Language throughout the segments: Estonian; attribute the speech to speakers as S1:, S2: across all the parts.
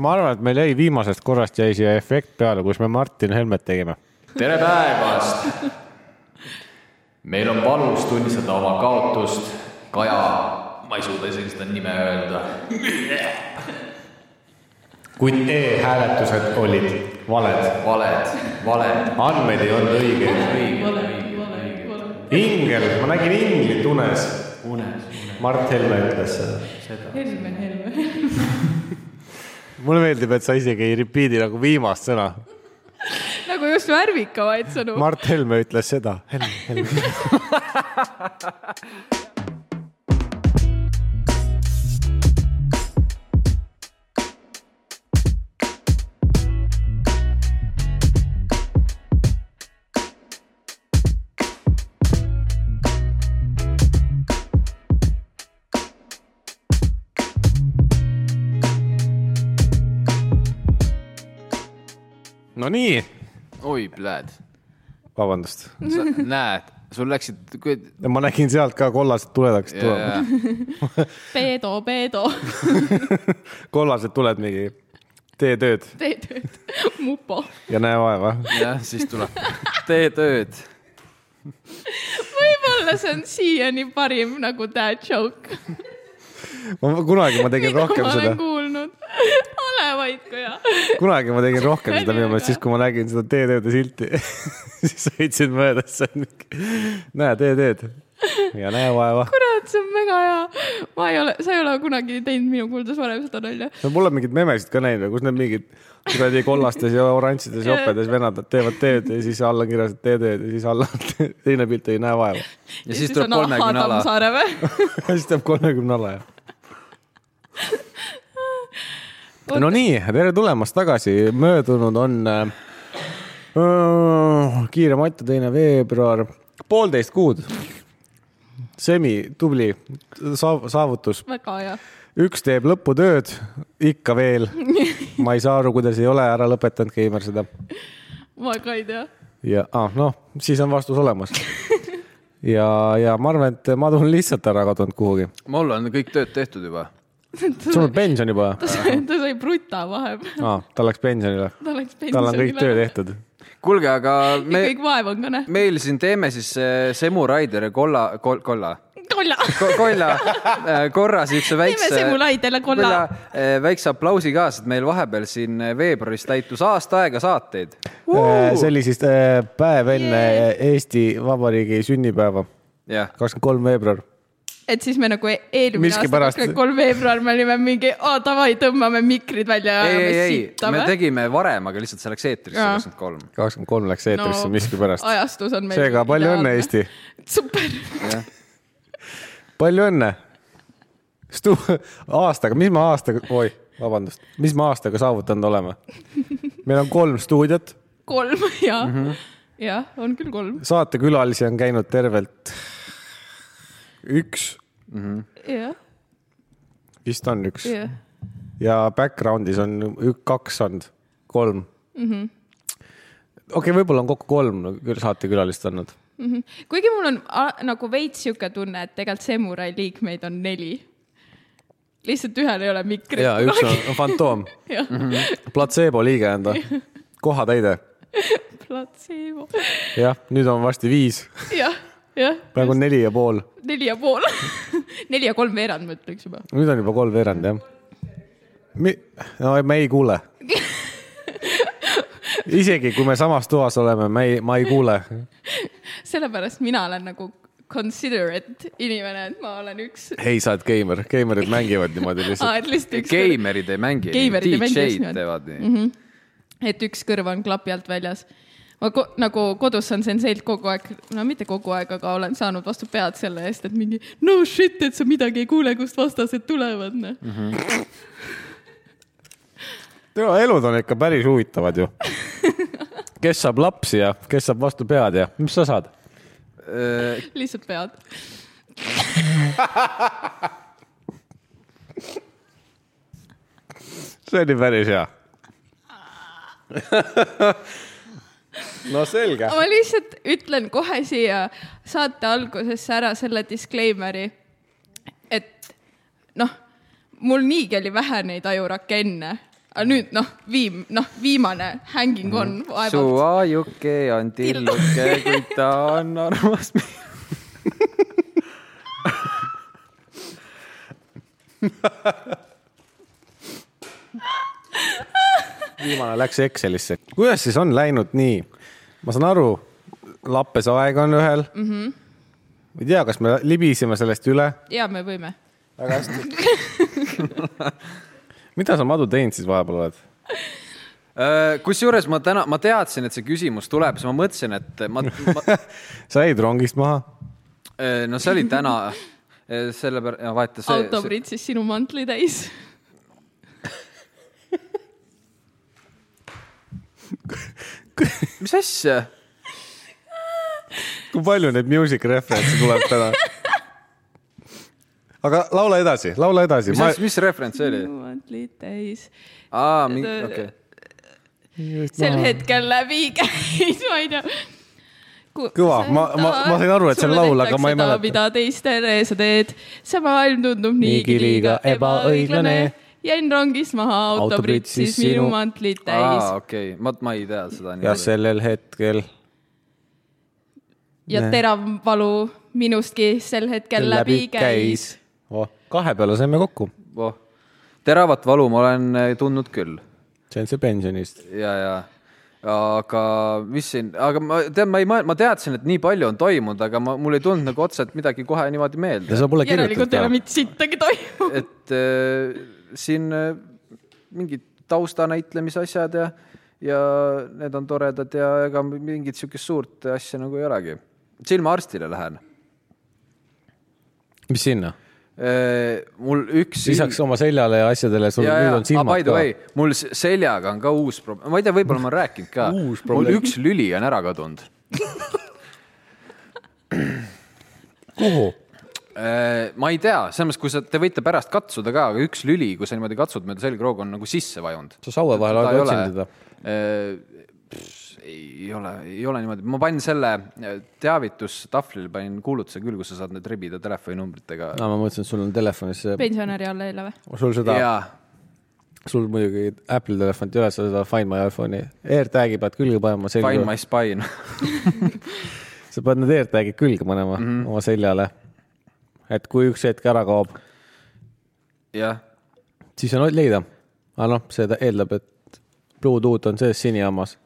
S1: ma arvan , et meil jäi viimasest korrast jäi siia efekt peale , kus me Martin Helmet tegime .
S2: tere päevast . meil on valus tunnistada oma kaotust . Kaja , ma ei suuda isegi seda nime öelda .
S3: kuid e-hääletused olid valed ,
S2: valed , valed ,
S3: andmed ei olnud õiged .
S2: õige ,
S4: vale ,
S2: õige ,
S4: vale ,
S2: õige .
S4: vale .
S3: ingel , ma nägin inglit unes .
S2: unes ,
S3: Mart Helme ütles seda .
S2: seda .
S4: Helme , Helme .
S1: mulle meeldib , et sa isegi ei repeat'i nagu viimast sõna .
S4: nagu just värvikamaid sõnu Ma... .
S1: Mart Helme ütles seda . Helme , Helme . no nii ,
S2: oi , pläd .
S1: vabandust ,
S2: näed , sul läksid , kui
S1: ma nägin sealt ka kollased tuled hakkasid tulema .
S2: jaa,
S4: Peedo , Peedo ,
S1: kollased tuled mingi , tee tööd
S4: tee tööd , mupo .
S1: ja näe vaeva .
S2: jaa, jah , siis tuleb , tee tööd .
S4: võib-olla see on siiani parim nagu dad joke ,
S1: kunagi ma tegin
S4: mida
S1: rohkem
S4: ma olen
S1: seda ,
S4: kuulnud . ole vait , Kaja .
S1: kunagi ma tegin rohkem seda minu
S4: Naljaga.
S1: meelest siis , kui ma nägin seda tee tööde silti . siis sõitsin mööda , siis sain mingi , näe , tee tööd ja näe vaeva .
S4: kurat , see on väga hea . ma ei ole , sa ei ole kunagi teinud minu kuuldes varem seda nalja .
S1: no mul on mingeid memesid ka näinud , kus need mingid kuradi kollastes ja oranžides jopedes venad teevad tööd ja siis alla on kirjas , et tee tööd ja siis alla on teine pilt oli näe vaeva .
S2: ja siis tuleb kolmekümne ala .
S4: Tammsaare või ?
S1: ja siis tuleb kolmekümne alla ja . no nii , tere tulemast tagasi , möödunud on äh, äh, kiire Matu teine veebruar , poolteist kuud . semi , tubli saav, saavutus ,
S4: väga hea .
S1: üks teeb lõputööd ikka veel . ma ei saa aru , kuidas ei ole ära lõpetanud Keimer seda
S4: ma ka ei tea .
S1: ja ah, noh , siis on vastus olemas ja , ja ma arvan , et Madu on lihtsalt ära kadunud kuhugi .
S2: mul on kõik tööd tehtud juba .
S1: sul on pension juba
S4: ta sai , ta sai bruta vahepeal .
S1: ah, ? ta läks pensionile ,
S4: ta läks pensionile .
S1: tal on kõik töö tehtud .
S2: kuulge , aga me
S4: Me... , kõik vaev on ka nähtud .
S2: meil siin teeme siis äh, Semu Raider ja Kolla kol, , Kolla
S4: kolla .
S2: Ko- kolla äh, korra siukse väikse .
S4: Semu Laidele kolla. .
S2: väikse aplausi ka , sest meil vahepeal siin äh, veebruaris täitus aasta aega saateid .
S1: see oli siis äh, päev enne Eesti Vabariigi sünnipäeva ,
S2: jah ,
S1: kakskümmend kolm veebruar .
S4: et siis me nagu e- eelmine aasta
S1: Miskipärast-
S4: kakskümmend kolm veebruar me olime mingi , aa davai , tõmbame mikrid välja ja
S2: ei , ei ,
S4: ajame
S2: ei ,
S4: sitta
S2: me
S4: või ?
S2: tegime varem , aga lihtsalt see läks eetrisse
S4: Jaa.
S2: kakskümmend kolm .
S1: kakskümmend kolm läks eetrisse no, miskipärast .
S4: ajastus on meil .
S1: seega palju õnne , Eesti ,
S4: super ,
S1: palju õnne . Stu- , aastaga , mis me aastaga , oi , vabandust , mis me aastaga saavutanud oleme ? meil on kolm stuudiot ,
S4: kolm ja mm ,
S1: Mhm.
S4: -hmm. jah , on küll kolm
S1: saatekülalisi on käinud tervelt üks ,
S4: ja, ,
S1: vist on üks
S4: jah ,
S1: ja background'is on ük- kaks olnud , kolm mm . -hmm. okei okay, , võib-olla on kokku kolm küll saatekülalist olnud .
S4: jah . kuigi mul on a, nagu veits sihuke tunne , et tegelikult Semurai liikmeid on neli . lihtsalt ühel ei ole mikrit .
S1: ja üks on on Mhm. fantoom ,
S4: jah ,
S1: platseebo liige on ta , kohatäide .
S4: platseebo ,
S1: jah , nüüd on varsti viis ,
S4: jah , jah ,
S1: praegu on neli ja pool ,
S4: neli ja pool , neli ja kolmveerand ma ütleks juba .
S1: nüüd on juba kolmveerand jah . Mi- , no me ei kuule . isegi kui me samas toas oleme , me ei , ma ei kuule .
S4: sellepärast mina olen nagu considerate inimene , et ma olen üks ,
S1: ei , sa oled geimer , geimerid mängivad niimoodi lihtsalt .
S4: et lihtsalt üks ,
S2: Geimerid ei mängi ,
S4: Geimerid ei mängi just
S2: DJ-d
S4: nimelt. Mhm.
S2: teevad nii .
S4: et üks kõrv on klapi alt väljas . ma ko, nagu kodus on senseilt kogu aeg , no mitte kogu aeg , aga olen saanud vastu pead selle eest , et mingi no shit , et sa midagi ei kuule , kust vastased tulevad ,
S2: Mhm.
S4: noh .
S1: elud on ikka päris huvitavad ju . kes saab lapsi ja kes saab vastu pead ja mis sa saad ?
S2: Äh,
S4: lihtsalt pead .
S1: see oli päris hea . no selge .
S4: ma lihtsalt ütlen kohe siia saate algusesse ära selle disclaimer'i , et noh , mul niigi oli vähe neid ajurakke enne , aga nüüd noh , viim- , noh , viimane hanging on
S5: Mm-hmm.
S4: vaevalt .
S5: suvajuke on tilluke , kuid ta on armas .
S1: viimane läks Excelisse . kuidas siis on läinud nii ? ma saan aru , lappes aeg on ühel mm . -hmm. ei tea , kas me libisime sellest üle .
S4: ja me võime .
S1: mida sa , Madu , teinud siis vahepeal oled ?
S5: Äh, kusjuures ma täna , ma teadsin , et see küsimus tuleb , siis ma mõtlesin , et ma, ma ,
S1: sa jäid rongist maha .
S5: no see oli täna , sellepärast , vaata
S4: auto
S5: see ,
S4: pritsis sinu mantli täis .
S5: mis asja ,
S1: kui palju neid music reference'e tuleb täna ? aga laula edasi , laula edasi .
S5: mis
S1: ma
S5: asja , mis referents see oli ?
S4: sinu mantli täis .
S5: aa , mingi , okei okay. .
S4: sel hetkel läbi käis , ma ei tea .
S1: Kõva, ma- ma- ma sain aru, et see on laul, aga ma ei mäleta.
S4: mida teistele sa teed , see maailm tundub niigi liiga ebaõiglane . jäin rongist maha , auto pritsis minu mantlit täis
S5: aa , okei okay. , ma , ma ei tea seda .
S1: ja sellel hetkel
S4: ja terav valu minustki sel hetkel läbi käis ..
S1: Oh, kahe peale saime kokku ,
S5: oh. . teravat valu ma olen eh, tundnud küll
S1: see on see pensionist .
S5: ja , ja aga mis siin , aga ma tean , ma ei , ma teadsin , et nii palju on toimunud , aga ma , mul ei tulnud nagu otseselt midagi kohe niimoodi
S1: ja
S5: meelde ,
S1: sa pole kirjutanud
S4: järelikult ei ole
S1: ka .
S4: mitte sittagi toimunud .
S5: et äh, siin äh, mingid taustanäitlemise asjad ja , ja need on toredad ja ega mingit sihukest suurt asja nagu ei olegi . silmaarstile lähen .
S1: mis sinna ?
S5: Äh, mul üks .
S1: lisaks oma seljale ja asjadele , sul ja,
S5: ja ,
S1: nüüd
S5: ja
S1: on , silmad
S5: by the
S1: ka .
S5: way , mul s- seljaga on ka uus probleem , ma ei tea , võib-olla ma olen rääkinud ka .
S1: Uus
S5: mul
S1: probleem.
S5: üks lüli on ära kadunud .
S1: kuhu ?
S5: Äh, ma ei tea , selles mõttes , kui sa , te võite pärast katsuda ka , aga üks lüli , kui sa niimoodi katsud mööda selgroogu , on nagu sisse vajunud .
S1: sa saue vahel aeg otsinud teda ?.
S5: Äh, ei ole , ei ole niimoodi , ma panin selle äh, teavitustahvlile panin kuulutuse küll , kus sa saad need rebida telefoninumbritega .
S1: aa , ma mõtlesin , et sul on telefonis see ,
S4: pensionäri alla ei lähe või ?
S1: sul seda ,
S5: ja ,
S1: sul muidugi Apple'i telefon ei ole , sa seda Find My iPhone'i AirTag'i pead külge panema
S5: Find
S1: selga
S5: my . spine .
S1: sa pead need AirTag'id külge panema mm -hmm. oma seljale . et kui üks hetk ära kaob ,
S5: jah ,
S1: siis on leida . aga noh , see ta- eeldab , et Bluetooth on sees sinihammas .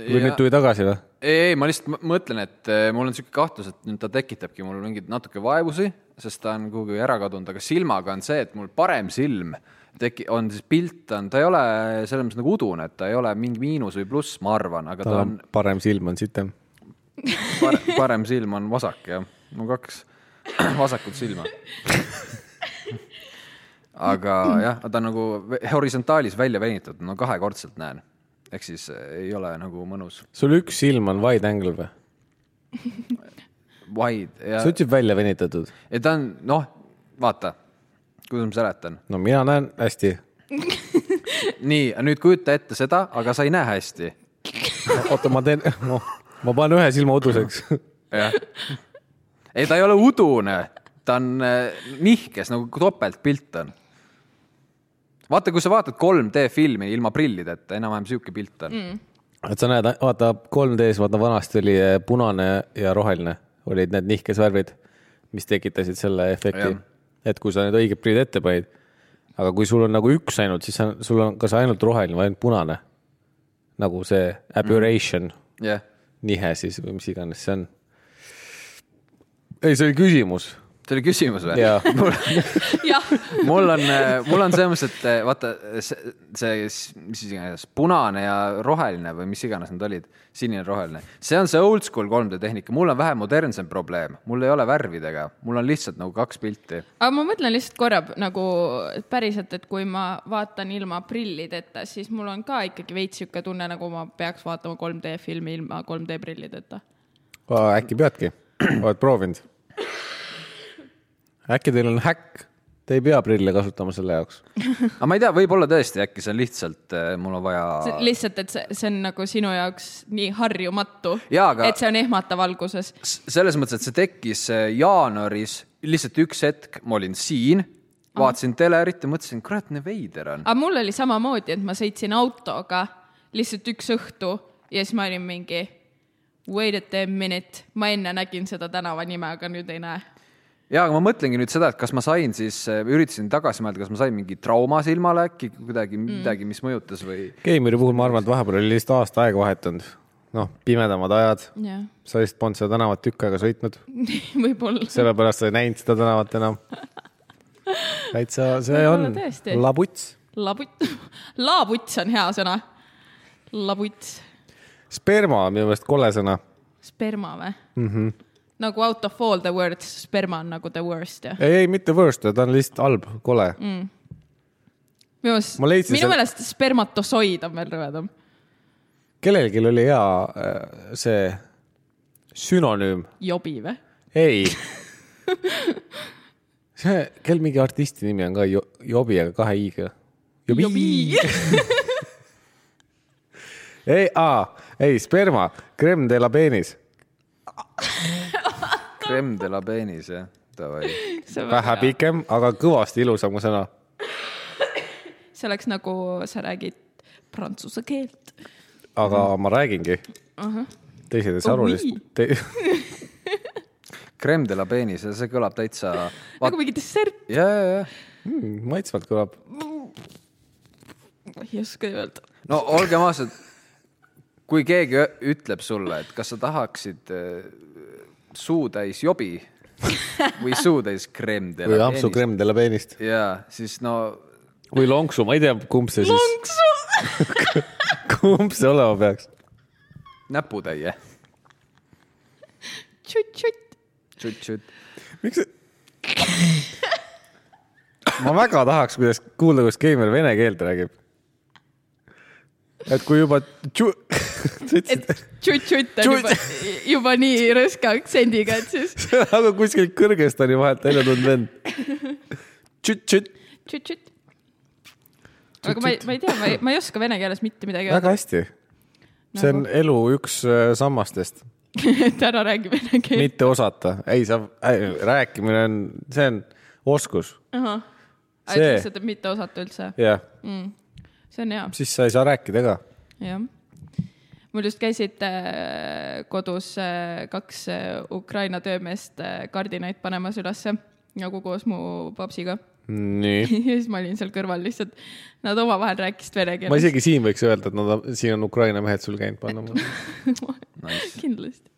S1: või
S5: Ja-
S1: nüüd tuli tagasi või ?
S5: ei , ei , ma lihtsalt m- mõtlen , et eh, mul on sihuke kahtlus , et nüüd ta tekitabki mul mingeid natuke vaevusi , sest ta on kuhugi ära kadunud , aga silmaga on see , et mul parem silm teki- , on siis pilt on , ta ei ole selles mõttes nagu udune , et ta ei ole mingi miinus või pluss , ma arvan , aga
S1: tal
S5: ta
S1: on
S5: on
S1: parem silm on sitem .
S5: pare, parem silm on vasak jah , mul kaks vasakut silma . aga jah , ta on nagu ve- horisontaalis välja venitatud , no kahekordselt näen , ehk siis eh, ei ole nagu mõnus .
S1: sul üks silm on wide angle või ?
S5: Wide ja
S1: sa ütlesid välja venitatud .
S5: ei ta on , noh , vaata , kuidas ma seletan .
S1: no mina näen hästi .
S5: nii , nüüd kujuta ette seda , aga sa ei näe hästi .
S1: oota , ma teen , ma panen ühe silma uduseks .
S5: jah . ei , ta ei ole udune , ta on eh, nihkes nagu topeltpilt on . vaata , kui sa vaatad 3D filmi ilma prillideta , enam-vähem sihuke pilt on mm. .
S1: et sa näed , vaata 3D-s , vaata vanasti oli eh, punane ja roheline olid need nihkes värvid , mis tekitasid selle efekti
S5: Jah. .
S1: et kui sa need õiged prillid ette panid , aga kui sul on nagu üks ainult , siis on, sul on kas ainult roheline või ainult punane . nagu see aberration mm. ,
S5: jah ,
S1: nihe siis või mis iganes see on . ei , see oli küsimus .
S5: see oli küsimus või ?
S1: jaa ,
S4: jah ,
S5: mul on , mul on selles mõttes , et eh, vaata see , see , mis siis iganes , punane ja roheline või mis iganes nad olid , sinine , roheline , see on see oldschool 3D tehnika , mul on vähe modernsem probleem , mul ei ole värvidega , mul on lihtsalt nagu kaks pilti .
S4: aga ma mõtlen lihtsalt korra nagu päriselt , et kui ma vaatan ilma prillideta , siis mul on ka ikkagi veits sihuke tunne , nagu ma peaks vaatama 3D filmi ilma 3D prillideta .
S1: äkki peadki , oled proovinud ? äkki teil on häkk , te ei pea prille kasutama selle jaoks
S5: aga ma ei tea , võib-olla tõesti , äkki see on lihtsalt , mul on
S4: see
S5: vaja ,
S4: lihtsalt , et see , see on nagu sinu jaoks nii harjumatu ,
S5: Jaa, aga-
S4: et see on ehmatav alguses .
S5: äh, selles mõttes , et see tekkis eh, jaanuaris , lihtsalt üks hetk ma olin siin vaatasin telerit ja mõtlesin , kurat , nii veider on .
S4: aga mul oli samamoodi , et ma sõitsin autoga lihtsalt üks õhtu ja siis ma olin mingi wait a damn minute , ma enne nägin seda tänava nime , aga nüüd ei näe .
S5: ja aga ma mõtlengi nüüd seda , et kas ma sain siis , üritasin tagasi mõelda , kas ma sain mingi trauma silmale äkki kuidagi midagi , mis mõjutas või
S1: Keimeri puhul ma arvan , et vahepeal oli lihtsalt aasta aega vahetunud . noh , pimedamad ajad ,
S4: jah ,
S1: sa vist polnud seda tänavat tükk aega sõitnud ,
S4: võib-olla .
S1: sellepärast sa ei näinud seda tänavat enam . täitsa , see on
S4: Võib-olla tõesti.
S1: labuts .
S4: labut- , laabuts on hea sõna . labuts ,
S1: sperma on minu meelest kole sõna .
S4: sperma või mm ?
S1: Mhm.
S4: -hmm. nagu out of all the words , sperma on nagu the worst ja .
S1: ei , ei mitte worst , ta on lihtsalt halb , kole mm. .
S4: minu meelest ,
S1: Ma leidsin
S4: minu
S1: selle-
S4: meelest spermatosoid on veel rõvedam .
S1: kellelgi oli hea äh, see sünonüüm ,
S4: jobi või ?
S1: ei . see , kel mingi artisti nimi on ka jo, Jobi , aga kahe i-ga .
S4: jobi .
S1: ei , ei sperma , creme de la penis ,
S5: creme de la penis jah , davai .
S1: vähe pikem , aga kõvasti ilusam kui sõna .
S4: see oleks nagu sa räägid prantsuse keelt .
S1: aga
S4: Mhm.
S1: ma räägingi uh . -huh. teised ei saa aru
S4: Oui.
S1: lihtsalt Te... .
S5: Creme de la penis , see kõlab täitsa ,
S4: nagu mingi dessert ,
S5: ja , ja , ja
S1: maitsvalt kõlab .
S4: ma ei oska öelda .
S5: no olgem ausad , kui keegi ö- ütleb sulle , et kas sa tahaksid äh, suutäis jobi või suutäis creme de
S1: või
S5: la
S1: ampsu
S5: penis .
S1: creme de la penist .
S5: ja siis no
S1: või lonksu , ma ei tea , kumb see siis ,
S4: lonksu .
S1: kumb see olema peaks .
S5: näputäie ,
S4: tšutt-tšutt .
S5: tšut-tšut .
S1: miks see ? ma väga tahaks , kuidas kuulda , kuidas Keimer vene keelt räägib . et kui juba tšu... .
S4: et tšutt-tšutt on juba , juba nii rõõska aktsendiga , et siis
S1: aga kuskilt Kõrgõzstani vahelt välja tulnud vend . tšütt-tšütt .
S4: tšutt-tšutt . aga ma ei , ma ei tea , ma ei , ma ei oska vene keeles mitte midagi
S1: väga
S4: öelda ,
S1: hästi . see
S4: Nagu?
S1: on elu üks äh, sammastest ,
S4: et ära räägi vene keelt .
S1: mitte osata , ei sa , rääkimine on , see on oskus , see-
S4: ütleks , et mitte osata üldse ,
S1: jah ,
S4: see on hea ,
S1: siis sa ei saa rääkida ka .
S4: jah mul just käisid äh, kodus äh, kaks äh, Ukraina töömeest äh, kardinaid panemas ülesse nagu koos mu papsiga
S1: nii ,
S4: ja siis ma olin seal kõrval lihtsalt , nad omavahel rääkisid vene
S1: ma
S4: keeles .
S1: isegi siin võiks öelda , et nad on , siin on Ukraina mehed sul käinud panna .
S4: kindlasti ,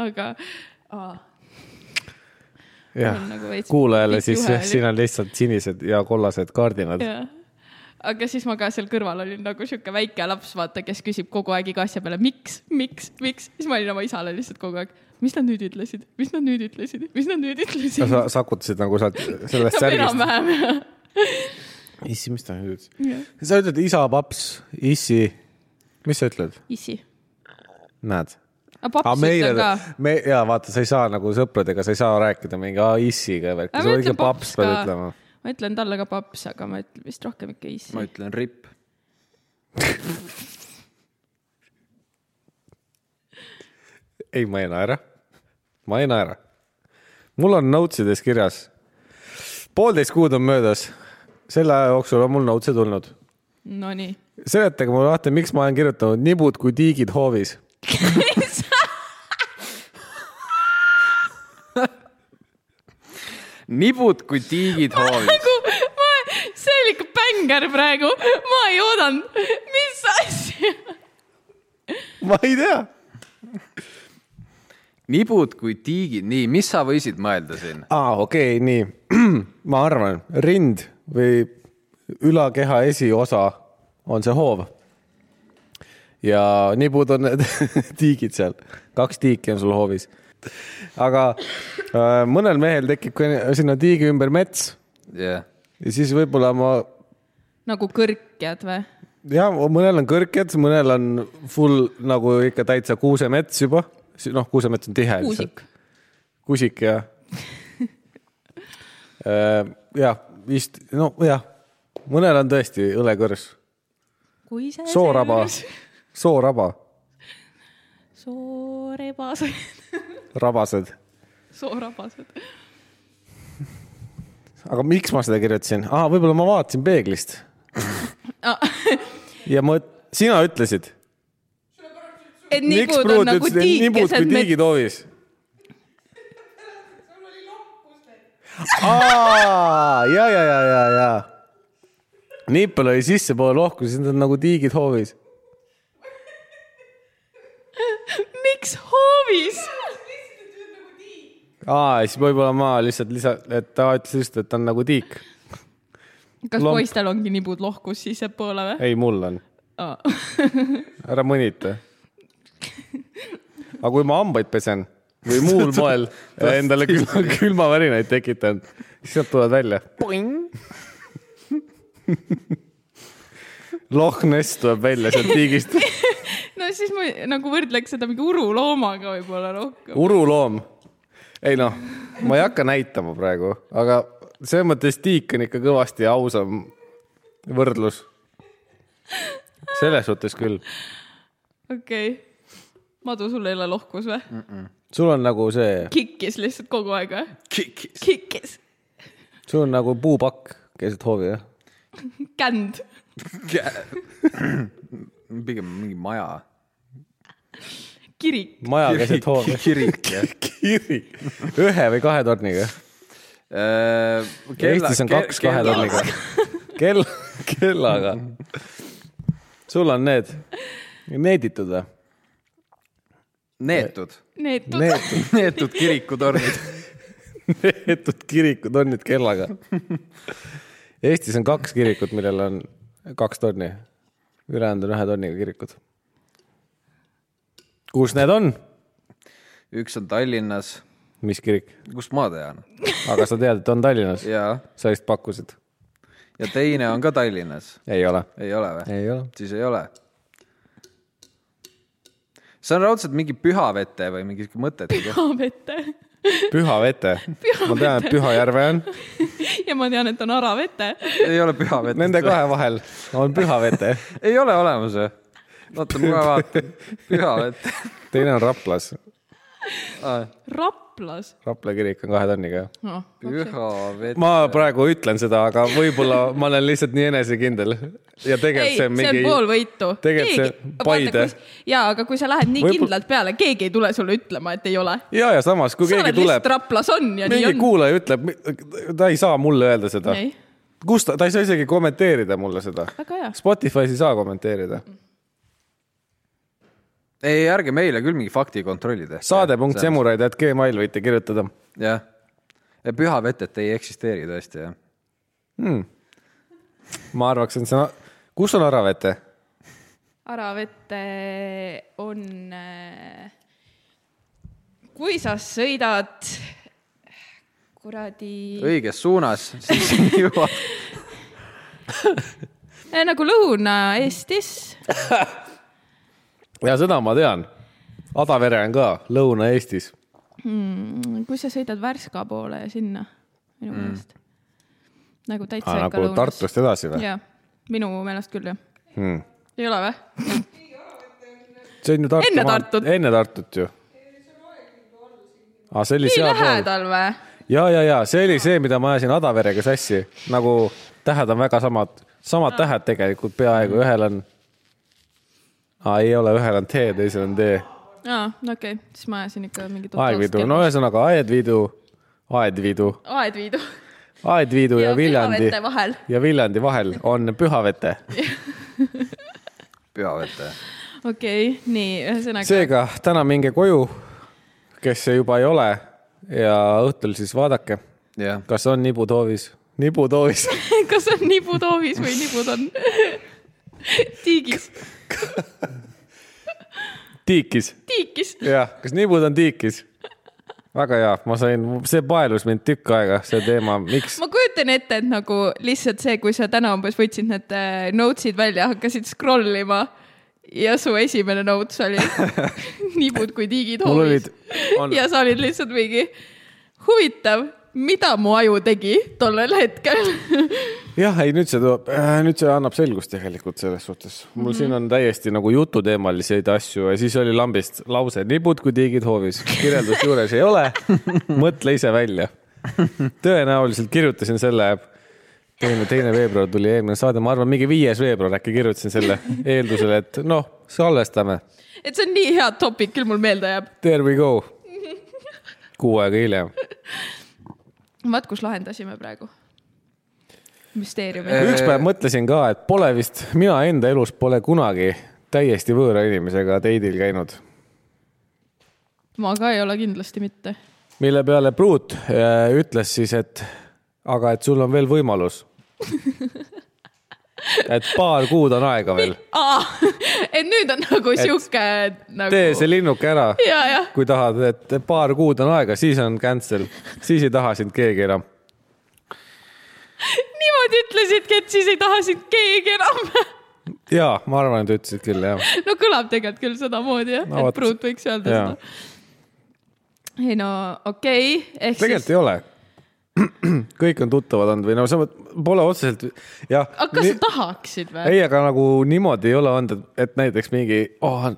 S4: aga aa,
S1: jah
S4: on nagu veits
S1: kuulajale
S4: pikk
S1: siis
S4: juhe
S1: jah ,
S4: oli.
S1: siin on lihtsalt sinised ja kollased kardinad .
S4: jaa . aga siis ma ka seal kõrval olin nagu sihuke väike laps , vaata , kes küsib kogu aeg iga asja peale , miks , miks , miks , siis ma olin oma isale lihtsalt kogu aeg , mis nad nüüd ütlesid , mis nad nüüd ütlesid , mis nad nüüd ütlesid .
S1: sa sakutasid nagu sealt sellest särgist .
S4: enam-vähem jah .
S1: issi , mis ta nüüd ütles ? sa ütled isa , paps , issi . mis sa ütled ?
S4: issi .
S1: näed ?
S4: aga paps
S1: aga
S4: ah,
S1: meile
S4: ütleb ka .,
S1: me ja vaata , sa ei saa nagu sõpradega , sa ei saa rääkida mingi "Aa, issiga värki ,
S4: Aga
S1: sa
S4: ma
S1: oled ikka
S4: ütlen
S1: paps
S4: paps
S1: pead
S4: ka.
S1: ütlema .
S4: ma ütlen talle ka paps , aga ma ütlen vist rohkem ikka issi .
S5: ma ütlen ripp .
S1: ei , ma ei naera . ma ei naera . mul on notes ides kirjas . poolteist kuud on möödas . selle aja jooksul on mul notes'e tulnud
S4: Nonii .
S1: seletage mulle lahti , miks ma olen kirjutanud nibud kui tiigid hoovis .
S5: nibud kui tiigid hoovis .
S4: Nagu, ma , see oli ikka bängar praegu , ma ei oodanud , mis asja .
S1: ma ei tea .
S5: nibud kui tiigid , nii , mis sa võisid mõelda siin ?
S1: aa , okei okay, , nii . ma arvan , rind või ülakeha esiosa on see hoov . ja nibud on need tiigid seal , kaks tiiki on sul hoovis . aga äh, mõnel mehel tekib ka sinna tiigi ümber mets
S5: jah ,
S1: ja siis võib-olla ma ,
S4: nagu kõrkjad või ?
S1: jah , mõnel on kõrked , mõnel on full nagu ikka täitsa kuusemets juba , noh , kuusemets on tihe .
S4: kuusik .
S1: kusik ja . jah , vist , no jah , mõnel on tõesti õlekõrs ,
S4: kui see .
S1: sooraba , sooraba ,
S4: soorebased ,
S1: rabased ,
S4: soorabased .
S1: aga miks ma seda kirjutasin ah, ? võib-olla ma vaatasin peeglist
S4: Ah.
S1: ja ma , sina ütlesid .
S4: et nibud on nagu tiikesed
S1: kui
S4: mets-
S1: tiigid hoovis . aa , ja , ja , ja , ja , ja . nipel oli sissepoole lohku , siis nad on nagu tiigid hoovis .
S4: miks hoovis ?
S1: aa , siis võib-olla ma lihtsalt lisa , et ta ütles lihtsalt , et ta on nagu tiik .
S4: kas
S1: Lomp.
S4: poistel ongi nibud lohkus sissepoole või ? Ah.
S1: ei , mul on , ära mõnita . aga kui ma hambaid pesen või muul moel endale külma , külmavärinaid tekitan , siis nad tulevad välja . Loch Ness tuleb välja sealt tiigist .
S4: no siis ma nagu võrdleks seda mingi uruloomaga võib-olla rohkem .
S1: uruloom . ei noh , ma ei hakka näitama praegu , aga selles mõttes tiik on ikka kõvasti ausam võrdlus . selles suhtes küll .
S4: okei okay. . Madu , sul ei ole lohkus
S1: Mm.
S4: või ?
S1: sul on nagu see ,
S4: kikkis lihtsalt kogu aeg või ?
S5: kikis .
S4: kikkis .
S1: sul on nagu puupakk keset hoovi jah ?
S4: känd .
S5: pigem mingi maja .
S4: kirik .
S1: maja keset hoovi .
S5: kirik jah .
S1: kirik . ühe või kahe torniga .
S5: Äh,
S1: Eestis on kaks kahe torniga . kell , kellaga . sul on need , needitud või ?
S5: neetud ,
S4: Need tund-
S1: Neetud .
S5: neetud kirikutornid .
S1: veetud kirikud on nüüd kellaga . Eestis on kaks kirikut , millel on kaks torni . ülejäänud on ühe torniga kirikud . kus need on ?
S5: üks on Tallinnas ,
S1: mis kirik ?
S5: kust ma tean ,
S1: aga sa tead , et on Tallinnas ?
S5: ja ,
S1: sa vist pakkusid ?
S5: ja teine on ka Tallinnas ,
S1: ei ole .
S5: ei ole või ?
S1: ei ole .
S5: siis ei ole . see on raudselt mingi Pühavete või mingi sihuke mõttetu koht .
S4: Pühavete .
S1: Pühavete . ma tean , et Pühajärve on .
S4: ja ma tean , et on Aravete .
S5: ei ole Pühavete .
S1: Nende kahe vahel on Pühavete .
S5: ei ole olemas või ? oota , ma kohe vaatan . Pühavete .
S1: teine on Raplas .
S4: Raplas .
S1: Rapla kirik on kahe torniga .
S4: noh ,
S5: Pühavete .
S1: ma praegu ütlen seda , aga võib-olla ma olen lihtsalt nii enesekindel ja
S4: ei ,
S1: tegelikult
S4: see
S1: see on mingi
S4: on pool võitu .
S1: tegelikult see Paide. .
S4: ja , aga kui sa lähed nii
S1: Võib-
S4: kindlalt peale , keegi ei tule sulle ütlema , et ei ole .
S1: ja , ja samas , kui
S4: sa
S1: keegi
S4: oled
S1: tuleb
S4: lihtsalt , Raplas on ja nii
S1: mingi
S4: on .
S1: kuulaja ütleb , ta ei saa mulle öelda seda .
S4: ei ,
S1: kus ta , ta ei saa isegi kommenteerida mulle seda .
S4: väga hea .
S1: Spotify's ei saa kommenteerida .
S5: ei , ärge meile küll mingi faktikontrolli tehke .
S1: saade.semuraid.gmail võite kirjutada .
S5: jah . Pühavetet ei eksisteeri tõesti jah .
S1: ma arvaks , et see , kus on Aravete ?
S4: Aravete on , kui sa sõidad äh, kuradi
S5: õiges suunas , siis ei jõua .
S4: Eh, nagu Lõuna-Eestis ,
S1: ja seda ma tean . Adavere on ka Lõuna-Eestis .
S4: Hmm, kui sa sõidad Värska poole ja sinna minu meelest mm. . nagu täitsa ikka
S1: nagu Tartust edasi või ?
S4: jaa , minu meelest küll jah hmm. . ei ole või ?
S1: see on ju Tartu .
S4: Enne Tartut.
S1: enne Tartut ju . aa , see oli
S4: nii
S1: sealpool .
S4: lähedal või ?
S1: ja , ja , ja see oli see , mida ma ajasin Adaverega sassi , nagu tähed on väga samad , samad tähed tegelikult peaaegu , ühel on . ei ole , ühel on T , teisel on D .
S4: aa , no okei okay. , siis ma ajasin ikka mingi
S1: Aegvidu , no ühesõnaga Aedvidu , Aedvidu ,
S4: Aedviidu
S1: Aedvidu ja, ja Viljandi
S4: Pühavete vahel .
S1: ja Viljandi vahel on Pühavete .
S5: Pühavete .
S4: okei okay, , nii , ühesõnaga See...
S1: seega täna minge koju , kes see juba ei ole ja õhtul siis vaadake ,
S5: jah .
S1: kas on nibud hoovis , nibud hoovis ,
S4: kas on nibud hoovis või nibud on tiigis ,
S1: tiikis
S4: tiikis .
S1: jah , kas nibud on tiikis ? väga hea , ma sain , see paelus mind tükk aega , see teema , miks
S4: ma kujutan ette , et nagu lihtsalt see , kui sa täna umbes võtsid need äh, notes'id välja , hakkasid scroll ima ja su esimene notes oli nibud kui tiigid
S1: mul
S4: hoovis
S1: olid . on...
S4: ja sa olid lihtsalt mingi huvitav , mida mu aju tegi tollel hetkel
S1: jah , ei nüüd see tuleb , nüüd see annab selgust tegelikult selles suhtes . mul mm -hmm. siin on täiesti nagu jututeemaliseid asju ja siis oli lambist lause nibud kui tiigid hoovis , kirjeldust juures ei ole . mõtle ise välja . tõenäoliselt kirjutasin selle , teine , teine veebruar tuli eelmine saade , ma arvan , mingi viies veebruar äkki kirjutasin selle eeldusel , et noh , salvestame .
S4: et see on nii hea topik , küll mul meelde jääb .
S1: There we go . kuu aega hiljem .
S4: vaat kus lahendasime praegu . müsteeriumi .
S1: üks päev mõtlesin ka , et pole vist , mina enda elus pole kunagi täiesti võõra inimesega date'il käinud ,
S4: ma ka ei ole kindlasti mitte .
S1: mille peale Pruut äh, ütles siis , et aga et sul on veel võimalus . et paar kuud on aega veel ,
S4: et nüüd on nagu sihuke nagu .
S1: tee see linnuke ära ,
S4: ja , jah .
S1: kui tahad , et paar kuud on aega , siis on cancel , siis ei taha sind keegi enam .
S4: niimoodi ütlesidki , et siis ei taha sind keegi enam .
S1: ja ma arvan , et ütlesid küll jah .
S4: no kõlab tegelikult küll sedamoodi jah
S1: No
S4: no, ,
S1: vot.
S4: et pruut võiks öelda
S1: Jaa.
S4: seda . ei no okei okay. , ehk
S1: tegelikult
S4: siis ,
S1: ei ole . kõik on tuttavad olnud või no see pole otseselt jah .
S4: aga kas sa tahaksid või ?
S1: ei , aga nagu niimoodi ei ole olnud , et näiteks mingi oh, ,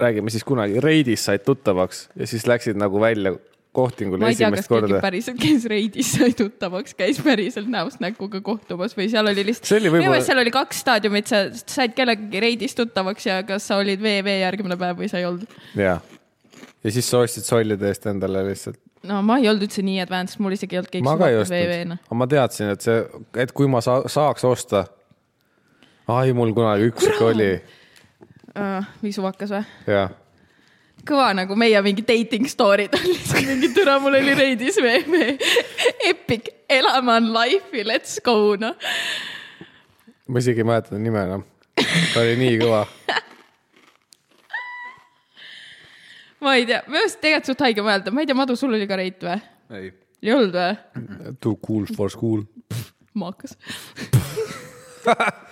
S1: räägime siis kunagi , reidis said tuttavaks ja siis läksid nagu välja kohtingule
S4: ma ei tea , kas
S1: esimest
S4: keegi
S1: korda .
S4: päriselt käis reidis , sai tuttavaks , käis päriselt näost näkuga kohtumas või seal oli lihtsalt ,
S1: See oli
S4: minu
S1: võib-olla-
S4: meelest seal oli kaks staadiumit , sa said kellegagi reidis tuttavaks ja kas sa olid VV järgmine päev või sa ei olnud .
S1: ja , ja siis sa ostsid sollide eest endale lihtsalt .
S4: no ma ei olnud üldse nii advanced , mul isegi ei olnud keegi
S1: ma ka ei
S4: suvatud
S1: ostnud
S4: VV-na .,
S1: aga ma teadsin , et see , et kui ma sa saaks osta . ai , mul kunagi üks ikka oli ,
S4: mingi suvakas või ?
S1: jah .
S4: kõva nagu meie mingi dating story'd on lihtsalt mingi türa , mul oli reidis VV , epic , elama on life'i , let's go noh .
S1: ma isegi ei mäleta ta nime enam . ta oli nii kõva .
S4: ma ei tea , minu arust tegelikult suht haige mõelda , ma ei tea , Madu , sul oli ka reit või ?
S5: ei ,
S4: ei olnud või ?
S1: Too cool for school .
S4: maakas .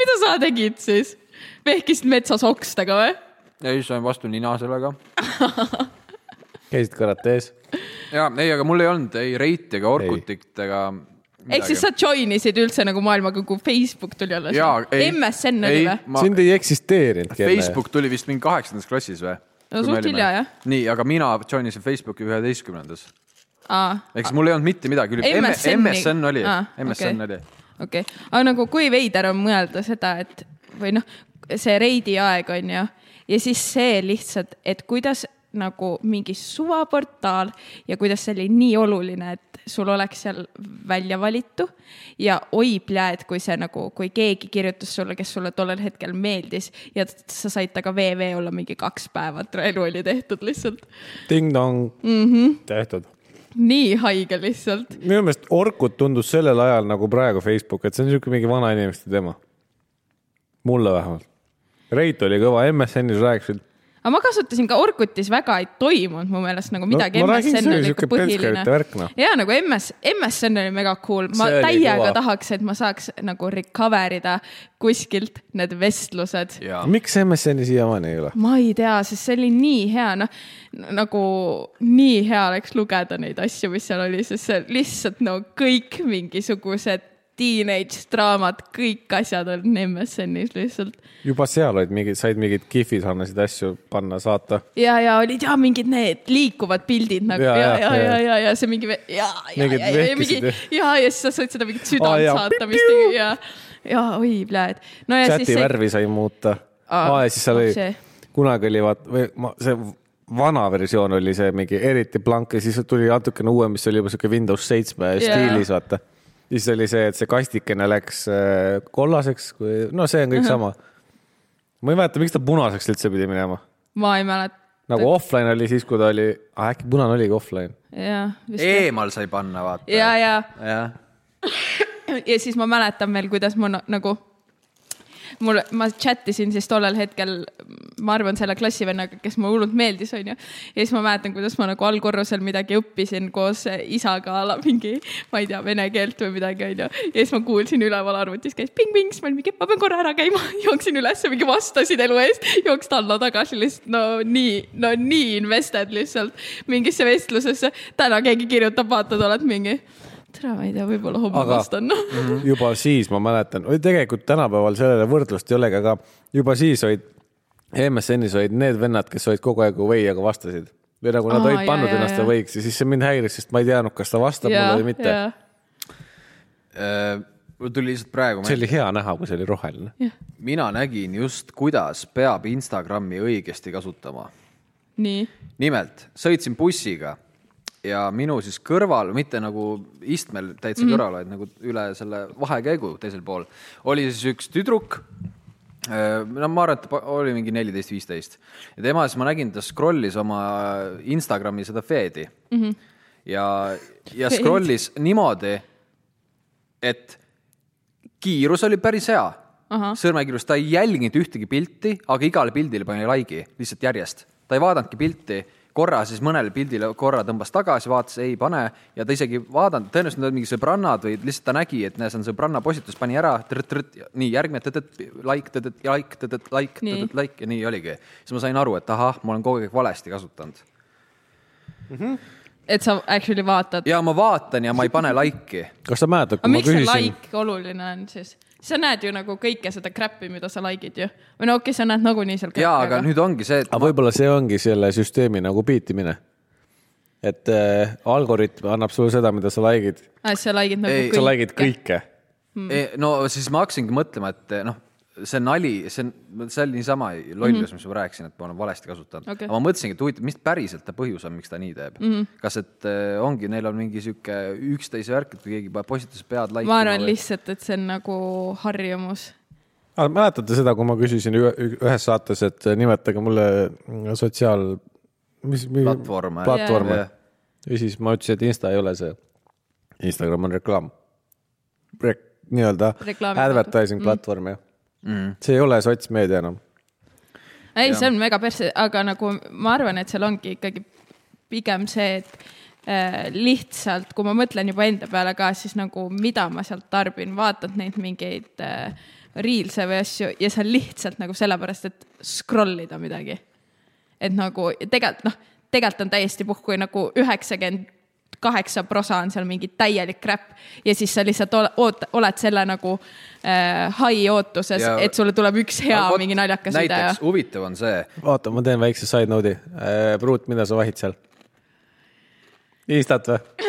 S4: mida sa tegid siis ? vehkisid metsas okstega või ?
S5: ei sain vastu nina sellega .
S1: käisid karates ?
S5: ja ei , aga mul ei olnud ei reiti ega orkutit ega .
S4: ehk siis sa join isid üldse nagu maailmaga , kui Facebook tuli alles ?
S5: Jaa, ei.
S4: MSN oli
S5: Ei.
S4: või ?
S5: Ma-
S1: sind ei eksisteerinudki
S5: Facebook tuli vist mingi kaheksandas klassis või ?
S4: No suht hilja, jah. .
S5: nii , aga mina join isin Facebooki üheteistkümnendas .
S4: aa ,
S5: ehk siis mul ei olnud mitte midagi üli- .
S4: MSN-i
S5: MSN oli
S4: Aa, ,
S5: MSN
S4: Ah, okei.
S5: oli .
S4: okei okay. , aga nagu kui veider on mõelda seda , et või noh , see reidi aeg on ju , ja siis see lihtsalt , et kuidas nagu mingi suvaportaal ja kuidas see oli nii oluline , et sul oleks seal välja valitu ja oi pljääd , kui see nagu , kui keegi kirjutas sulle , kes sulle tollel hetkel meeldis ja t- sa said temaga VV olla mingi kaks päeva , et elu oli tehtud lihtsalt .
S1: Ding-dong mm . -hmm.
S4: Mhm.
S1: tehtud .
S4: nii haige lihtsalt .
S1: minu meelest Orkut tundus sellel ajal nagu praegu Facebook , et see on niisugune mingi vanainimeste teema . mulle vähemalt . Reit oli kõva , MSN-is rääkisid .
S4: aga ma kasutasin ka Orkutis väga ei toimunud mu meelest nagu midagi
S1: ma
S4: no, ,
S1: räägin, see
S4: MSN
S1: oli
S4: oli ikka
S1: siuke
S4: põhiline
S1: penskärite värk, noh. .
S4: ja nagu MS , MSN oli mega cool , ma
S1: See oli
S4: täiega
S1: kõva.
S4: tahaks , et ma saaks nagu recover ida kuskilt need vestlused .
S5: jaa .
S1: miks MSN-i siiamaani ei ole ?
S4: ma ei tea , sest see oli nii hea , noh nagu nii hea oleks lugeda neid asju , mis seal oli , sest see lihtsalt no kõik mingisugused teenage draamad , kõik asjad on MSN-is lihtsalt .
S1: juba seal olid mingid , said mingid kihvid , annasid asju panna , saata .
S4: ja , ja olid ja mingid need liikuvad pildid nagu ja ,
S1: Jaa,
S4: ja ,
S1: jaa,
S4: ja , ja,
S1: jaa.
S4: ja , ja see mingi ve- ja , ja ,
S1: Mingid
S4: ja , ja, ja mingi
S1: vehkisid, jah.
S4: ja , ja siis sa said seda mingit südant
S1: Aa,
S4: oh,
S1: jaa.
S4: saata , mis tegi ja , ja oi , pljääd . no ja
S1: chati
S4: Äh, siis see ,
S1: värvi sai muuta .
S4: Aa, oh,
S1: aa , ja siis seal oli
S4: see. ,
S1: kunagi oli vaata , või ma , see vana versioon oli see mingi eriti blank ja siis tuli natukene uuem , mis oli juba siuke Windows seitsme
S4: Jaa.
S1: stiilis , vaata . siis oli see , et see kastikene läks äh, kollaseks , kui , no see on kõik sama . ma ei mäleta , miks ta punaseks üldse pidi minema .
S4: ma ei mäleta .
S1: nagu offline oli siis , kui ta oli , äkki punane oligi offline .
S4: jah , vist .
S5: eemal sai panna , vaata .
S4: ja , ja ,
S5: jah ,
S4: ja siis ma mäletan veel , kuidas ma no, nagu mul , ma chat isin siis tollel hetkel , ma arvan , selle klassivennaga , kes mulle hullult meeldis , onju . ja siis ma mäletan , kuidas ma nagu allkorrusel midagi õppisin koos isaga a la mingi , ma ei tea , vene keelt või midagi , onju . ja siis ma kuulsin üleval arvutis käis ping-ping , siis ma olin mingi , ma pean korra ära käima , jooksin ülesse , mingi vastasin elu eest , jooksin alla tagasi lihtsalt , no nii , no nii invested lihtsalt mingisse vestlusesse . täna keegi kirjutab , vaatad , oled mingi , tere , ma ei tea , võib-olla homme
S1: Aga-
S4: vastan
S1: Mm-hmm. juba siis ma mäletan , tegelikult tänapäeval sellele võrdlust ei olegi , aga juba siis olid , MSN-is olid need vennad , kes olid kogu aeg away , aga vastasid . või nagu nad
S4: Aa,
S1: olid
S4: jaa,
S1: pannud
S4: jaa,
S1: ennast
S4: jaa.
S1: võiks ja siis see mind häiris , sest ma ei teadnud , kas ta vastab
S4: ja ,
S1: mulle või mitte .
S5: Äh, mul tuli lihtsalt praegu
S1: see , oli hea näha , kui see oli roheline .
S5: mina nägin just , kuidas peab Instagrami õigesti kasutama
S4: nii ,
S5: nimelt sõitsin bussiga ja minu siis kõrval , mitte nagu istmel täitsa mm. kõrval , vaid nagu üle selle vahekäigu teisel pool oli siis üks tüdruk . no ma arvan , et ta pa- oli mingi neliteist , viisteist ja tema siis ma nägin , ta scroll'is oma Instagrami seda feed'i mm . -hmm. ja , ja
S4: Feed.
S5: scroll'is niimoodi , et kiirus oli päris hea
S4: Ahah. .
S5: sõrmekiirus , ta ei jälginud ühtegi pilti , aga igale pildile pani like'i lihtsalt järjest . ta ei vaadanudki pilti korra , siis mõnele pildile korra tõmbas tagasi , vaatas , ei pane ja ta isegi ei vaadanud , tõenäoliselt need olid mingi sõbrannad või lihtsalt ta nägi , et näe , see on sõbranna postitus , pani ära , nii järgmine tõdõt , like , tõdõt , like , tõdõt , like ,
S4: Nii.
S5: tõdõt , like ja nii oligi . siis ma sain aru , et ahah , ma olen kogu aeg valesti kasutanud .
S4: et sa actually vaatad .
S5: ja ma vaatan ja ma ei pane like'i .
S1: kas sa mäletad ,
S4: aga
S1: kui ma
S4: miks see
S1: küsisin ,
S4: like oluline on siis ? sa näed ju nagu kõike seda crap'i , mida sa like'id ju . või no okei okay, , sa näed nagunii seal .
S5: ja aga nüüd ongi see , et
S1: aga võib-olla see ongi selle süsteemi nagu piitimine . et äh, algoritm annab sulle seda , mida sa like'id ,
S4: ah, . sa like'id nagu
S5: Ei,
S4: kõike .
S1: sa like'id . kõike .
S4: Mm.
S5: E, no siis ma hakkasingi mõtlema , et noh , see nali , see , see oli niisama lollus mm , -hmm. mis ma rääkisin , et ma olen valesti kasutanud
S4: Mhm. Okei. Mhm.
S5: okay. . aga ma mõtlesingi , et huvitav , mis päriselt ta põhjus on , miks ta nii teeb mm . -hmm. kas , et eh, ongi , neil on mingi sihuke üksteise värk , et kui keegi paneb postituse pead
S4: ma arvan . lihtsalt , et see on nagu harjumus .
S1: mäletate seda , kui ma küsisin ü- ü- ühes saates , et nimetage mulle sotsiaal , mis ,
S5: Platvorme.
S1: platvorme
S5: Jah.
S1: ja siis ma ütlesin , et Insta ei ole see . Instagram on reklaam Re . nii-öelda
S4: Reklaami-
S1: advertising platvorm jah mm. . see ei ole noh. sotsmeedia enam .
S4: ei , see on mega persse , aga nagu ma arvan , et seal ongi ikkagi pigem see , et äh, lihtsalt , kui ma mõtlen juba enda peale ka , siis nagu mida ma sealt tarbin , vaatad neid mingeid äh, reels'e või asju ja see on lihtsalt nagu sellepärast , et scroll ida midagi . et nagu tegelikult noh , tegelikult on täiesti puhku nagu üheksakümmend kaheksa prosa on seal mingi täielik crap ja siis sa lihtsalt ole, oot- , oled selle nagu äh, high ootuses
S5: Ja- ,
S4: et sulle tuleb üks hea no, mingi naljakas video
S5: näiteks huvitav on see ,
S1: oota , ma teen väikse side note'i . Pruut , mida sa vahid seal ? Instat või ?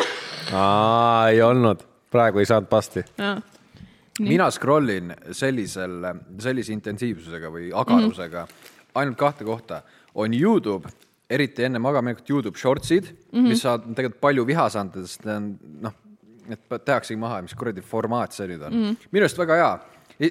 S1: aa , ei olnud , praegu ei saanud pasti .
S4: Jaa.
S5: mina scroll in sellisel , sellise intensiivsusega või agarusega mm
S4: Mhm.
S5: -hmm. ainult kahte kohta . on Youtube , eriti enne magaminekut Youtube shortsid mm ,
S4: Mhm.
S5: -hmm. mis saad tegelikult palju viha saanud , sest need on noh , need pa- tehaksegi maha , mis kuradi formaat see nüüd on
S4: Mhm.
S5: mm . -hmm. minu arust väga hea ,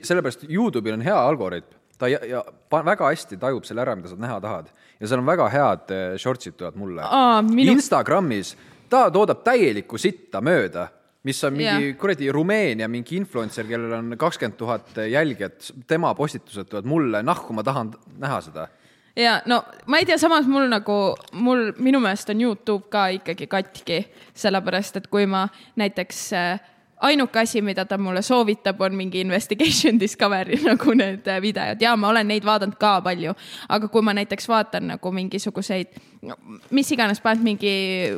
S5: sellepärast Youtube'il on hea algoritm , ta ja, ja, pa, väga hästi tajub selle ära , mida sa näha tahad ja seal on väga head eh, shortsid tulevad mulle
S4: Aa, minu-
S5: Instagramis ta toodab täielikku sitta mööda , mis on mingi
S4: Jah.
S5: kuradi Rumeenia mingi influencer , kellel on kakskümmend tuhat jälgijat , tema postitused tulevad mulle , nahku ma tahan näha seda .
S4: ja no ma ei tea , samas mul nagu , mul minu meelest on Youtube ka ikkagi katki , sellepärast et kui ma näiteks äh, ainuke asi , mida ta mulle soovitab , on mingi investigation discovery nagu need äh, videod ja ma olen neid vaadanud ka palju , aga kui ma näiteks vaatan nagu mingisuguseid , mis iganes , paned mingi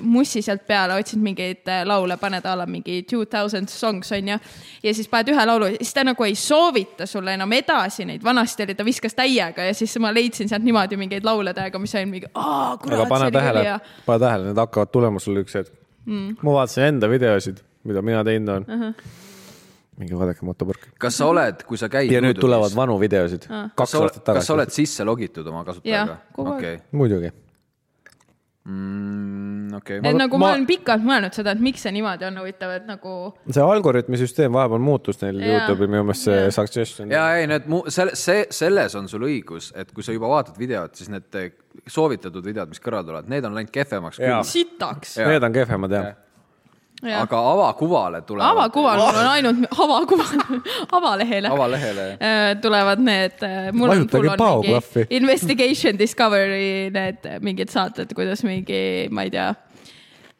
S4: mussi sealt peale , otsid mingeid äh, laule , paned a la mingi two thousand songs on ju , ja siis paned ühe laulu , siis ta nagu ei soovita sulle enam edasi neid , vanasti oli ta viskas täiega ja siis ma leidsin sealt niimoodi mingeid laule täiega , mis olid mingi , aa
S1: aga
S4: kurat , see
S1: pane
S4: oli
S1: tähele
S4: küll hea .,
S1: pane tähele , need hakkavad tulema sulle üks hetk mm. . ma vaatasin enda videosid , mida mina teinud olen uh . -huh. minge vaadake motopõrke .
S5: kas sa oled , kui sa käid
S1: ja nüüd tulevad vanu videosid
S4: Ah.
S1: uh. ,
S5: kas
S1: kaks
S5: sa,
S1: aastat
S5: kas sa
S1: tagasi .
S5: oled sisse logitud oma kasutajaga
S4: Jah, ? kogu aeg.
S5: okei ,
S1: muidugi .
S5: okei .
S4: et nagu ma,
S1: ma-
S4: ma olen pikalt mõelnud seda , et miks see niimoodi on huvitav , et nagu
S1: see algoritmi süsteem vahepeal muutus neil
S4: Jaa.
S1: Youtube'il minu meelest see suggestion .
S5: ja ei , need mu- , selle , see , selles on sul õigus , et kui sa juba vaatad videot , siis need eh, soovitatud videod , mis kõrvale tulevad , need on läinud kehvemaks
S1: Jaa.
S5: küll ,
S4: sitaks .
S5: Jaa.
S1: Need on kehvemad jah .
S5: Ah. aga avakuvale tulevad .
S4: avakuval mul on ainult avakuval , avalehele .
S5: Avalehele,
S4: tulevad need , mul on ,
S1: Vajutage
S4: mul on mingi
S1: paoklahvi.
S4: investigation discovery need äh, mingid saated , kuidas mingi , ma ei tea .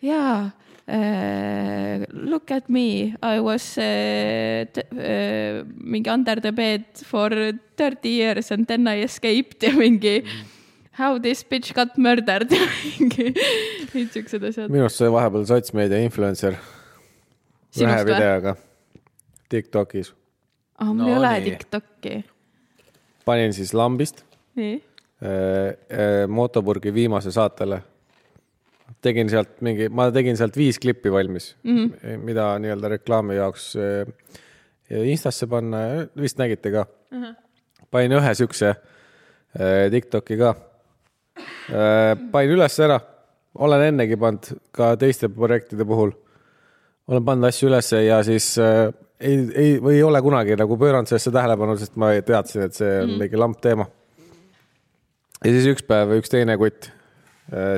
S4: jaa . Uh, look at me , I was uh, t- uh, mingi under the bed for thirty years and then I escaped ja mingi how this bitch got murdered ja mingi , mingid siuksed asjad .
S1: minu arust sai vahepeal sotsmeedia influencer ühe
S4: Sinust või?
S1: videoga Tiktokis .
S4: ah , mul
S5: No
S4: ei ole
S5: nii.
S4: Tiktoki ,
S1: panin siis lambist
S4: nii
S1: äh, äh, motopurgi viimase saatele tegin sealt mingi , ma tegin sealt viis klippi valmis mm , -hmm. mida nii-öelda reklaami jaoks eh, Instasse panna , vist nägite ka uh . -huh. panin ühe siukse eh, Tiktoki ka . panin üles ära , olen ennegi pannud ka teiste projektide puhul . olen pannud asju ülesse ja siis eh, ei , ei või ei ole kunagi nagu pööranud sellesse tähelepanu , sest ma teadsin , et see on mingi lamp teema ja siis üks päev üks teine kutt ,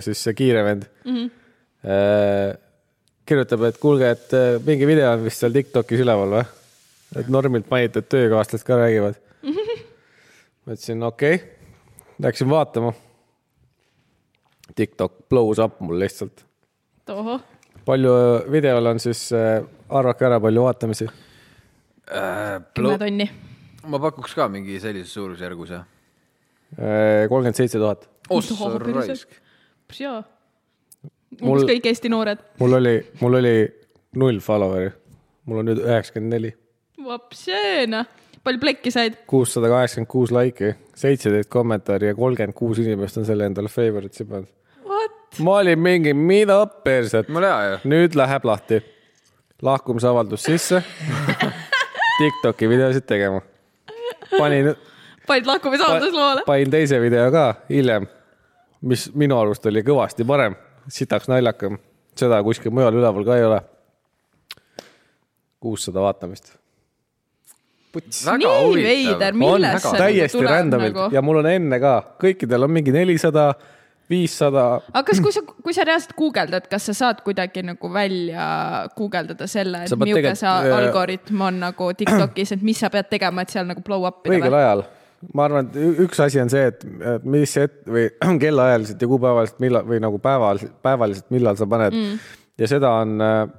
S1: siis see kiire vend mm , -hmm. kirjutab , et kuulge , et äh, mingi video on vist seal Tiktokis üleval või ? et normilt mainiti , et töökaaslased ka räägivad . ma ütlesin okei okay. , läksin vaatama . Tiktok blows up mul lihtsalt .
S4: tohoh ,
S1: palju äh, videol on siis , arvake ära , palju vaatamisi .
S5: Äh,
S4: kümme tonni .
S5: ma pakuks ka mingi sellises suurusjärgus jah .
S1: Äh, kolmkümmend seitse tuhat .
S5: ossa raisk ..
S4: jaa ,
S1: Mul-
S4: umbes kõik Eesti noored .
S1: mul oli , mul oli null follower'i , mul on nüüd üheksakümmend neli
S4: vapseena , palju plekki said ?
S1: kuussada kaheksakümmend kuus laiki , seitseteist kommentaari ja kolmkümmend kuus inimest on selle endale favorite'i pannud .
S4: What ?
S1: ma olin mingi , mida perset ,
S5: mul hea ju .
S1: nüüd läheb lahti . lahkumisavaldus sisse . Tiktoki videosid tegema . panin ,
S4: panid lahkumisavaldus loole ?
S1: panin teise video ka hiljem , mis minu arust oli kõvasti parem , sitaks naljakam , seda kuskil mujal üleval ka ei ole . kuussada vaatamist
S5: väga
S4: nii veider ,
S5: huvitav .
S4: millest
S5: väga-
S4: see
S1: täiesti random'ilt nagu... ja mul on enne ka , kõikidel on mingi nelisada , viissada ,
S4: aga kas , kui sa , kui sa reaalselt guugeldad , kas sa saad kuidagi nagu välja guugeldada selle ,
S1: Sa
S4: et
S1: pead
S4: milline
S1: tegelikult-
S4: see
S1: äh,
S4: algoritm on nagu Tiktokis , et mis sa pead tegema , et seal nagu blow up ida
S1: õigel
S4: või ?
S1: ajal . ma arvan , et ü- üks asi on see , et mis et, või kellaajaliselt ja kuupäevaliselt , millal või nagu päeval , päevaliselt , millal sa paned mm. ja seda on ,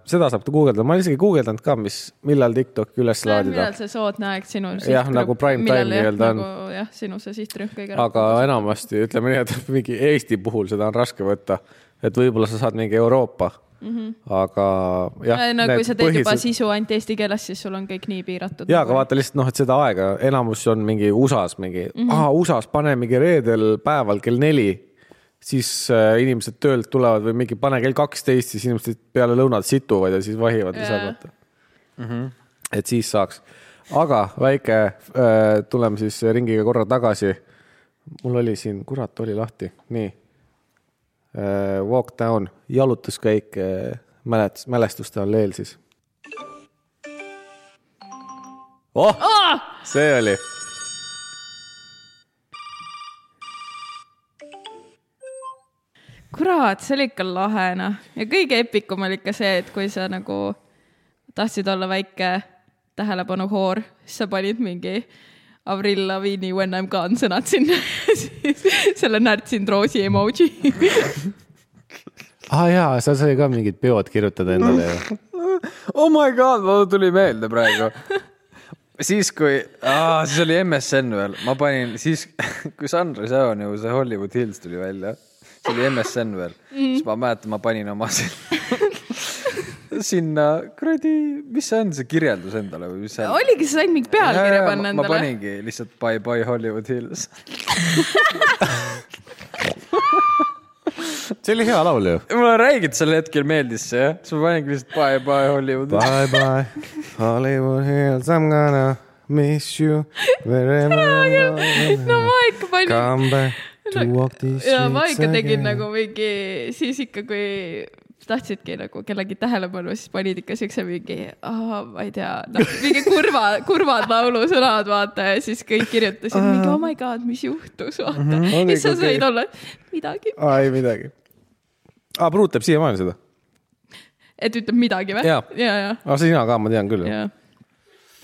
S1: seda saab guugeldada , ma olen isegi guugeldanud ka , mis , millal TikTok'i üles laadida
S4: millal , see soodne aeg sinu
S1: Jah, nagu prime time
S4: millal jah,
S1: nii-öelda on.
S4: nagu, . jah , sinu see sihtrühm kõige rohkem .
S1: aga enamasti ütleme nii , et mingi Eesti puhul seda on raske võtta , et võib-olla sa saad mingi Euroopa mm , -hmm. aga jah .
S4: Mhm. no kui sa teed põhised... juba sisu ainult eesti keeles , siis sul on kõik nii piiratud . nagu-
S1: ja , aga vaata lihtsalt noh , et seda aega enamus on mingi USA-s mingi mm , -hmm. USA-s pane mingi reedel päeval kell neli , siis äh, inimesed töölt tulevad või mingi pane kell kaksteist , siis inimesed peale lõunat situvad ja siis vahivad
S4: Jaa.
S1: yeah. lisad , vaata mm . -hmm. et siis saaks , aga väike äh, , tuleme siis ringiga korra tagasi . mul oli siin , kurat , oli lahti , nii äh, . Walk down , jalutuskäik äh, mälet- , mälestuste alleel siis . oh, oh! , see oli .
S4: kurat , see oli ikka lahe , noh . ja kõige epikum oli ikka see , et kui sa nagu tahtsid olla väike tähelepanuhoor , siis sa panid mingi Avril Lavigne'i When I m gone sõnad sinna . selle närtsinud roosi emoji .
S1: aa ah, jaa , seal sai ka mingid peod kirjutada endale ju .
S5: oh my god , mul tuli meelde praegu . siis kui , siis oli MSN veel , ma panin siis , kui Sunrise Avenue see Hollywood Hills tuli välja , see oli MSN veel
S4: Mhm.
S5: mm. , siis ma mäletan , ma panin oma sin- sinna kuradi , mis see on , see kirjeldus endale või mis see on ?
S4: oligi , sa said mingi pealkirja panna
S5: ma
S4: endale .
S5: paningi lihtsalt Bye Bye Hollywood Hills .
S1: see oli hea laul ju .
S5: mulle räägiti sel hetkel meeldis see jah , siis ma paningi lihtsalt Bye Bye Hollywood Hills .
S1: Bye bye Hollywood Hills , I m gonna miss you wherever you
S4: no ma ikka
S1: are.
S4: panin
S1: come back to walk these streets
S4: ja ma ikka tegin
S1: again.
S4: nagu mingi , siis ikka , kui tahtsidki nagu kellegi tähelepanu , siis panid ikka siukse mingi , ma ei tea , noh , mingi kurva , kurvad laulusõnad , vaata , ja siis kõik kirjutasid mingi oh my god , mis juhtus , vaata .
S1: Mhm. Oligi,
S4: siis sa
S1: okei.
S4: said olla , midagi ,
S1: aa , ei midagi . aa , Pruut teeb siiamaani seda .
S4: et ütleb midagi või
S1: Jaa. ?
S4: ja , ja ,
S1: aa , Ah, sina ka , ma tean küll .
S4: ja .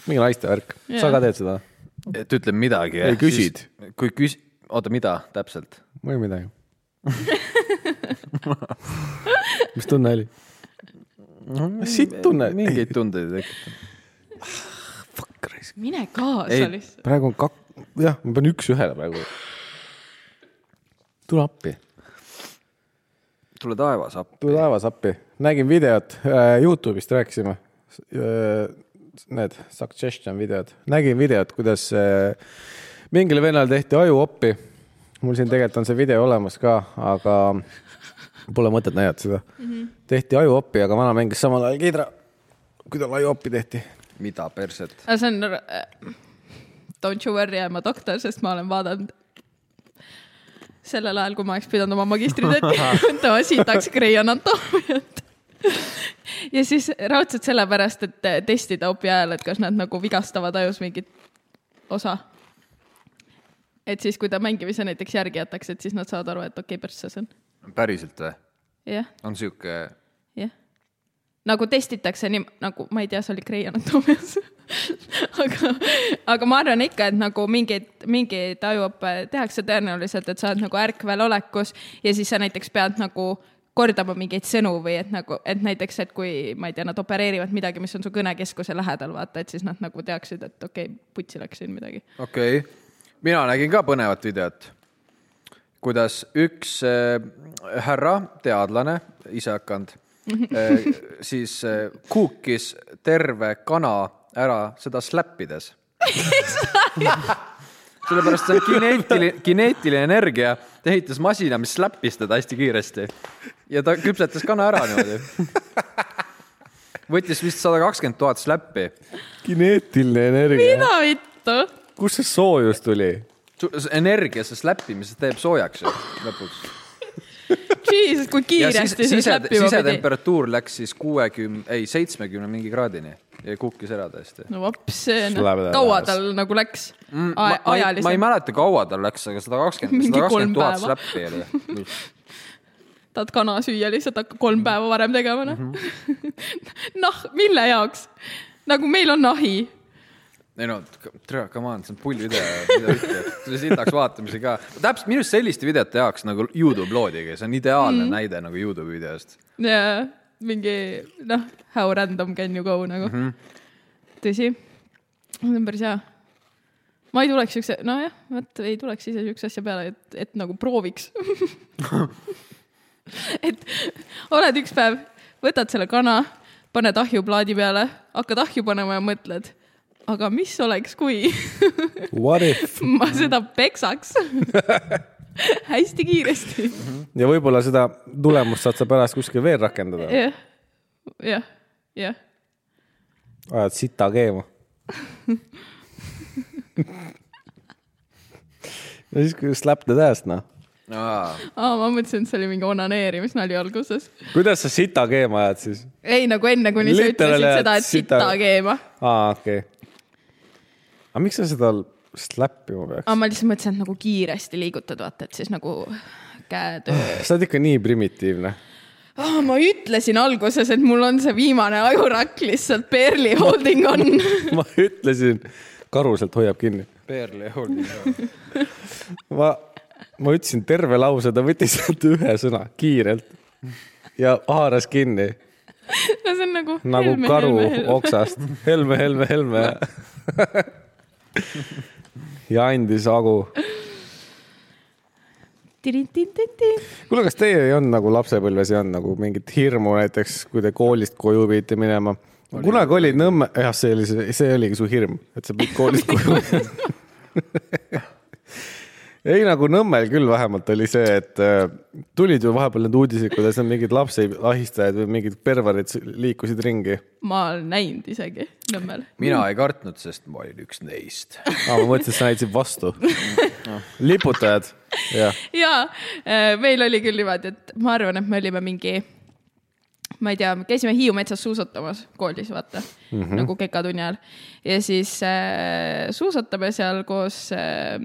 S1: mingi naiste värk .
S4: Jaa.
S1: sa ka teed seda ?
S5: et ütleb midagi .
S1: Ei, küsid. .
S5: kui küs- , oota , mida täpselt ?
S1: või midagi . mis tunne oli ? sitt tunne .
S5: mingeid tundeid ei tekita .
S4: mine kaasa
S5: Ei.
S4: lihtsalt .
S1: praegu on kak- , jah , ma pean üks-ühele praegu . tule appi .
S5: tule taevas appi .
S1: tule taevas appi . nägin videot äh, , Youtube'ist rääkisime äh, . Need suggestion videod , nägin videot , kuidas äh, mingil vennal tehti ajuoppi . mul siin tegelikult on see video olemas ka , aga Pole mõtet näidata seda mm . -hmm. tehti ajuoppi , aga vana mängis samal ajal Kidra , kui tal ajuoppi tehti .
S5: mida perset ?
S4: aga see on äh, Don't you worry , I m a doctor , sest ma olen vaadanud sellel ajal , kui ma oleks pidanud oma magistritööd tegema , sitaks Grey Anatomiat . ja siis raudselt sellepärast , et äh, testida opi ajal , et kas nad nagu vigastavad ajus mingit osa . et siis , kui ta mängimise näiteks järgi jätaks , et siis nad saavad aru , et okei okay, , persse see on .
S5: päriselt või ?
S4: jah ,
S5: on sihuke ,
S4: jah . nagu testitakse nii nagu , ma ei tea , see oli Grey Anatomias . aga , aga ma arvan ikka , et nagu mingeid , mingeid ajuõppe tehakse tõenäoliselt , et sa oled nagu ärkvelolekus ja siis sa näiteks pead nagu kordama mingeid sõnu või et nagu , et näiteks , et kui ma ei tea , nad opereerivad midagi , mis on su kõnekeskuse lähedal , vaata , et siis nad nagu teaksid , et okei okay, , putsi läks siin midagi .
S5: okei okay. , mina nägin ka põnevat videot , kuidas üks äh, härra , teadlane , ise hakanud äh, , siis äh, kuukis terve kana ära seda släppides . sellepärast see on kineetiline , kineetiline energia , ta ehitas masina , mis släppis teda hästi kiiresti ja ta küpsetas kana ära niimoodi . võttis vist sada kakskümmend tuhat släppi
S1: kineetiline energia .
S4: mida vittu ?
S1: kust see soojus tuli ?
S5: Su- see energia , see släppimises teeb soojaks ju lõpuks .
S4: Jesus , kui
S5: ja siis
S4: kiiresti see
S5: sised-
S4: slappima pidi .
S5: sisetemperatuur läks siis kuuekümne , ei seitsmekümne mingi kraadini ja kukkis ära täiesti .
S4: no vops ,
S1: Slapp-
S4: kaua tal nagu läks mm, ?
S5: ma ma ei , ma ei mäleta , kaua tal läks , aga sada kakskümmend ,
S4: Mingi
S5: sada
S4: kolm
S5: kakskümmend tuhat
S4: päeva.
S5: släppi oli .
S4: tahad kana süüa lihtsalt hakka kolm päeva varem tegema , noh mm -hmm. . noh , mille jaoks ? nagu meil on nahi .
S5: ei no , tere , come on , see on pull video , mida ütled , sitaks vaatamisi ka . täpselt , minu arust selliste videote jaoks nagu Youtube loodigi , see on
S4: Mhm.
S5: ideaalne mm. näide nagu Youtube'i videost .
S4: mingi noh , how random can you go nagu mm . -hmm. tõsi , see on päris hea . ma ei tuleks siukse , nojah , vot ei tuleks ise siukse asja peale , et , et nagu prooviks . et oled üks päev , võtad selle kana , paned ahju plaadi peale , hakkad ahju panema ja mõtled , aga mis oleks , kui
S1: What if ?
S4: ma seda peksaks hästi kiiresti .
S1: ja võib-olla seda tulemust saad sa pärast kuskil veel rakendada .
S4: jah , jah , jah .
S1: ajad sita keema . no siis , kui slap the ass , noh .
S4: aa , ma mõtlesin , et see oli mingi onaneerimisnali alguses .
S1: kuidas sa sita keema ajad siis ?
S4: ei , nagu enne , kuni sa ütlesid
S1: Literally
S4: seda , et
S1: sita-
S4: sita keema .
S1: aa , okei okay. . aga miks sa seda slap ima peaks
S4: aa ,? ma lihtsalt mõtlesin , et nagu kiiresti liigutad , vaata , et siis nagu käetöö .
S1: sa oled ikka nii primitiivne .
S4: aa , ma ütlesin alguses , et mul on see viimane ajurakk lihtsalt barely holding on .
S1: ma ütlesin , karuselt hoiab kinni .
S5: Perle Holding .
S1: ma , ma ütlesin terve lause , ta võttis sealt ühe sõna kiirelt ja haaras kinni
S4: no see on nagu .
S1: nagu helme, karu helme, helme. . oksast . Helme , Helme , Helme . ja andis hagu . kuule , kas teie ei olnud nagu lapsepõlves ei olnud nagu mingit hirmu näiteks , kui te koolist koju pidite minema ? kunagi oli Nõmme , jah , see oli , see oligi su hirm , et sa pidid koolist koju minema ei , nagu Nõmmel küll vähemalt oli see , et äh, tulid ju vahepeal need uudised , kuidas need mingid lapseahistajad või mingid perverid liikusid ringi .
S4: ma olen näinud isegi Nõmmel .
S5: mina ei kartnud , sest ma olin üks neist .
S1: aa , ma mõtlesin , et sa näitasid vastu . liputajad , jah .
S4: jaa , meil oli küll niimoodi , et ma arvan , et me olime mingi , ma ei tea , käisime Hiiu metsas suusatamas koolis , vaata mm , -hmm. nagu kekatunni ajal . ja siis äh, suusatame seal koos äh,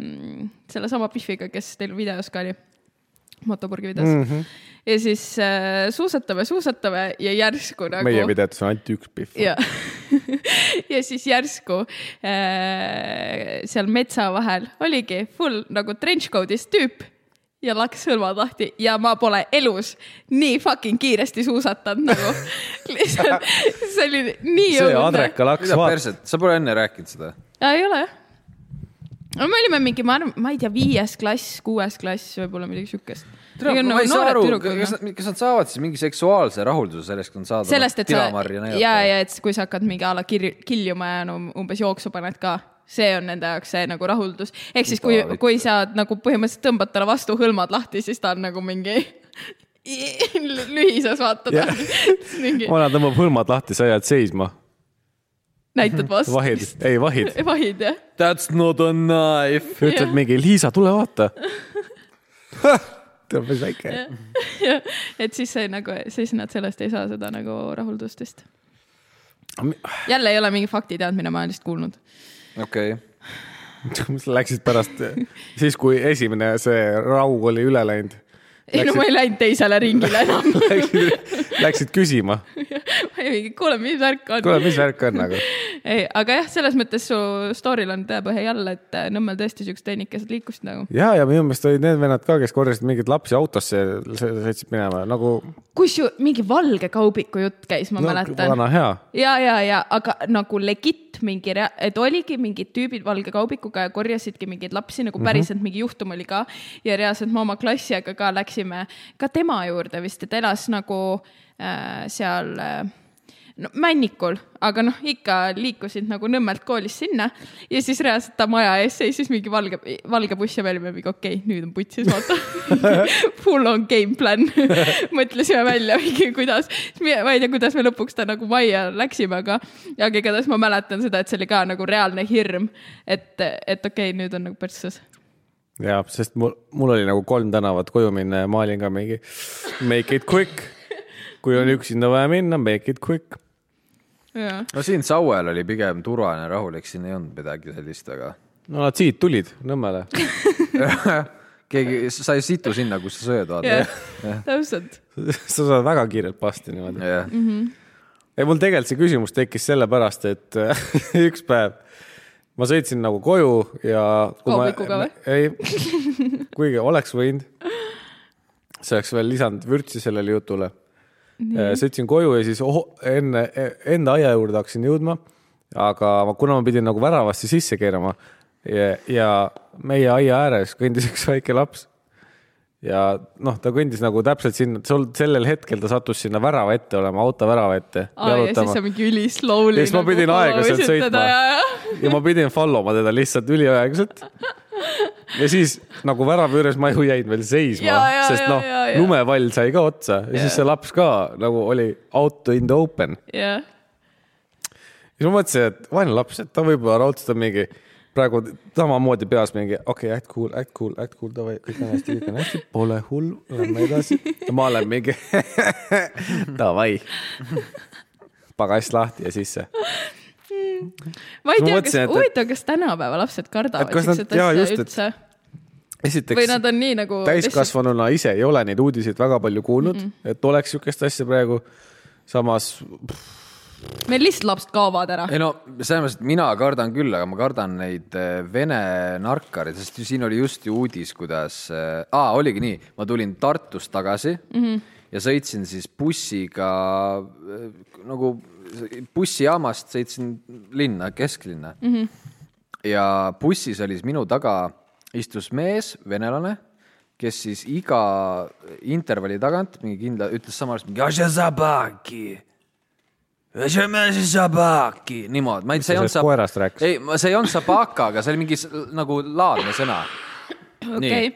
S4: sellesama Pihviga , kes teil videos ka oli , motopurgi videos mm . -hmm. ja siis äh, suusatame , suusatame ja järsku nagu .
S1: meie videotes on ainult üks pihv .
S4: ja , ja siis järsku äh, seal metsa vahel oligi full nagu trench code'is tüüp ja laks hõlmad lahti ja ma pole elus nii fucking kiiresti suusatanud nagu . lihtsalt see oli nii
S1: see Andreka laks ,
S5: mida
S1: vaata ,
S5: perset , sa pole enne rääkinud seda ?
S4: ja ei ole jah . no me olime mingi , ma arvan , ma ei tea , viies klass , kuues klass , võib-olla midagi siukest . nagu
S5: ma ei saa aru , kas ,
S4: noh.
S5: kas nad saavad siis mingi seksuaalse rahulduse sellest , kui nad saavad
S1: noh,
S4: sellest , et sa
S5: tilamarja
S4: ja ,
S5: näidata ?
S4: ja et kui sa hakkad mingi a la kirju- , kiljuma ja no umbes jooksu paned ka , see on nende jaoks see nagu rahuldus . ehk siis , kui
S5: Mida , vittu?
S4: kui sa nagu põhimõtteliselt tõmbad talle vastu hõlmad lahti , siis ta on nagu mingi lühisas vaatad
S1: Jah.
S4: yeah. . mingi
S1: vana tõmbab hõlmad lahti , sa jääd seisma .
S4: näitad vastu .
S1: vahid , ei vahid .
S4: vahid jah .
S5: That's not a knife .
S1: ütleb mingi Liisa , tule vaata . ta on päris väike .
S4: et siis see nagu , siis nad sellest ei saa seda nagu rahuldust vist .
S1: Ah,
S4: jälle ei ole mingi faktiteadmine , ma olen lihtsalt kuulnud .
S5: okei okay. ,
S1: sa läksid pärast , siis kui esimene see rau oli üle läinud ,
S4: ei no
S1: Läksid-
S4: ma ei läinud teisele ringile enam .
S1: läksid , läksid küsima ,
S4: kuule , mis värk on ?
S1: kuule , mis värk on nagu .
S4: ei , aga jah , selles mõttes su story'l on tõepõhe jälle , et äh, Nõmmel tõesti siuksed tehnikesed liikusid nagu .
S1: ja , ja minu meelest olid need vennad ka , kes korjasid mingeid lapsi autosse , sõitsid minema nagu
S4: kusjuures mingi valge kaubiku jutt käis , ma no, mäletan .
S1: vana hea .
S4: ja , ja , ja aga nagu legit mingi , et oligi mingid tüübid valge kaubikuga ja korjasidki mingeid lapsi nagu päriselt mm -hmm. mingi juhtum oli ka ja reaalselt me oma klassiga ka läksime ka tema juurde vist , et elas nagu äh, seal äh, no Männikul , aga noh , ikka liikusid nagu Nõmmelt koolist sinna ja siis reaalselt ta maja ees seisis mingi valge , valge buss ja me olime mingi okei okay, , nüüd on putsis , vaata . Full on game plan . mõtlesime välja mingi kuidas , ma ei tea , kuidas me lõpuks ta nagu majja läksime , aga , aga igatahes ma mäletan seda , et see oli ka nagu reaalne hirm , et , et okei okay, , nüüd on nagu persses .
S1: ja , sest mul , mul oli nagu kolm tänavat koju minna ja ma olin ka mingi make it quick . kui on üksinda vaja minna , make it quick .
S4: jaa ,
S5: no siin Sauel oli pigem turvaline , rahulik , siin ei olnud midagi sellist , aga
S1: no nad siit tulid Nõmmele .
S5: keegi , sa ei situ sinna , kus sa sööd , vaata .
S4: jah , täpselt .
S1: sa saad väga kiirelt pasti niimoodi .
S5: jah ,
S1: ei , mul tegelikult see küsimus tekkis sellepärast , et üks päev ma sõitsin nagu koju ja .
S4: Kaubikuga või? ?
S1: ei , kuigi oleks võinud . see oleks veel lisanud vürtsi sellele jutule . Äh, sõitsin koju ja siis oh, enne , enda aia juurde hakkasin jõudma . aga ma- kuna ma pidin nagu väravasse sisse keerama ja, ja meie aia ääres kõndis üks väike laps ja noh , ta kõndis nagu täpselt sinna , sellel hetkel ta sattus sinna värava ette olema , auto värava ette .
S4: aa , ja siis sa mingi nagu üli slowly .
S1: Ja siis ma pidin aeglaselt sõitma. ja ma pidin follow ma teda lihtsalt üliaeglaselt . ja siis nagu värava juures ma ju jäin veel seisma
S4: Ja, , ja,
S1: sest
S4: ja,
S1: noh
S4: ja, ja. ,
S1: lumevall sai ka otsa ja, ja siis see laps ka nagu oli out in the open .
S4: jah ,
S1: siis ma mõtlesin , et vaene laps , et ta võib-olla raudselt on mingi praegu samamoodi peas mingi okei okay, , act cool , act cool , act cool , davai , kõik on hästi , kõik on hästi , pole hull , lähme edasi . ja ma olen mingi davai , pagas lahti ja sisse .
S4: ma
S1: Ma
S4: ei tea , kas
S1: mõtlesin, , et-
S4: huvitav , kas tänapäeva lapsed kardavad
S1: Et kas nad-
S4: siukset
S1: jaa,
S4: asja
S1: just, et-
S4: üldse
S1: esiteks .
S4: või nad on nii nagu
S1: täiskasvanuna ise ei ole neid uudiseid väga palju kuulnud mm , -mm. et oleks sihukest asja praegu . samas ,
S4: lihtsalt- meil lihtsalt lapsed kaovad ära .
S5: ei no selles mõttes , et mina kardan küll , aga ma kardan neid eh, vene narkareid , sest ju siin oli just ju uudis , kuidas äh, , oligi nii , ma tulin Tartust tagasi mm -hmm. ja sõitsin siis bussiga eh, nagu bussijaamast sõitsin linna , kesklinna mm . -hmm. ja bussis oli siis minu taga istus mees , venelane kes siis iga intervalli tagant mingi kindla , ütles samal ajal , Zabaki , niimoodi , ma ei , see ei olnud
S1: sellest koerast rääkisid?
S5: ei , see ei olnud Zabaka , aga see oli mingi s- nagu laadne sõna .
S4: okei ,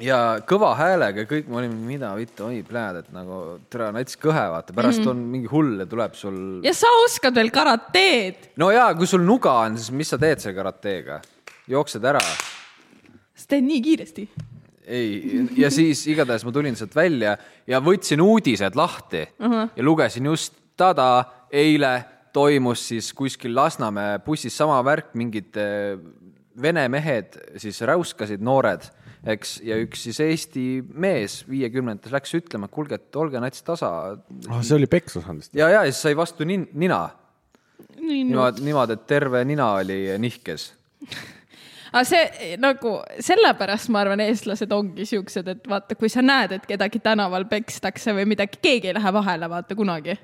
S5: ja kõva häälega ja kõik , ma olin , mida vittu , oi pläd , et nagu tere , nats kõhe , vaata , pärast mm -hmm. on mingi hull ja tuleb sul .
S4: ja sa oskad veel karateed ,
S5: no ja kui sul nuga on , siis mis sa teed selle karateega ? jooksed ära ?
S4: sa teed nii kiiresti .
S5: ei , ja siis igatahes ma tulin sealt välja ja võtsin uudised lahti uh
S4: Mhm.
S5: -huh. ja lugesin just tada eile toimus siis kuskil Lasnamäe bussis sama värk , mingid eh, vene mehed siis räuskasid , noored , eks , ja üks siis Eesti mees viiekümnendates läks ütlema , et kuulge , et olge nats tasa
S1: oh, see oli peksus andest .
S5: ja , ja siis sai vastu nin, nina ,
S4: nii , no
S5: niimoodi , niimoodi , et terve nina oli nihkes .
S4: aga see nagu sellepärast ma arvan , eestlased ongi siuksed , et vaata , kui sa näed , et kedagi tänaval pekstakse või midagi , keegi ei lähe vahele , vaata kunagi .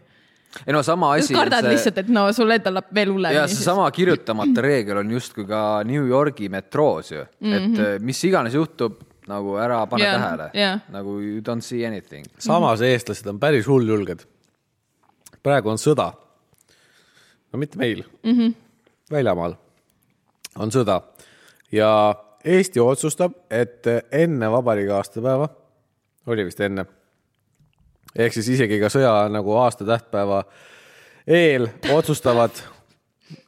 S5: ei no sama asi .
S4: kardad see... lihtsalt , et no sul endal läheb veel
S5: ja
S4: hullemini .
S5: seesama kirjutamata reegel on justkui ka New Yorgi metroos ju mm , -hmm. et eh, mis iganes juhtub , nagu ära
S4: Mhm.
S5: pane
S4: Jaa,
S5: yeah, tähele
S4: jaa.
S5: nagu you don't see anything .
S1: samas eestlased on päris hulljulged . praegu on sõda . no mitte meil mm , -hmm. väljamaal on sõda ja Eesti otsustab , et enne vabariigi aastapäeva , oli vist enne , ehk siis isegi ka sõja nagu aasta tähtpäeva eel otsustavad ,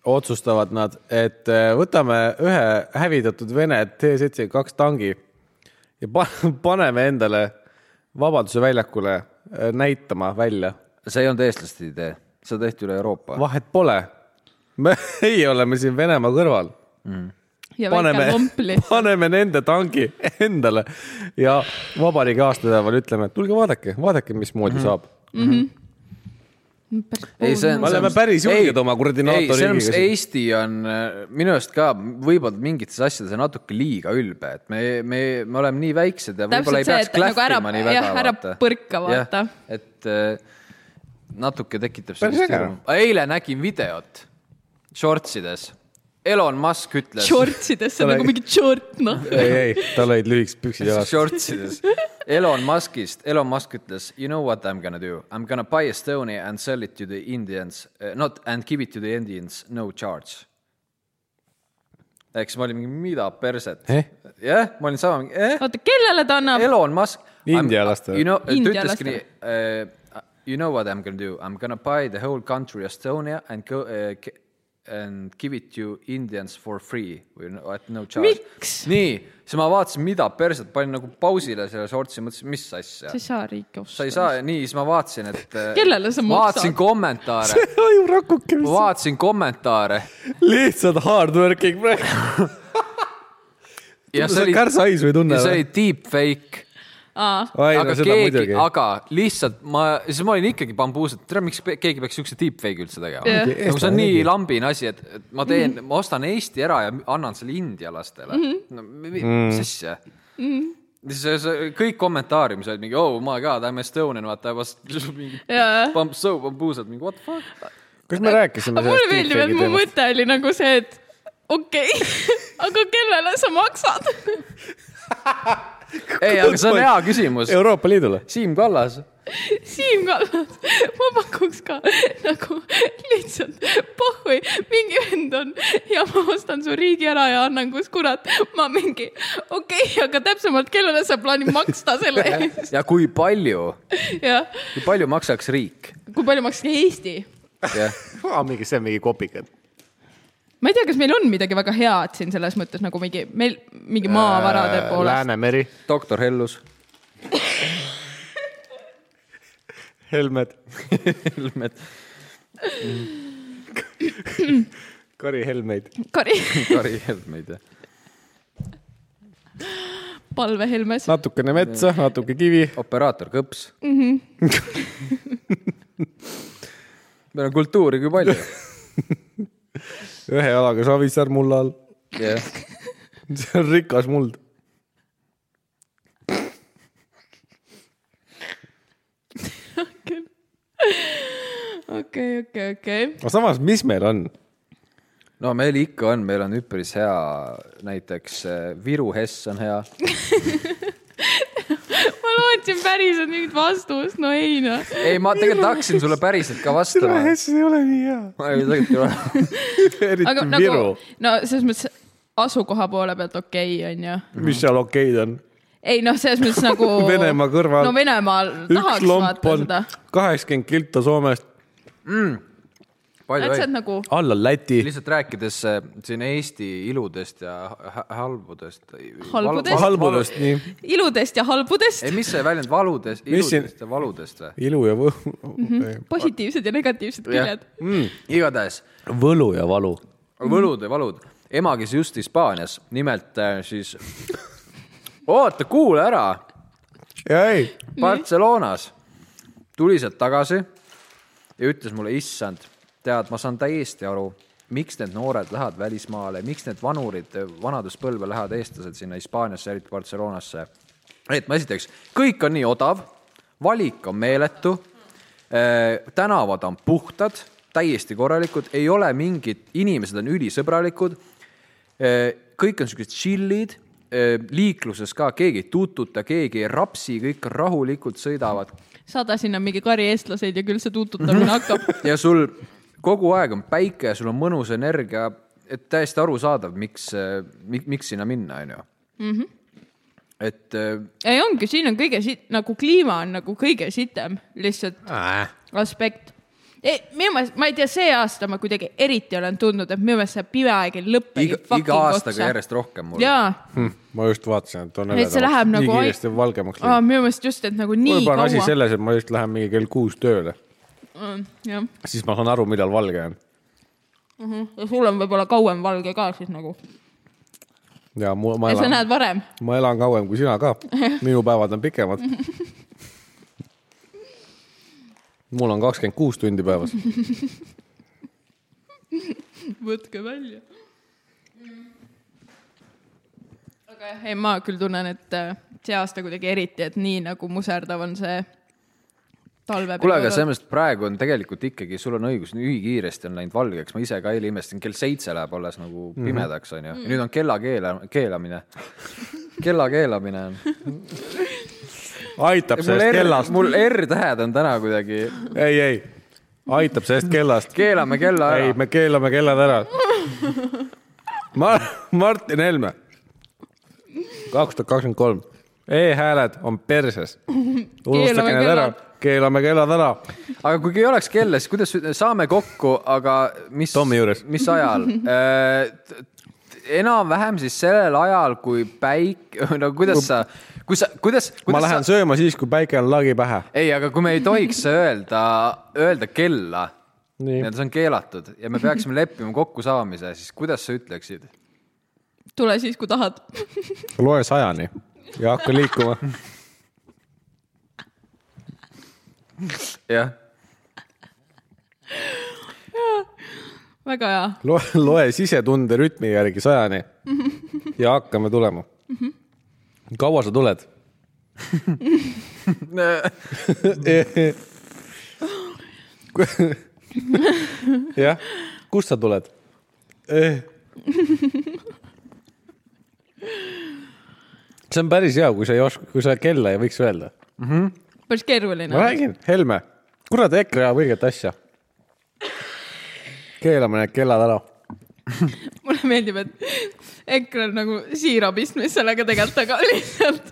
S1: otsustavad nad , et eh, võtame ühe hävitatud Vene T-72 tangi ja pa- paneme endale Vabaduse väljakule eh, näitama välja
S5: see ei olnud eestlaste idee , seda tehti üle Euroopa .
S1: vahet pole . me , meie oleme siin Venemaa kõrval .
S4: ja väike
S1: paneme
S4: lomp , lihtsalt .
S1: paneme nende tangi endale ja vabariigi aastapäeval ütleme , et tulge vaadake , vaadake , mismoodi mm -hmm. saab .
S4: Mhm. Oh,
S5: ei , see on .
S1: Me oleme päris julged oma kuradi NATO riigiga siin.
S5: Eesti on äh, minu arust ka võib-olla mingites asjades natuke liiga ülbe , et me , me , me oleme nii väiksed ja võib-olla ei
S4: Täpselt see,
S5: peaks
S4: et nagu ära-
S5: klähvima nii väga .
S4: jah, ära põrka, vaata. .
S5: et äh, natuke tekitab
S1: Päris
S5: sellist
S1: äge.
S5: hirmu . eile nägin videot shortsides . Elon Musk ütles .
S4: Shortsidesse
S1: Ole-
S4: nagu mingi short , noh .
S1: ei , ei , tal olid lühikesed püksid jalas .
S5: shortsides . Elon Muskist , Elon Musk ütles , you know what I m gonna do , I m gonna buy Estonia and sell it to the Indians uh, , not and give it to the Indians no charge . eks ma olin mingi , mida perset
S1: Eh? .
S5: jah , ma olin sama , eh ,
S4: oota , kellele ta annab ?
S5: Elon Musk .
S1: Indialastele.
S5: You know , ta ütleski
S4: Indialastele.
S5: nii uh, , you know what I m gonna do , I m gonna buy the whole country Estonia and go uh, , and give it to Indians for free või no- at no charge .
S4: Miks?
S5: nii , siis ma vaatasin , mida perset , panin nagu pausile selle sortsi , mõtlesin , mis asja
S4: sa . ei saa riiki
S5: sa
S4: osta .
S5: ei saa , nii , siis ma vaatasin , et .
S4: Kellele sa maksad?
S5: vaatasin kommentaare ,
S1: ajurakuke ,
S5: vaatasin kommentaare
S1: lihtsalt hard working praegu .
S5: ja see oli ,
S1: kärsahais või tunne
S5: ja see
S1: või
S5: oli ? deep fake
S4: aa ,
S1: ai , no
S5: aga
S1: seda
S5: keegi
S1: muidugi ,.
S5: aga lihtsalt ma , siis ma olin ikkagi bambuus , et tere , miks pe- keegi peaks siukse deepfake'i üldse tegema
S4: Jah.
S5: yeah. . nagu see on nii lambine asi , et , et ma teen mm , -hmm. ma ostan Eesti ära ja annan selle indialastele mm . -hmm. no mi- mi-
S1: Mhm.
S5: mis asja mm . -hmm. see , see kõik kommentaariumis olid mingi oh my god I m Estonian , vaata I was mingi
S4: jaa .
S5: bamb- , so bambuused , mingi what the fuck .
S1: kas me rääkisime
S4: aga mulle
S1: sellest
S4: meeldib , et
S1: deepfake'i
S4: mu
S1: teemast ?
S4: mõte oli nagu see , et okei okay, , aga kellele sa maksad ?
S5: ei , aga see on hea küsimus .
S1: Euroopa Liidule .
S5: Siim Kallas .
S4: Siim Kallas , ma pakuks ka nagu lihtsalt pohhui , mingi vend on ja ma ostan su riigi ära ja annan , kus kurat ma mingi , okei okay, , aga täpsemalt , kellele sa plaanid maksta selle eest
S5: ja kui palju ,
S4: ja
S5: kui palju maksaks riik ?
S4: kui palju maksis Eesti ?
S5: jah ,
S3: Ah, mingi , see on mingi kopikad .
S4: ma ei tea , kas meil on midagi väga head siin selles mõttes nagu mingi meil mingi maavarade poolest .
S3: Läänemeri .
S5: doktor Hellus .
S1: Helmed ,
S5: Helmed .
S1: Kari Helmeid .
S4: Kari ,
S5: Kari Helmeid , jah .
S4: palve Helmes .
S1: natukene metsa , natuke kivi .
S5: operaator kõps mm . -hmm. meil on kultuuri kui palju .
S1: ühe jalaga Savisaar mulla all .
S5: jah ,
S1: see on rikas muld .
S4: okei , okei , okei .
S1: aga samas , mis meil on ?
S5: no meil ikka on , meil on üpris hea , näiteks eh, Viru Hess on hea .
S4: ma lootsin päriselt mingit vastust , no ei noh .
S5: ei , ma tegelikult hakkasin sulle päriselt ka vastama .
S1: ei ole nii hea .
S5: ma ei tegelikult ei ole .
S4: aga
S1: eriti
S4: nagu
S1: Viru ,,
S4: no selles mõttes asukoha poole pealt okei okay, , onju .
S1: mis seal okeid on .
S4: ei noh , selles mõttes nagu
S1: Venemaa kõrval.
S4: no Venemaal
S1: üks
S4: tahaks
S1: lomp
S4: vaata
S1: on
S4: seda .
S1: kaheksakümmend kilta Soomest ,
S5: palju
S4: et see on
S5: õieti
S4: nagu ,
S1: all on Läti .
S5: lihtsalt rääkides eh, siin Eesti iludest ja ha- halbudest .
S4: Halbudest?
S1: halbudest , nii .
S4: iludest ja halbudest
S5: ei , mis see väljend , valudest ,
S1: Mis siin-
S5: iludest ja valudest või ?
S1: ilu ja
S4: Mhm.
S1: võ- ,
S4: positiivsed ja negatiivsed
S5: jah
S4: küljed .,
S1: Mm.
S5: igatahes
S1: võlu ja valu .
S5: võlud ja valud , ema , kes just Hispaanias , nimelt äh, siis . oota , kuula ära ,
S1: ei ,
S5: Barcelonas tuli sealt tagasi ja ütles mulle , issand , tead , ma saan täiesti aru , miks need noored lähevad välismaale , miks need vanurid äh, vanaduspõlve lähevad eestlased sinna Hispaaniasse , eriti Barcelonasse . et ma esiteks , kõik on nii odav , valik on meeletu , tänavad on puhtad , täiesti korralikud , ei ole mingit , inimesed on ülisõbralikud eh, kõik on siuksed chill'id , liikluses ka keegi ei tuututa , keegi ei rapsi , kõik rahulikult sõidavad
S4: saada sinna mingi kari eestlaseid ja küll see tuututamine hakkab .
S5: ja sul kogu aeg on päike ja sul on mõnus energia , et täiesti arusaadav , miks , miks sinna minna , onju . et äh,
S4: ei ongi , siin on kõige sit- , nagu kliima on nagu kõige sitem lihtsalt
S1: Äh.
S4: aspekt . minu meelest , ma ei tea , see aasta ma kuidagi eriti olen tundnud , et minu meelest see pime aeg ei lõpe .
S5: iga , iga aastaga otsa. järjest rohkem mul .
S4: jaa ,
S1: Hm, ma just vaatasin , et on
S4: et see läheb
S1: nii
S4: nagu
S1: kiiresti valgemaks
S4: aa ,
S1: läinud .
S4: minu meelest just , et nagu nii
S1: võib-olla on asi
S4: kaua .
S1: selles , et ma just lähen mingi kell kuus tööle ,
S4: jah ,
S1: siis ma saan aru , millal valge on .
S4: ja sul on võib-olla kauem valge ka siis nagu .
S1: ja mu, ma
S4: ja sa
S1: elan ,
S4: näed varem .
S1: ma elan kauem kui sina ka . minu päevad on pikemad . mul on kakskümmend kuus tundi päevas .
S4: võtke välja . aga jah , ei ma küll tunnen , et äh, see aasta kuidagi eriti , et nii nagu muserdav on see talve .
S5: kuule , aga selles mõttes , et praegu on tegelikult ikkagi , sul on õigus , nii kiiresti on läinud valgeks , ma ise ka eile imestasin , kell seitse läheb alles nagu
S1: Mhm.
S5: pimedaks onju , nüüd on kella keela , keelamine . kella keelamine on .
S1: aitab
S5: mul
S1: sellest
S5: R ,
S1: kellast ,
S5: mul R-tähed on täna kuidagi ,
S1: ei , ei , aitab sellest kellast .
S5: keelame kella
S1: ei ,
S5: ära .
S1: me keelame kellad ära . Mar- , Martin Helme , kaks tuhat kakskümmend kolm , e-hääled on perses . unustage need ära
S4: kellad. ,
S1: keelame kellad ära .
S5: aga kui ei oleks kella , siis kuidas saame kokku , aga mis ,
S1: Tommy juures.
S5: mis ajal ? enam-vähem siis sellel ajal , kui päike , no kuidas sa , kui sa , kuidas, kuidas
S1: ma lähen
S5: sa...
S1: sööma siis , kui päike on lagi pähe .
S5: ei , aga kui me ei tohiks öelda , öelda kella ,
S1: Nii.
S5: see on keelatud ja me peaksime leppima kokkusaamise , siis kuidas sa ütleksid ?
S4: tule siis , kui tahad .
S1: loe sajani ja hakka liikuma .
S5: jah ,
S4: väga hea .
S1: loe , loe sisetunde rütmi järgi sajani ja hakkame tulema . kaua sa tuled ? jah , kust sa tuled ? see on päris hea , kui sa ei oska , kui sa kella ei võiks öelda .
S4: päris keeruline
S1: ma . räägin , Helme , kurat , EKRE ajab õiget asja . keelame need kellad ära
S4: mulle meeldib , et EKRE on nagu siira pistmist sellega tegelikult , aga lihtsalt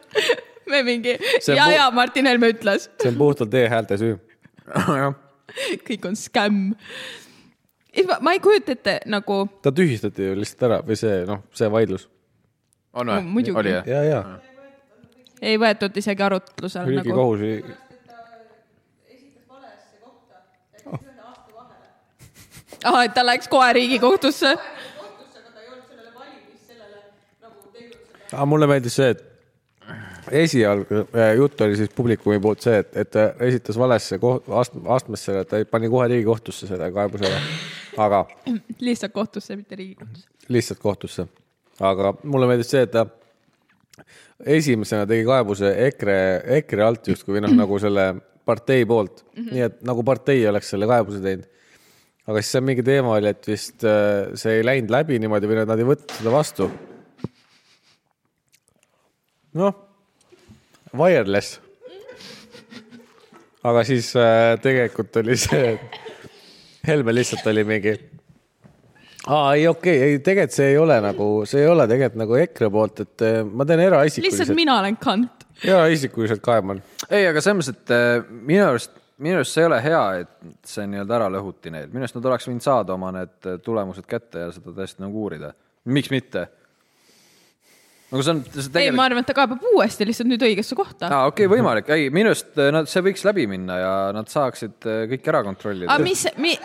S4: me mingi
S1: See on
S4: ja ,
S1: mu-
S4: ja Martin Helme ütles ,
S1: see on puhtalt e-häälte süü .
S4: kõik on skämm . Ma, ma ei kujuta ette nagu ,
S1: ta tühistati ju lihtsalt ära või see noh , see vaidlus .
S5: on
S4: No
S5: või
S4: muidugi. ?
S5: oli jah ?
S1: ja , ja
S4: ei võetud isegi arutlusele nagu .
S1: riigikohus ei .
S4: ahah , et ta läks kohe Riigikohtusse .
S1: aga mulle meeldis see , et esialgu äh, jutt oli siis publikumi poolt see , et , et ta esitas valesse koht- , ast- , astmesse , ta pani kohe riigikohtusse selle kaebuse ära , aga
S4: lihtsalt kohtusse , mitte Riigikohtusse .
S1: lihtsalt kohtusse . aga mulle meeldis see , et ta esimesena tegi kaebuse EKRE , EKRE alt justkui või noh , nagu selle partei poolt mm , -hmm. nii et nagu partei oleks selle kaebuse teinud . aga siis seal mingi teema oli , et vist äh, see ei läinud läbi niimoodi või nad ei võtnud seda vastu . noh , wireless . aga siis äh, tegelikult oli see , et Helme lihtsalt oli mingi aa , ei okei okay. , ei tegelikult see ei ole nagu , see ei ole tegelikult nagu EKRE poolt , et eh, ma teen
S4: lihtsalt
S1: eraisikuliselt ,
S4: mina olen kant .
S1: eraisikuliselt kaeban .
S5: ei , aga selles mõttes , et äh, minu arust , minu arust see ei ole hea , et see nii-öelda ära lõhuti neil , minu arust nad oleks võinud saada oma need äh, tulemused kätte ja seda tõesti nagu uurida . miks mitte ? nagu see on , see
S4: ei , ma
S5: tegelikult ,
S4: arvan , et ta kaebab uuesti lihtsalt nüüd õigesse kohta .
S5: aa okei okay, , võimalik , ei minu arust äh, nad , see võiks läbi minna ja nad saaksid äh, kõik ära kontrollida
S4: aga . mis , mi- ,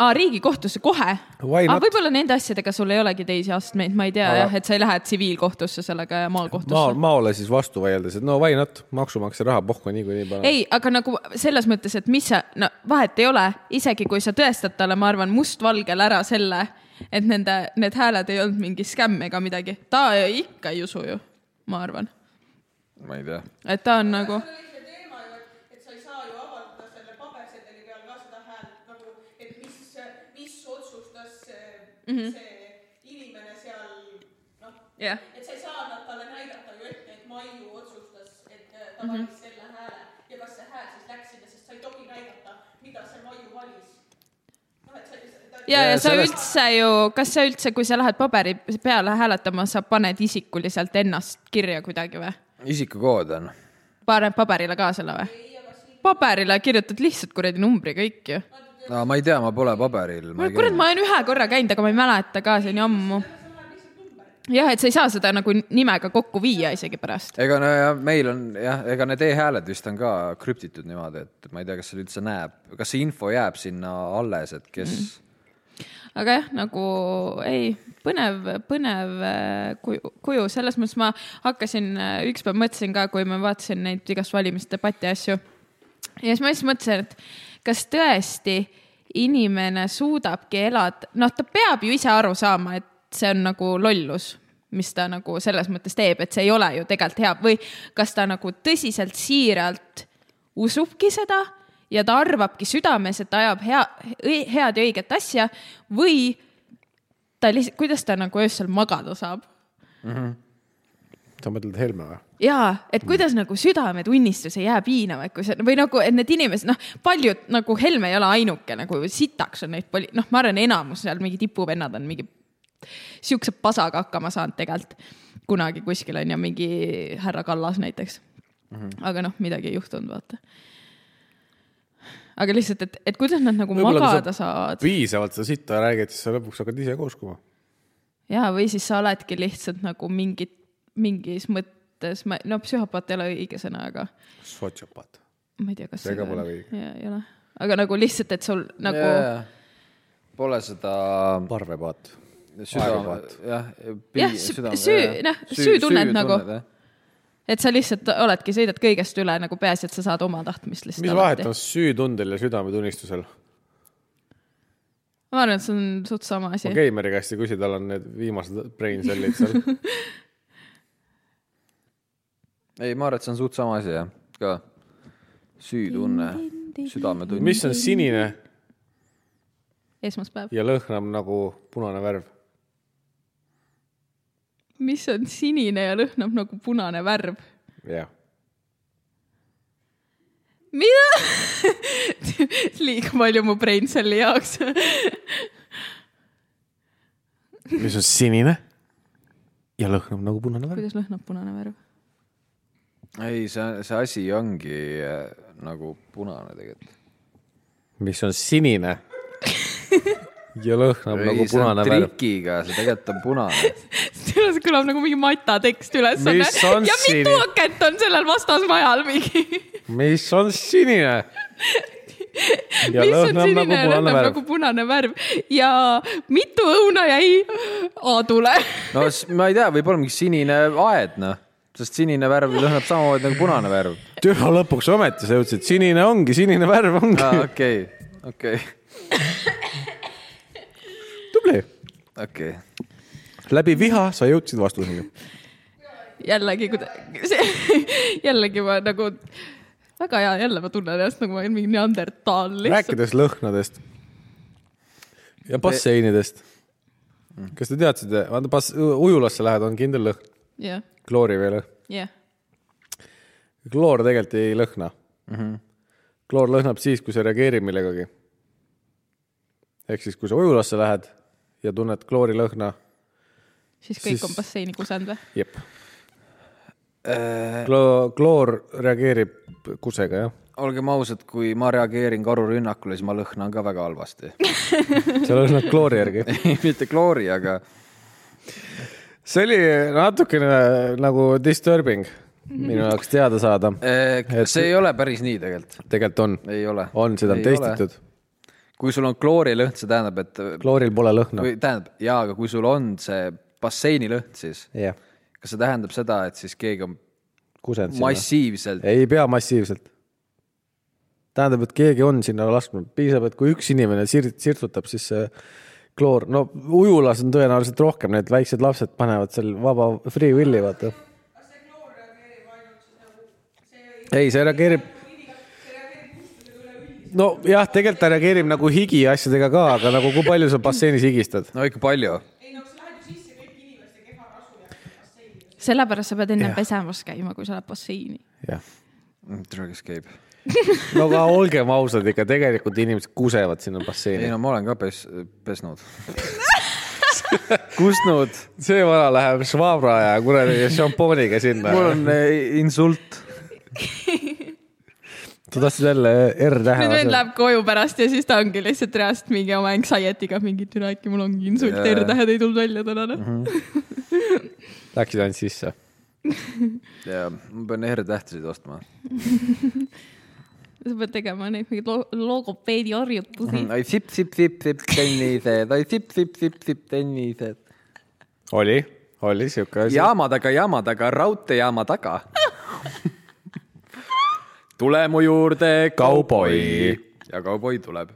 S4: aa , Riigikohtusse kohe ?
S1: Why
S4: aga
S1: not?
S4: võib-olla nende asjadega sul ei olegi teisi astmeid , ma ei tea
S1: Aga-
S4: jah , et sa ei lähe tsiviilkohtusse sellega ja
S1: ma
S4: maakohtusse ,.
S1: maole siis vastu vaieldes , et no why not , maksumaksja raha pohku niikuinii paneb .
S4: ei , aga nagu selles mõttes , et mis sa , no vahet ei ole , isegi kui sa tõestad talle , ma arvan , mustvalgel ära selle , et nende , need hääled ei olnud mingi skämm ega midagi , ta ikka ei usu ju , ma arvan ,
S5: ma ei tea .
S4: et ta on nagu ,
S1: Ähm, nagu,
S4: jah .
S1: äh, Noh,
S4: ja , ja sa
S1: sellest-
S4: sellest... üldse ju , kas sa üldse , kui sa lähed paberi peale hääletama , sa paned isikuliselt ennast kirja kuidagi või ?
S5: isikukood on .
S4: paned paberile ka selle või ? paberile kirjutad lihtsalt kuradi numbri kõik ju .
S5: aa , ma ei tea , ma pole paberil .
S4: kurat , ma olen ühe korra käinud , aga ma ei mäleta ka , see on nii ammu . jah , et sa ei saa seda nagu nimega kokku viia isegi pärast .
S5: ega no ja meil on jah , ega need e-hääled vist on ka krüptitud niimoodi , et ma ei tea , kas seal üldse näeb , kas see info jääb sinna alles , et kes
S4: Mhm.
S5: mm.
S4: aga jah , nagu ei , põnev , põnev äh, kuju, kuju , selles mõttes ma hakkasin , üks päev mõtlesin ka , kui ma vaatasin neid igast valimisdebatti ja asju . ja siis ma siis mõtlesin , et kas tõesti inimene suudabki elada , noh , ta peab ju ise aru saama , et see on nagu lollus , mis ta nagu selles mõttes teeb , et see ei ole ju tegelikult hea või kas ta nagu tõsiselt siiralt usubki seda ja ta arvabki südames , et ta ajab hea , head ja õiget asja või ta lihtsalt , kuidas ta nagu öösel magada saab
S1: sa mõtled Helme või ?
S4: jaa ,
S1: Mm.
S4: et kuidas nagu südametunnistus ei jää piinama , et kui see või nagu , et need inimesed , noh , paljud nagu Helme ei ole ainuke nagu sitaks on neid poli- , noh , ma arvan , enamus seal mingi tipuvennad on mingi siukse pasaga hakkama saanud tegelikult kunagi kuskil on ju mingi härra Kallas näiteks mm .
S1: Mhm.
S4: -hmm. aga noh , midagi ei juhtunud , vaata . aga lihtsalt , et , et kuidas nad nagu
S1: Võib-olla kui sa-
S4: magada saavad
S1: piisavalt seda sitta räägid , siis sa lõpuks hakkad ise ka uskuma .
S4: ja , või siis sa oledki lihtsalt nagu mingit , mingis mõttes , ma , no psühhopaat ei ole õige sõna , aga
S1: sotsiopaat .
S4: ma ei tea , kas
S1: See ka
S4: on-
S1: pole õige.
S4: jaa, ei ole , aga nagu lihtsalt , et sul nagu yeah.
S5: yeah. . Pole seda
S1: parvepaat .
S5: südame , jah .
S4: Jah, sü- süü- noh, süütunnet nagu. et sa lihtsalt oledki , sõidad kõigest üle nagu peaasi , et sa saad oma tahtmist lihtsalt .
S1: mis vahet on ? süütundel ja südametunnistusel ?
S4: ma arvan , et see on suht sama asi
S1: ma
S4: okay. .
S1: Keimeri käest ei küsi , tal on need viimased brain cell'id seal .
S5: ei , ma arvan , et see on suht sama asi jah , ka süütunne , südametunne .
S1: mis on sinine
S4: esmaspäev ,
S1: ja lõhnab nagu punane värv ?
S4: mis on sinine ja lõhnab nagu punane värv .
S1: jah .
S4: mida ? liiga palju mu brain selle jaoks .
S1: mis on sinine ja lõhnab nagu punane värv ?
S4: kuidas lõhnab punane värv ?
S5: ei , see , see asi ongi äh, nagu punane tegelikult .
S1: mis on sinine ja lõhnab nagu punane värv ?
S5: trikiga , see tegelikult on punane .
S4: see kõlab nagu mingi matatekst ülesanne .
S1: Mis on
S4: ja mitu
S1: sinine?
S4: akent on sellel vastasmajal mingi ?
S1: mis on sinine ? ja
S4: mis on
S1: lõhnab
S4: sinine
S1: nagu
S4: ja lõhnab
S1: punane värv
S4: nagu . punane värv ja mitu õuna jäi Aadule ?
S5: no s- ma ei tea , võib-olla mingi sinine aed , noh , sest sinine värv lõhnab samamoodi nagu punane värv .
S1: türa lõpuks ometi sa jõudsid , sinine ongi , sinine värv ongi .
S5: okei , okei ,
S1: tubli .
S5: okei .
S1: läbi viha sa jõudsid vastuseni .
S4: jällegi , jällegi ma nagu , väga hea , jälle ma tunnen ennast nagu ma olen mingi neandertaal lihtsalt .
S1: rääkides lõhnadest ja basseinidest . kas te teadsite , vaata bass , ujulasse lähed , on kindel lõhn ,
S4: jah ,
S1: klooriveelõhn .
S4: jah .
S1: kloor tegelikult ei lõhna mm . -hmm. kloor lõhnab siis , kui sa reageerid millegagi . ehk siis , kui sa ujulasse lähed ja tunned kloori lõhna ,
S4: siis kõik
S1: Siis-
S4: on basseini kusend või ?
S1: jep .
S5: Äh,
S1: Klo- , kloor reageerib kusega , jah .
S5: olgem ausad , kui ma reageerin karurünnakule , siis ma lõhnan ka väga halvasti .
S1: sa lõhnad kloori järgi .
S5: ei , mitte kloori , aga
S1: see oli natukene nagu disturbing minu jaoks teada saada .
S5: eh,
S1: Et-
S5: see ei ole päris nii tegelikult .
S1: tegelikult on ,
S5: ei ole .
S1: on , seda on . testitud .
S5: kui sul on kloorilõhn , see tähendab , et
S1: klooril pole lõhna .
S5: või tähendab jaa , aga kui sul on see basseinilõhn , siis
S1: jah ,
S5: kas see tähendab seda , et siis keegi on
S1: kusend sinna .
S5: massiivselt ,
S1: ei pea massiivselt . tähendab , et keegi on sinna lasknud , piisab , et kui üks inimene sir- , sirtutab , siis see kloor , no ujulas on tõenäoliselt rohkem , need väiksed lapsed panevad seal vaba free will'i , vaata . ei , nagu, see reageerib . nojah , tegelikult ta reageerib nagu higi asjadega ka , aga nagu kui palju sa basseinis higistad .
S5: no ikka palju
S4: sellepärast sa pead enne pesemas käima , kui sa lähed basseini .
S1: jah ,
S5: Mm, Drug Escape .
S1: no aga olgem ausad ikka , tegelikult inimesed kusevad sinna
S5: ei
S1: basseini .
S5: no ma olen ka pes- , pesnud .
S1: kusnud , see vana läheb švabra ja kuradi šampooniga sinna .
S5: mul on eh, insult .
S1: sa tahtsid jälle R-tähe
S4: nüüd vend . läheb koju pärast ja siis ta ongi lihtsalt reast mingi oma anxiety'ga mingi türa , äkki mul ongi insult
S5: Jaa.
S4: yeah. , R-tähed ei tulnud välja täna
S1: Mhm.
S4: noh .
S1: Läksid ainult sisse .
S5: ja ma pean R-tähtesid ostma .
S4: sa pead tegema neid mingeid lo- logopeedi
S1: Mm,
S4: harjutusi .
S5: oi sip , sip , sip , sip tennised , oi sip , sip , sip , sip tennised .
S1: oli , oli siuke asi .
S5: jaama taga , jaama taga , raudteejaama taga . tule mu juurde , kauboi . ja kauboi tuleb .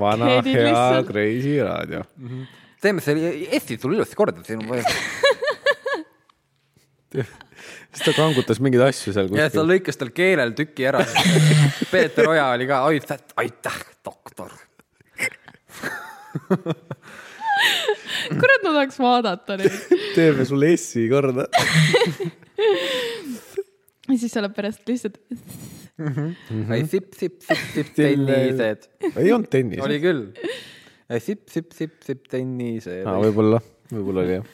S1: vana
S4: Crackheadid
S1: hea
S4: lihtsalt .
S1: Kreisi raadio .
S5: teeme selle Eesti sulle ilusti korda , siin on vaja .
S1: siis ta kangutas mingeid asju seal
S5: ja ta
S1: kuskil .
S5: lõikas tal keelel tüki ära . Peeter Oja oli ka , aitäh , aitäh , doktor .
S4: kurat , ma tahaks vaadata neid .
S1: teeme sulle S-i korda .
S4: ja siis sa oled pärast lihtsalt ,
S5: oi sip , sip , sip , sip tennised .
S1: ei olnud tennis .
S5: oli küll . sip , sip , sip , sip tennised
S1: aa ,. Ah, võib-olla , võib-olla oli jah .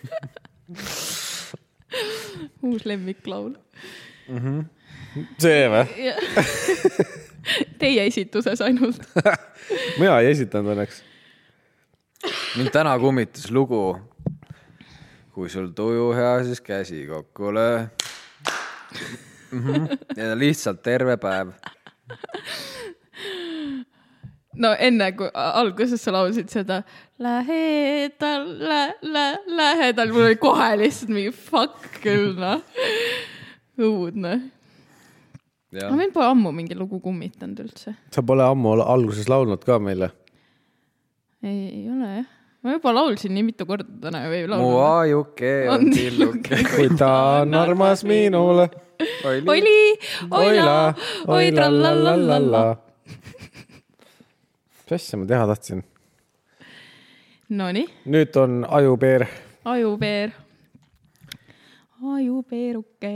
S4: uus lemmiklaul .
S1: see või ?
S4: Teie esituses ainult .
S1: mina ei esitanud õnneks .
S5: mind täna kummitas lugu . kui sul tuju hea , siis käsi kokku löö mm . -hmm. ja lihtsalt terve päev .
S4: no enne kui a- alguses sa laulsid seda lähedal lä, , lä, lähedal , mul oli kohe lihtsalt mingi fuck küll noh . õudne . no meil pole ammu mingi lugu kummitanud üldse .
S1: sa pole ammu al- alguses laulnud ka meile .
S4: ei , ei ole jah . ma juba laulsin nii mitu korda täna ju ei
S5: mu
S4: laulnud .
S5: ajuke on tilluke .
S1: kui ta on armas minule .
S4: oli , oi la , oi trallalallalla .
S1: mis asja ma teha tahtsin ?
S4: Nonii ,
S1: nüüd on ajupeer .
S4: ajupeer . ajupeeruke .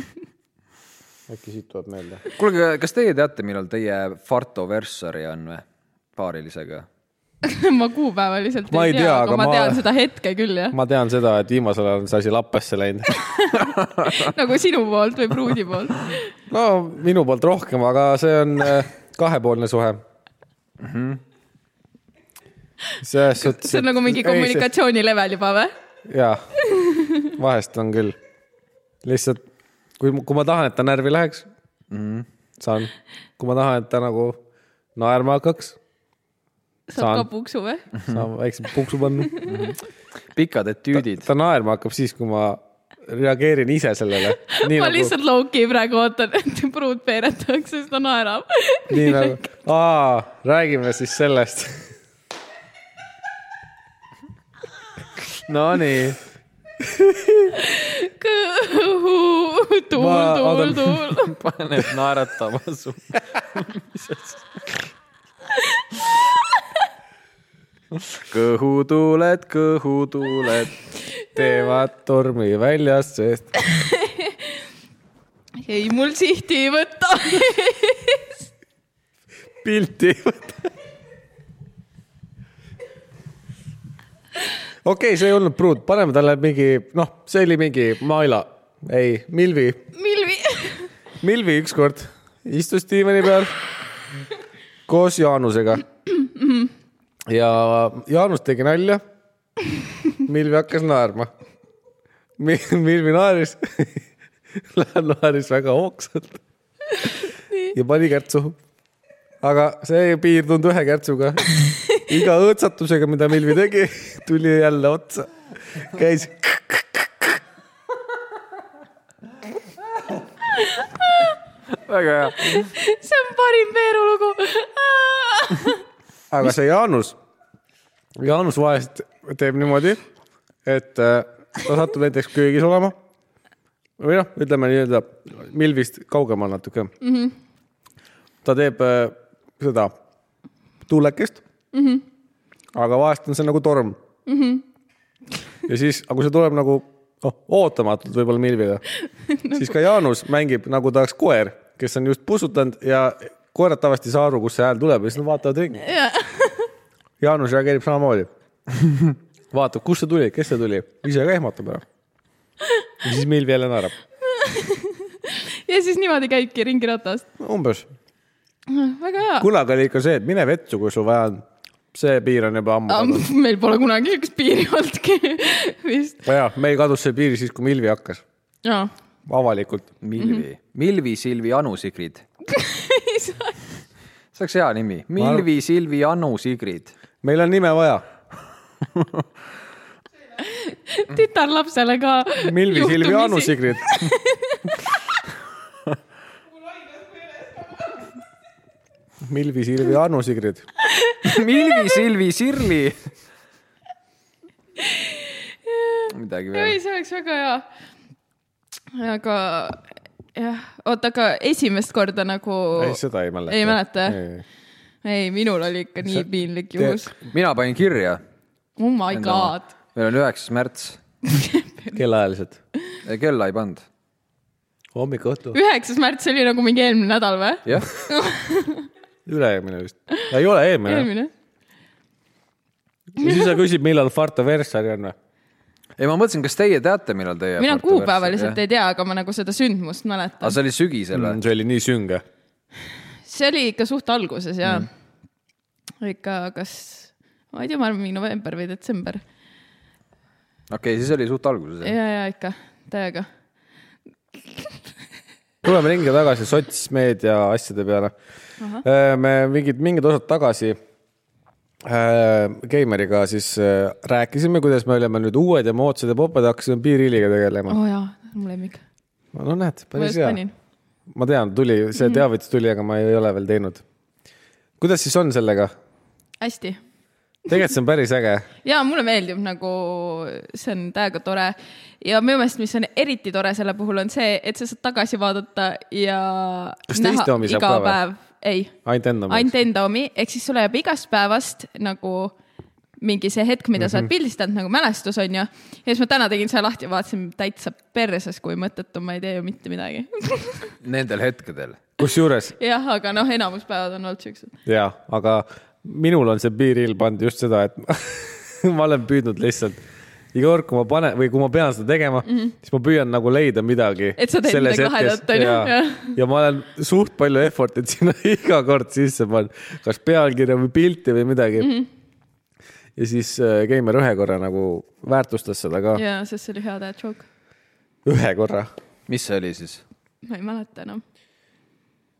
S1: äkki siit tuleb meelde .
S5: kuulge , kas teie teate , millal teie fartoversari on või ? paarilisega .
S4: ma kuupäeva lihtsalt
S1: Ma ei tea, aga
S4: aga ma
S1: ma-
S4: tean seda hetke küll jah .
S1: ma tean seda , et viimasel ajal on see asi lappesse läinud .
S4: nagu sinu poolt või pruudi poolt .
S1: no minu poolt rohkem , aga see on äh, kahepoolne suhe . selles suhtes .
S4: see on nagu mingi . kommunikatsiooni level juba või ?
S1: jaa , vahest on küll . lihtsalt kui , kui ma tahan , et ta närvi läheks mm , -hmm. saan . kui ma tahan , et ta nagu naerma hakkaks ,
S4: saab
S1: Saan.
S4: ka puksu või ?
S1: saan väikse puksu panna .
S5: pikad etüüdid .
S1: Mhm. ta naerma hakkab siis , kui ma reageeren ise sellele . nii
S4: ma
S1: nagu ,
S4: lihtsalt low-key praegu ootan , et pruut peeretakse , siis ta naerab .
S1: nii nagu , aa , räägime siis sellest .
S5: Nonii .
S4: tuul ,
S1: Ma-
S4: tuul
S1: oota- ,
S4: tuul .
S5: paneb naeratama su . kõhutuuled , kõhutuuled .
S1: teevad tormi väljas , sest
S4: ei , mul sihti ei võta .
S1: pilti ei võta . okei okay, , see ei olnud pruut , paneme talle mingi , noh , see oli mingi Maila , ei , Milvi ,
S4: Milvi ,
S1: Milvi ükskord istus diivani peal koos Jaanusega . ja Jaanus tegi nalja . Milvi hakkas naerma . Milvi naeris , naeris väga hoogsalt ja pani kärtsu . aga see ei piirdunud ühe kärtsuga . iga õõtsatusega , mida Milvi tegi , tuli jälle otsa , käis
S5: väga hea .
S4: see on parim Peeru lugu .
S1: aga see Jaanus , Jaanus vahest teeb niimoodi , et äh, ta satub näiteks köögis olema . või noh , ütleme nii-öelda Milvist kaugemal natuke mm . -hmm. ta teeb äh, seda tuulekest mm . -hmm. aga vahest on see nagu torm mm . -hmm. ja siis , aga kui see tuleb nagu noh , ootamatult võib-olla Milviga . siis ka Jaanus mängib nagu ta oleks koer , kes on just pussutanud ja koerad tavaliselt ei saa aru , kust see hääl tuleb ja siis nad vaatavad ringi . Jaanus reageerib samamoodi . vaatab , kust see tuli , kes see tuli , ise ka ehmatab ära . ja siis Milvi jälle naerab ,
S4: ja siis niimoodi käibki ringi ratast .
S1: umbes .
S4: väga hea .
S1: kunagi oli ikka see , et mine vetsu , kui sul vaja on . see piir on juba ammu
S4: Ah,
S1: kadunud .
S4: meil pole kunagi niisugust piiri olnudki vist .
S1: jah , meil kadus see piir siis , kui Milvi hakkas ,
S4: jaa .
S1: avalikult .
S5: Milvi , Milvi , Silvi , Anu , Sigrid . see oleks hea nimi , Milvi , Silvi , Anu , Sigrid .
S1: meil on nime vaja ,
S4: tütarlapsele ka .
S1: Milvi , Silvi , Anu , Sigrid . Milvi , Silvi , Anu , Sigrid .
S5: Milvi , Silvi , Sirli . midagi
S4: ei ,
S5: veel .
S4: see oleks väga hea . aga jah , oota , aga esimest korda nagu
S1: ei , seda ei mäleta .
S4: Ei mäleta? ? ei , minul oli ikka nii
S1: See-
S4: piinlik juhus .
S5: mina panin kirja .
S4: Oh my god .
S5: meil on üheksas märts ,
S1: kellaajaliselt .
S5: kella ei pannud .
S1: hommik , õhtu .
S4: üheksas märts oli nagu mingi eelmine nädal või ?
S5: jah ,
S1: üle-eelmine vist . ei ole eelmine .
S4: eelmine .
S1: ja siis sa küsid , millal Fartoversari on või ?
S5: ei ma mõtlesin , kas teie teate , millal teie .
S4: mina kuupäeva lihtsalt . ei tea , aga ma nagu seda sündmust mäletan
S5: aga . see oli sügisel või ?
S1: see oli nii sünge .
S4: see oli ikka suht alguses ja mm. ikka , kas , ma ei tea , ma arvan , mingi november või detsember
S5: okei , siis oli suht alguses jah ?
S4: ja , ja ikka täiega .
S1: tuleme ringi tagasi sotsmeedia asjade peale . me mingid , mingid osad tagasi äh, Keimeriga siis äh, rääkisime , kuidas me oleme nüüd uued ja moodsad ja popad ja hakkasime piiriiliga tegelema .
S4: oo oh, jaa , mu lemmik .
S1: no näed ,
S4: ma
S1: päris
S4: just
S1: hea .
S4: panin . Mhm.
S1: ma tean , tuli , see teavitus tuli , aga ma ei ole veel teinud . kuidas siis on sellega ?
S4: hästi .
S1: tegelikult see on päris äge .
S4: ja mulle meeldib nagu , see on täiega tore ja minu meelest , mis on eriti tore selle puhul , on see , et sa saad tagasi vaadata ja .
S1: Kas teiste omi saab
S4: iga
S1: ka või?
S4: päev , ei
S1: ainult enda meelest .
S4: ainult enda omi , ehk siis sul jääb igast päevast nagu mingi see hetk , mida mm -hmm.
S1: Mhm.
S4: sa oled pildistanud nagu mälestus onju . ja siis ma täna tegin selle lahti ja vaatasin täitsa perses , kui mõttetu , ma ei tee ju mitte midagi .
S5: Nendel hetkedel .
S1: kusjuures
S4: jah , aga noh , enamus päevad on olnud siuksed .
S1: jaa , aga minul on see piiril pannud just seda , et ma olen püüdnud lihtsalt iga kord , kui ma panen või kui ma pean seda tegema mm , -hmm. siis ma püüan nagu leida midagi .
S4: Mhm. Et sa teed midagi lahedat, on ju,
S1: ja,
S4: jah.
S1: ja ma olen suht palju effort'it sinna iga kord sisse pannud , kas pealkirja või pilti või midagi
S4: Mhm.
S1: mm . -hmm. ja siis äh, Keimer ühe korra nagu väärtustas seda ka yeah. ,
S4: ja sest see oli hea dad joke .
S1: ühe korra .
S5: mis see oli siis ?
S4: ma ei mäleta enam .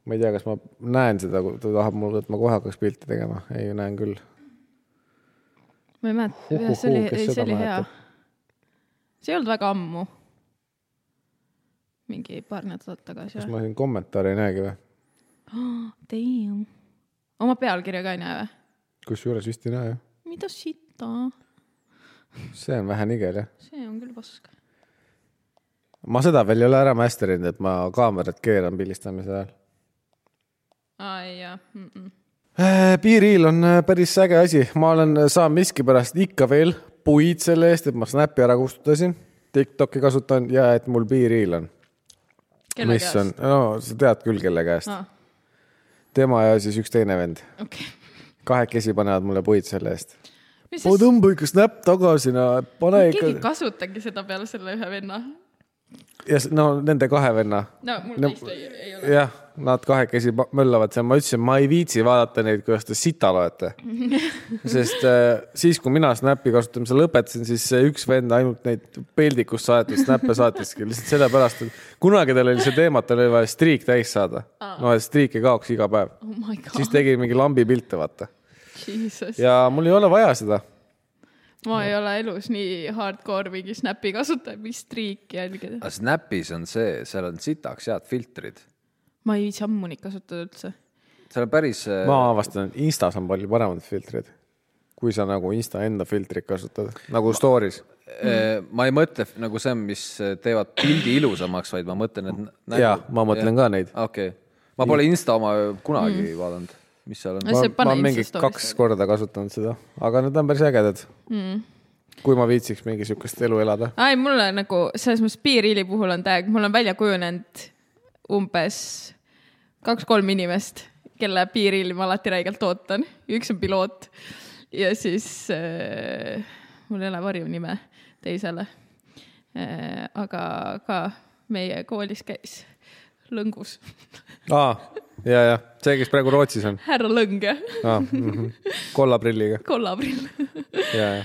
S1: ma ei tea , kas ma näen seda , kui ta tahab mulle , et ma kohe hakkaks pilti tegema , ei näen küll .
S4: ma ei mäleta ,
S1: Huhhuhuu,
S4: see oli ,
S1: kes
S4: ei see
S1: seda
S4: oli hea
S1: mäletab? .
S4: see ei olnud väga ammu . mingi paar nädalat tagasi
S1: kas
S4: või ?
S1: ma siin kommentaare ei näegi või ?
S4: Damn . oma pealkirja ka ei näe või ?
S1: kusjuures vist ei näe jah .
S4: mida sita ?
S1: see on vähe nigel jah .
S4: see on küll pask .
S1: ma seda veel ei ole ära masterinud , et ma kaamerat keeran pildistamise ajal .
S4: aa ei jaa mm . -mm.
S1: piiriil on äh, päris äge asi , ma olen , saan miskipärast ikka veel puid selle eest , et ma Snap'i ära kustutasin . Tiktoki kasutan ja et mul piiriil on .
S4: kelle
S1: mis
S4: käest
S1: on ,? no sa tead küll , kelle käest
S4: aa ,
S1: tema ja siis üks teine vend ,
S4: okei okay. .
S1: kahekesi panevad mulle puid selle eest .
S4: mis
S1: oo ,
S4: siis ,
S1: tõmba ikka Snap tagasi , no pane
S4: keegi ei
S1: ikka .
S4: kasutagi seda peale selle ühe venna .
S1: ja s- no nende kahe venna
S4: no mul
S1: No-
S4: no, teist ei, ei ole .
S1: jah , nad kahekesi pa- möllavad seal , ma ütlesin , ma ei viitsi vaadata neid , kuidas te sita loete . sest äh, siis , kui mina Snap'i kasutamise lõpetasin , siis see üks vend ainult neid peldikust saadetud Snap'e saatiski lihtsalt sellepärast , et kunagi tal oli see teema , et tal oli vaja striik täis saada . no , et striik ei kaoks iga päev .
S4: oh my
S1: siis
S4: god ,
S1: tegi mingi lambi pilte , vaata .
S4: jesus ja... .
S1: ja mul ei ole vaja seda .
S4: ma ei ole elus nii hardcore mingi Snapi kasutaja , mis triiki jälgida .
S5: aga Snapis on see , seal on sitaks head filtrid .
S4: ma ei viitsi ammu neid kasutada üldse .
S5: seal on päris .
S1: ma avastan , Instas on palju paremad filtrid , kui sa nagu Insta enda filtrit kasutad , nagu story's .
S5: Mm. ma ei mõtle f- nagu see , mis teevad pildi ilusamaks , vaid ma mõtlen , et .
S1: jaa , ma mõtlen ka neid .
S5: okei okay. , ma pole Insta oma kunagi mm. vaadanud , mis seal on
S4: No .
S1: ma
S4: see , pane
S1: ma olen
S4: Insta
S1: mingi
S4: story'sse. Mm.
S1: kaks korda kasutanud seda , aga need on päris ägedad . kui ma viitsiks mingi siukest elu elada .
S4: ei , mul on nagu selles mõttes piiriili puhul on täiega , mul on välja kujunenud umbes kaks-kolm inimest , kelle piiriili ma alati räigelt ootan . üks on piloot ja siis äh, mul ei ole varjunime teisele äh, . aga ka meie koolis käis lõngus
S1: aa , ja , ja see , kes praegu Rootsis on .
S4: härra Lõnge ,
S1: aa mm -hmm. , kolla prilliga ,
S4: kollaprill
S1: ja , ja .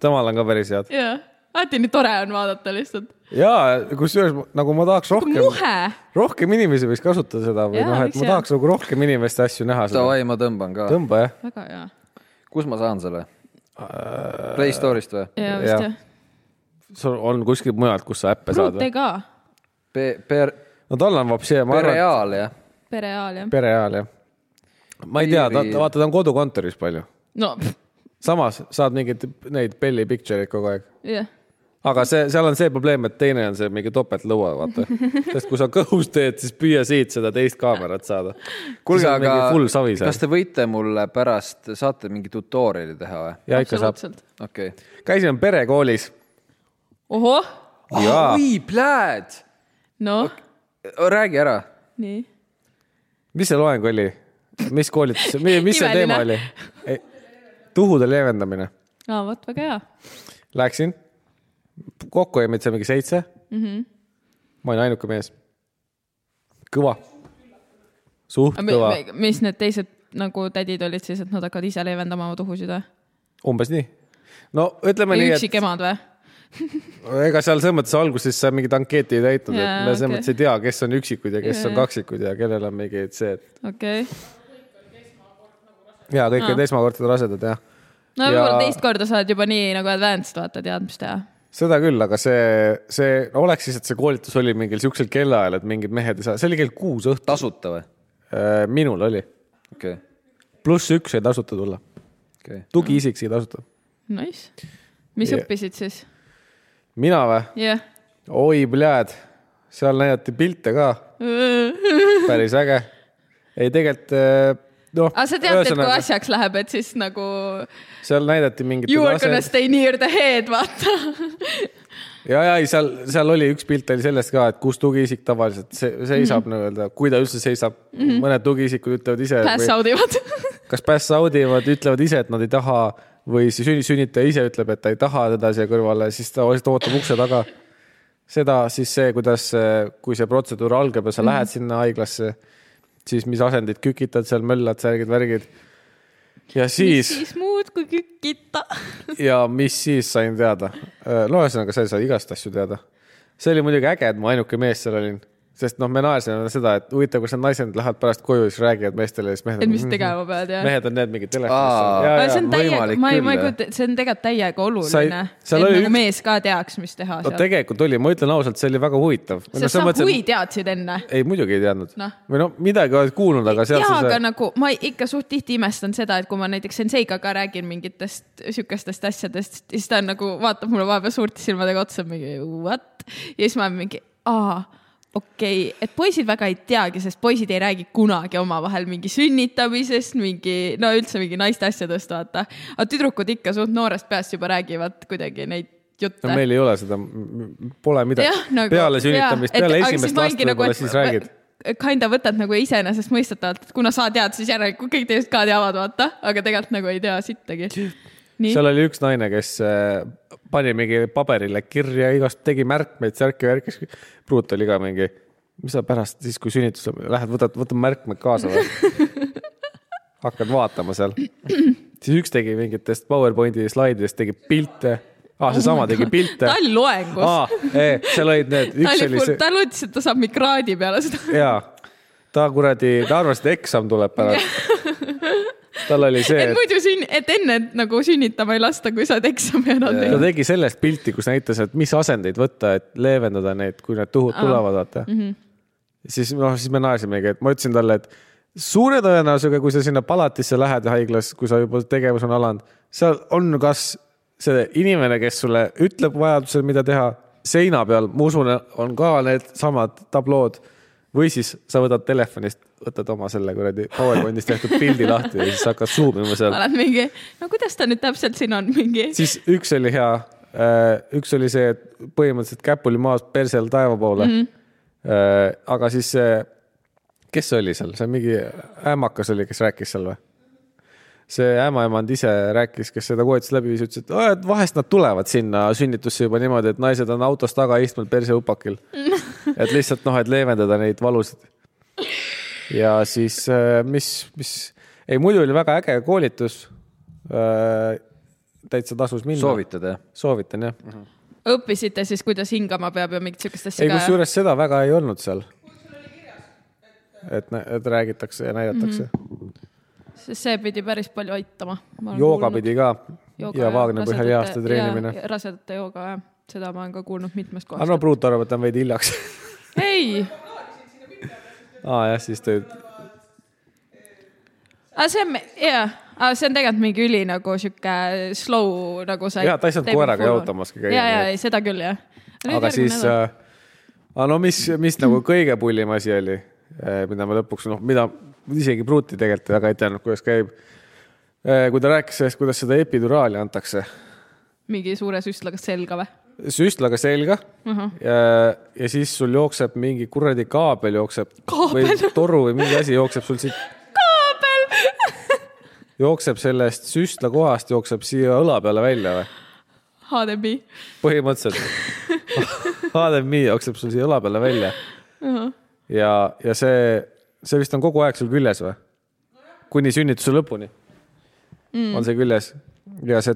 S1: temal on ka päris head .
S4: ja alati nii tore on vaadata lihtsalt .
S1: ja kusjuures ma- nagu ma tahaks rohkem ,
S4: muhe ,
S1: rohkem inimesi võiks kasutada seda või
S4: Jaa,
S1: noh , et
S4: võiks
S1: ma
S4: jah.
S1: tahaks nagu rohkem inimeste asju näha .
S5: Davai , ma tõmban ka .
S1: tõmba jah ,
S4: väga hea .
S5: kus ma saan selle ?
S1: Äh.
S5: Play Store'ist või ?
S4: ja
S1: Jaa.
S4: vist jah ,
S1: sul on kuskilt mujalt , kus sa äppe saad
S4: Ruute
S1: või ?
S4: ka ,
S5: Pe- , per- ,
S1: no tal on vapsi , ma arvan ,
S5: Pereal jah ?
S4: pereaal jah .
S1: pere ajal jah . ma ei tea , ta
S5: Piiri- ,
S1: vaata ta on kodukontoris palju ,
S4: no pff,
S1: samas saad mingeid neid belly picture'id kogu aeg
S4: jah ,
S1: aga see , seal on see probleem , et teine on see mingi topeltlõua , vaata . sest kui sa kõhus teed , siis püüa siit seda teist kaamerat saada .
S5: kuulge ,
S1: full savi
S5: aga kas
S1: seal .
S5: te võite mulle pärast , saate mingi tutorial'i teha või ?
S1: ja ikka saab .
S4: absoluutselt .
S5: okei okay. .
S1: käisime perekoolis .
S4: ohoh ,
S1: jaa ,
S5: oi , pläät .
S4: noh ,
S5: räägi ära .
S4: nii .
S1: mis see loeng oli ? mis koolitus , mis see teema oli
S4: Imeline. ?
S1: tuhude leevendamine .
S4: aa , vot väga hea .
S1: Läksin , kokku jäi meid seal mingi seitse mm . -hmm.
S4: Mhm.
S1: ma olin ainuke mees . kõva . suht kõva ,
S4: mis need teised nagu tädid olid siis , et nad hakkavad ise leevendama oma tuhusid või ?
S1: umbes nii . no ütleme nii , et
S4: üksik emad või ?
S1: ega seal selles mõttes alguses sa mingit ankeeti ei täitnud , et
S4: Jaa,
S1: me selles
S4: okei.
S1: mõttes ei tea , kes on üksikud ja kes on
S4: Jaa.
S1: kaksikud ja kellel on mingi see , et
S4: okei okay. .
S1: ja kõik
S4: Aa.
S1: olid esmakordselt rasedad ja
S4: no
S1: Ja-
S4: võib-olla teist korda sa oled juba nii nagu advanced , vaata , tead , mis teha .
S1: seda küll , aga see , see no oleks siis , et see koolitus oli mingil siuksel kellaajal , et mingid mehed ei saa , see oli kell kuus õhtul ,
S5: tasuta või ?
S1: minul oli ,
S5: okei okay. ,
S1: pluss üks sai tasuta tulla ,
S5: okei okay. .
S1: tugiisik sai tasuta .
S4: Nice . mis
S1: Ja-
S4: yeah. õppisid siis ?
S1: mina või ?
S4: jah .
S1: oi , pljääd , seal näidati pilte ka , päris äge . ei , tegelikult eh, noh .
S4: aga sa tead , et kui asjaks läheb , et siis nagu
S1: seal näidati mingit .
S4: you are gonna stay near the head , vaata .
S1: ja , ja ei , seal , seal oli üks pilt oli sellest ka , et kus tugiisik tavaliselt se- seisab
S4: Mhm.
S1: mm -hmm. nii-öelda , kui ta üldse seisab mm . -hmm. mõned tugiisikud ütlevad ise ,
S4: Pass out ivad .
S1: kas pass out ivad , ütlevad ise , et nad ei taha või siis sünni- sünnitaja ise ütleb , et ta ei taha teda siia kõrvale , siis ta lihtsalt ootab ukse taga . seda siis see , kuidas , kui see protseduur algab ja
S4: Mhm.
S1: sa mm -hmm. lähed sinna haiglasse , siis mis asendid kükitad seal , möllad , särgid , värgid . ja siis
S4: siis muud kui kükita .
S1: ja mis siis sain teada ? no ühesõnaga , sa saad igast asju teada . see oli muidugi äge , et ma ainuke mees seal olin , sest noh , me naersime seda , et huvitav , kus need naised lähevad pärast koju ja siis räägivad meestele ja siis mehed "Hmm,
S4: et . mis tegema pead ja .
S1: mehed on need mingid
S5: Aa.
S4: aga see
S1: telefonis .
S4: on täiega ,
S5: võimalik
S4: ma ei ,
S5: küll,
S4: ma ei
S5: jah.
S4: kujuta , see on tegelikult täiega oluline , et
S1: seal oli
S4: nagu
S1: üks-
S4: üks... mees ka teaks , mis teha
S1: no
S4: seal .
S1: tegelikult oli , ma ütlen ausalt , see oli väga huvitav . noh,
S4: sest sa kui teadsid enne .
S1: ei , muidugi ei teadnud
S4: Noh. .
S1: või no midagi oled kuulnud , aga seal äh,
S4: jaa ,
S1: sa
S4: aga
S1: saad .
S4: nagu ma ei- ikka suht tihti imestan seda , et kui ma näiteks senseiga ka räägin mingitest sihukestest asjadest , siis ta on nagu vaatab mulle vahepeal suurte silmadega otsa mingi what ja siis ma olen mingi aa okei okay. , et poisid väga ei teagi , sest poisid ei räägi kunagi omavahel mingi sünnitamisest , mingi no üldse mingi naiste asjadest , vaata . aga tüdrukud ikka suht noorest peast juba räägivad kuidagi neid jutte
S1: no meil ei ole seda , pole midagi
S4: jah , nagu .
S1: peale sünnitamist , peale esimest last
S4: nagu,
S1: võib-olla siis räägid ..
S4: Kinda võtad nagu iseenesestmõistetavalt , et kuna sa tead , siis järelikult kõik teised ka teavad , vaata , aga tegelikult nagu ei tea sittagi . nii ,
S1: seal oli üks naine , kes äh, pani mingi paberile kirja , igast tegi märkmeid , särke , värkis . pruut oli ka mingi , mis sa pärast siis , kui sünnitus , lähed võtad , võtad märkmed kaasa või ? hakkad vaatama seal . siis üks tegi mingitest PowerPointi slaididest tegi pilte ah, .
S4: Oh
S1: seesama tegi pilte
S4: ta . oli loengus
S1: aa , seal olid need ,
S4: ta
S1: üks
S4: oli
S1: oli
S4: full ,
S1: see ,
S4: ta lootis , et ta saab mingi kraadi peale seda .
S1: jaa . ta kuradi , ta arvas , et eksam tuleb pärast . tal oli see ,
S4: et
S1: et
S4: muidu sünn- , et enne nagu sünnitama ei lasta , kui sa oled eksami ära
S1: ta
S4: teinud .
S1: tegi sellest pilti , kus näitas , et mis asendeid võtta , et leevendada neid , kui need tuhud tulevad , vaata mm . -hmm. siis noh , siis me naersimegi , et ma ütlesin talle , et suure tõenäosusega , kui sa sinna palatisse lähed haiglas , kui sa juba tegevus on alanud , seal on kas see inimene , kes sulle ütleb vajadusel , mida teha , seina peal , ma usun , on ka needsamad tablood või siis sa võtad telefonist , võtad oma selle kuradi PowerPointis tehtud pildi lahti ja siis hakkad zoom ima seal .
S4: oled mingi , no kuidas ta nüüd täpselt siin on , mingi .
S1: siis üks oli hea , üks oli see , et põhimõtteliselt käpp oli maas persel taeva poole mm . -hmm. aga siis see , kes see oli seal , see mingi ämmakas oli , kes rääkis seal või ? see ämmaemand ise rääkis , kes seda koolitust läbi viis , ütles , et "Aa, et vahest nad tulevad sinna sünnitusse juba niimoodi , et naised on autos taga istunud persehupakil . et lihtsalt noh , et leevendada neid valusid . ja siis , mis , mis , ei muidu oli väga äge koolitus . täitsa tasus minna .
S5: soovitad jah ?
S1: soovitan jah mm . -hmm.
S4: õppisite siis , kuidas hingama peab ja mingit siukest asja
S1: ei ,
S4: ka ?
S1: kusjuures seda väga ei olnud seal . et , et räägitakse ja näidatakse mm . -hmm.
S4: sest see pidi päris palju aitama .
S1: jooga pidi ka jooga ja Vaagna põhjal lihaste treenimine .
S4: rasedate jooga jah , seda ma olen ka kuulnud mitmest kohast
S1: Arno . Pruut arvab , et ta on veidi hiljaks .
S4: ei ,
S1: aa jah , siis ta ,
S4: aga see on , jah , aga see on tegelikult mingi üli nagu sihuke slow nagu sa .
S1: Jaa, ta ei saanud koeraga jalutamaski käia,
S4: ja , ja
S1: nii ,
S4: ei seda küll jah .
S1: aga siis , äh, aga no mis , mis nagu kõige pullim asi oli , mida ma lõpuks noh , mida isegi Pruuti tegelikult väga ei teadnud , kuidas käib . kui ta rääkis sellest , kuidas seda epiduraali antakse
S4: mingi suure süstlaga selga või ?
S1: süstlaga selga uh
S4: Mhm.
S1: -huh. ja, ja siis sul jookseb mingi kuradi kaabel jookseb
S4: Kaabel?
S1: või toru või mingi asi jookseb sul siit ,
S4: kaabel .
S1: jookseb sellest süstla kohast , jookseb siia õla peale välja või ?
S4: HDMI .
S1: põhimõtteliselt HDMI jookseb sul siia õla peale välja ja , ja see , see vist on kogu aeg sul küljes või ? kuni sünnituse lõpuni mm. on see küljes ja see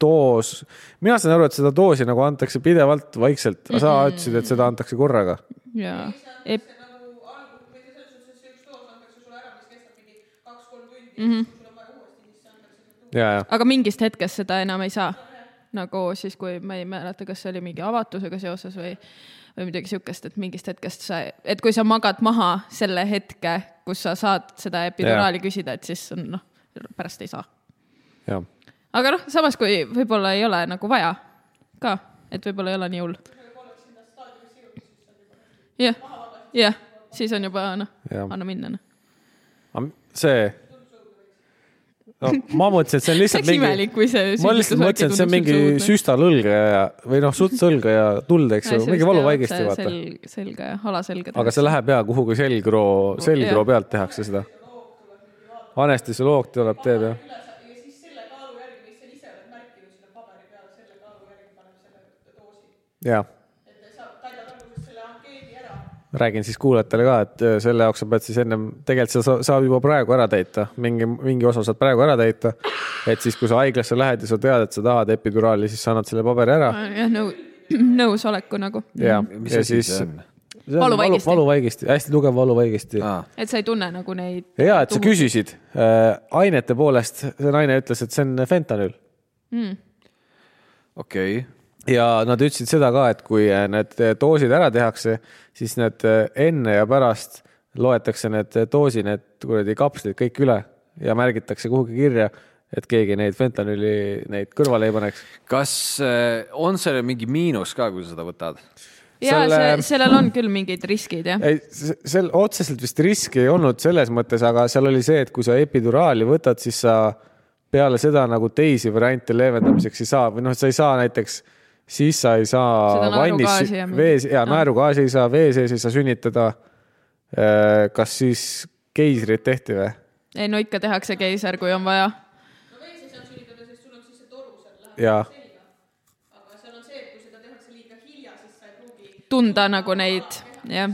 S1: doos , mina sain aru , et seda doosi nagu antakse pidevalt vaikselt , aga sa ütlesid , et seda antakse korraga
S4: jaa . E Ep- .
S1: ja , ja
S4: aga mingist hetkest seda enam ei saa ? nagu siis , kui ma ei mäleta , kas see oli mingi avatusega seoses või , või midagi siukest , et mingist hetkest sa , et kui sa magad maha selle hetke , kus sa saad seda epiduraali küsida , et siis on noh , pärast ei saa .
S1: jah ,
S4: aga noh , samas kui võib-olla ei ole nagu vaja ka , et võib-olla ei ole nii hull . jah , jah , siis on juba noh ,
S1: Jah.
S4: anna minna noh .
S1: see . no ma mõtlesin , et see on
S4: see
S1: lihtsalt
S4: oleks
S1: mingi ,
S4: imelik , kui see .
S1: ma lihtsalt mõtlesin , et see on mingi
S4: noh.
S1: süstalõlge ja , või noh , sutsõlge ja tuld , eks ju , mingi valuvaigisti vaata .
S4: selga ja alaselga .
S1: aga see läheb jaa kuhugi selgroo , selgroo
S4: Jah.
S1: pealt tehakse seda . anestesioloog tuleb , teeb jah . jaa . räägin siis kuulajatele ka , et öö, selle jaoks sa pead siis ennem , tegelikult sa sa- saab juba praegu ära täita , mingi , mingi osa saad praegu ära täita . et siis , kui sa haiglasse lähed ja sa tead , et sa tahad epiduraali , siis sa annad selle paberi ära
S4: jah , nõu- , nõusoleku nagu ,
S1: ja ,
S5: Mis
S1: ja
S5: asi see
S1: siis .
S5: on? Ah.
S4: Valuvaigisti.
S1: valuvaigisti , hästi tugev valuvaigisti .
S5: aa ,
S4: et sa ei tunne nagu neid .
S1: hea , et sa küsisid äh, ainete poolest , see naine ütles , et see on fentanüül
S5: okei okay. .
S1: ja nad ütlesid seda ka , et kui äh, need doosid ära tehakse , siis need äh, enne ja pärast loetakse need äh, doosi , need kuradi kapslid kõik üle ja märgitakse kuhugi kirja , et keegi neid fentanüüli neid kõrvale ei paneks .
S5: kas äh, on seal mingi miinus ka , kui sa seda võtad ?
S4: ja
S1: Selle-
S4: see , sellel on küll mingid riskid jah .
S1: ei , seal otseselt vist riski ei olnud selles mõttes , aga seal oli see , et kui sa epiduraali võtad , siis sa peale seda nagu teisi variante leevendamiseks ei saa või noh , sa ei saa näiteks , siis sa ei saa
S4: Seda
S1: vannis
S4: naerugaasi ja mingit-
S1: vees ja naerugaasi ei saa , vee sees ei saa sünnitada . kas siis keisrid tehti või ?
S4: ei no ikka tehakse keiser , kui on vaja .
S1: ja ,
S4: tunda nagu neid , jah .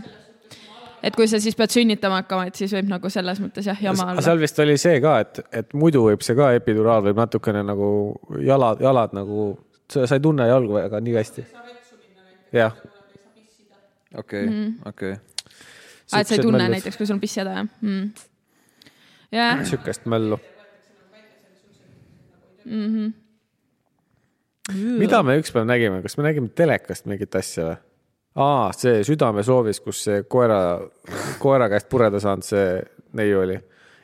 S4: et kui sa siis pead sünnitama hakkama , et siis võib nagu selles mõttes jah , jama olla .
S1: seal vist oli see ka , et , et muidu võib see ka epiduraal võib natukene nagu jalad , jalad nagu , sa sa ei tunne jalgu väga nii hästi . jah
S5: okei ,
S1: Mhm.
S5: okei .
S4: aa , Ah, et sa ei
S1: siuksed
S4: tunne
S1: möllud.
S4: näiteks , kui sul on piss häda jah mm. ? jah ,
S1: sihukest möllu mm . -hmm. mida me ükspäev nägime , kas me nägime telekast mingit asja või ? aa , see Südamesoovis , kus see koera , koera käest pureda saanud see neiu oli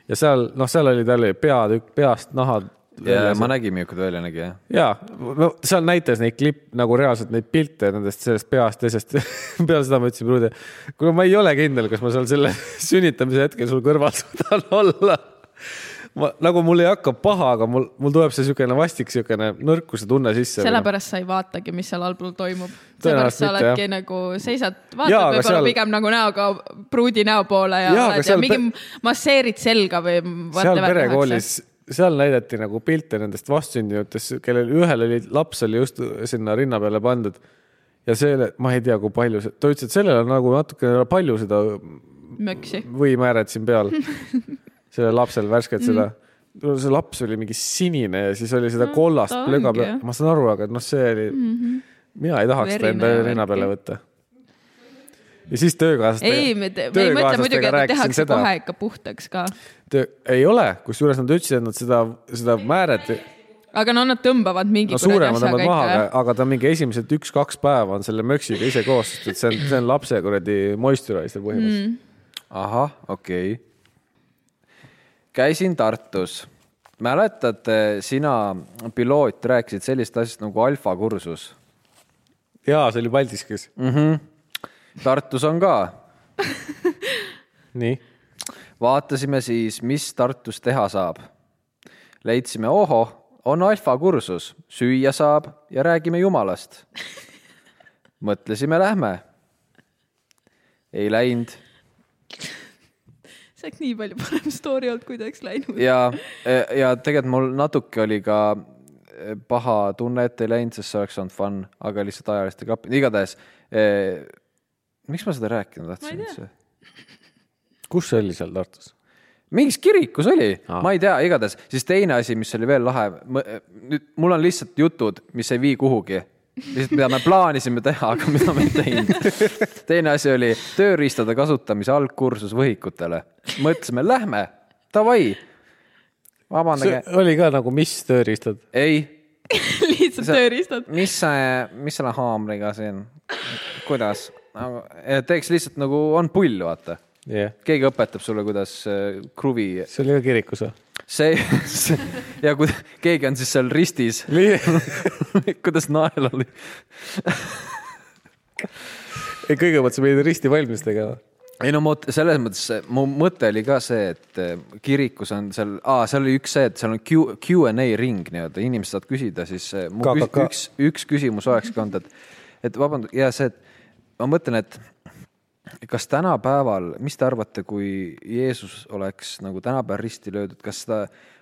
S1: ja seal , noh , seal oli , tal oli peatükk peast naha
S5: ja ma nägin , milline välja nägi jah .
S1: ja no, seal näitas neid klipp nagu reaalselt neid pilte nendest sellest peast ja asjast . peale seda ma ütlesin Brude , kuule , ma ei ole kindel , kas ma seal selle sünnitamise hetkel sul kõrval suudan olla . ma nagu mul ei hakka paha , aga mul , mul tuleb see siukene vastik , siukene nõrkuse tunne sisse . Nagu
S4: sellepärast sa ei vaatagi , mis seal allpool toimub .
S1: Tõenäoliselt
S4: seepärast sa
S1: mitte,
S4: oledki nagu seisad , vaatad
S1: Jaa, aga
S4: võib-olla
S1: seal-
S4: seal... pigem nagu näoga pruudi näo poole ja,
S1: Jaa,
S4: ja,
S1: aga
S4: oled,
S1: seal
S4: ja mingi masseerid selga või .
S1: seal perekoolis , seal näidati nagu pilte nendest vastsündinutest , kellel ühel oli laps oli just sinna rinna peale pandud ja see , ma ei tea , kui palju see , ta ütles , et sellel on nagu natukene palju seda
S4: möksi .
S1: võimääret siin peal . sellel lapsel
S4: Mm.
S1: värsket seda . see laps oli mingi sinine ja siis oli seda
S4: No,
S1: kollast
S4: ta
S1: plöga
S4: Mm, ongi, Mhm.
S1: peal
S4: jah. ,
S1: ma saan aru , aga noh , see oli , mina ei tahaks seda
S4: Verine
S1: enda
S4: värk,
S1: rinna peale
S4: jah.
S1: võtta . ja siis töökaaslastega .
S4: ei , me te- me ei mõtle muidugi , et tehakse seda. kohe ikka puhtaks ka .
S1: Te, ei ole , kusjuures nad ütlesid , et nad seda , seda määret ,
S4: aga no nad tõmbavad mingi
S1: no suurema tõmbavad maha , aga, aga ta mingi esimesed üks-kaks päeva on selle möksiga ise koos , sest et see on , see on lapse kuradi moisturizer põhimõtteliselt mm. .
S5: ahah , okei okay. . käisin Tartus . mäletad , sina , piloot , rääkisid sellist asjast nagu alfakursus
S1: jaa , see oli Paldiskis .
S5: mm . -hmm. Tartus on ka .
S1: nii .
S5: vaatasime siis , mis Tartus teha saab . leidsime , ohoh , on alfakursus , süüa saab ja räägime jumalast . mõtlesime , lähme . ei läinud
S4: see oleks nii palju parem story olnud , kui ta oleks läinud .
S5: ja , ja e, tegelikult mul natuke oli ka e, paha tunne , et ei läinud , sest see oleks olnud fun , aga lihtsalt ajaliste kapi , igatahes eh, . miks ma seda rääkida
S4: Ma ei
S5: tahtsin
S4: tea.
S5: üldse ?
S1: kus see oli seal Tartus ?
S5: mingis kirikus oli
S1: Aa.
S5: ah. , ma ei tea , igatahes , siis teine asi , mis oli veel lahe , nüüd mul on lihtsalt jutud , mis ei vii kuhugi . lihtsalt , mida me plaanisime teha , aga mida me ei teinud . teine asi oli tööriistade kasutamise algkursus võhikutele . mõtlesime , lähme , davai .
S1: see
S5: vabandage .
S1: oli ka nagu , mis tööriistad ?
S5: ei ,
S4: lihtsalt
S5: See-
S4: tööriistad .
S5: mis , mis selle haamriga siin , kuidas , teeks lihtsalt nagu on pull , vaata .
S1: jah yeah. ,
S5: keegi õpetab sulle , kuidas äh, kruvi ,
S1: see oli ka kirikus või ?
S5: see, see ja kui keegi on siis seal ristis , kuidas nael oli .
S1: ei , kõigepealt sa pidid risti valmis tegema .
S5: ei no ma oot- selles mõttes , mu mõte oli ka see , et äh, kirikus on seal , aa , seal oli üks see , et seal on Q , Q and A ring nii-öelda , inimesed saavad küsida , siis äh, mu küs,
S1: KKK.
S5: üks , üks küsimus olekski olnud , et , et vabandust , ja see , et ma mõtlen , et kas tänapäeval , mis te arvate , kui Jeesus oleks nagu tänapäeval risti löödud , kas ta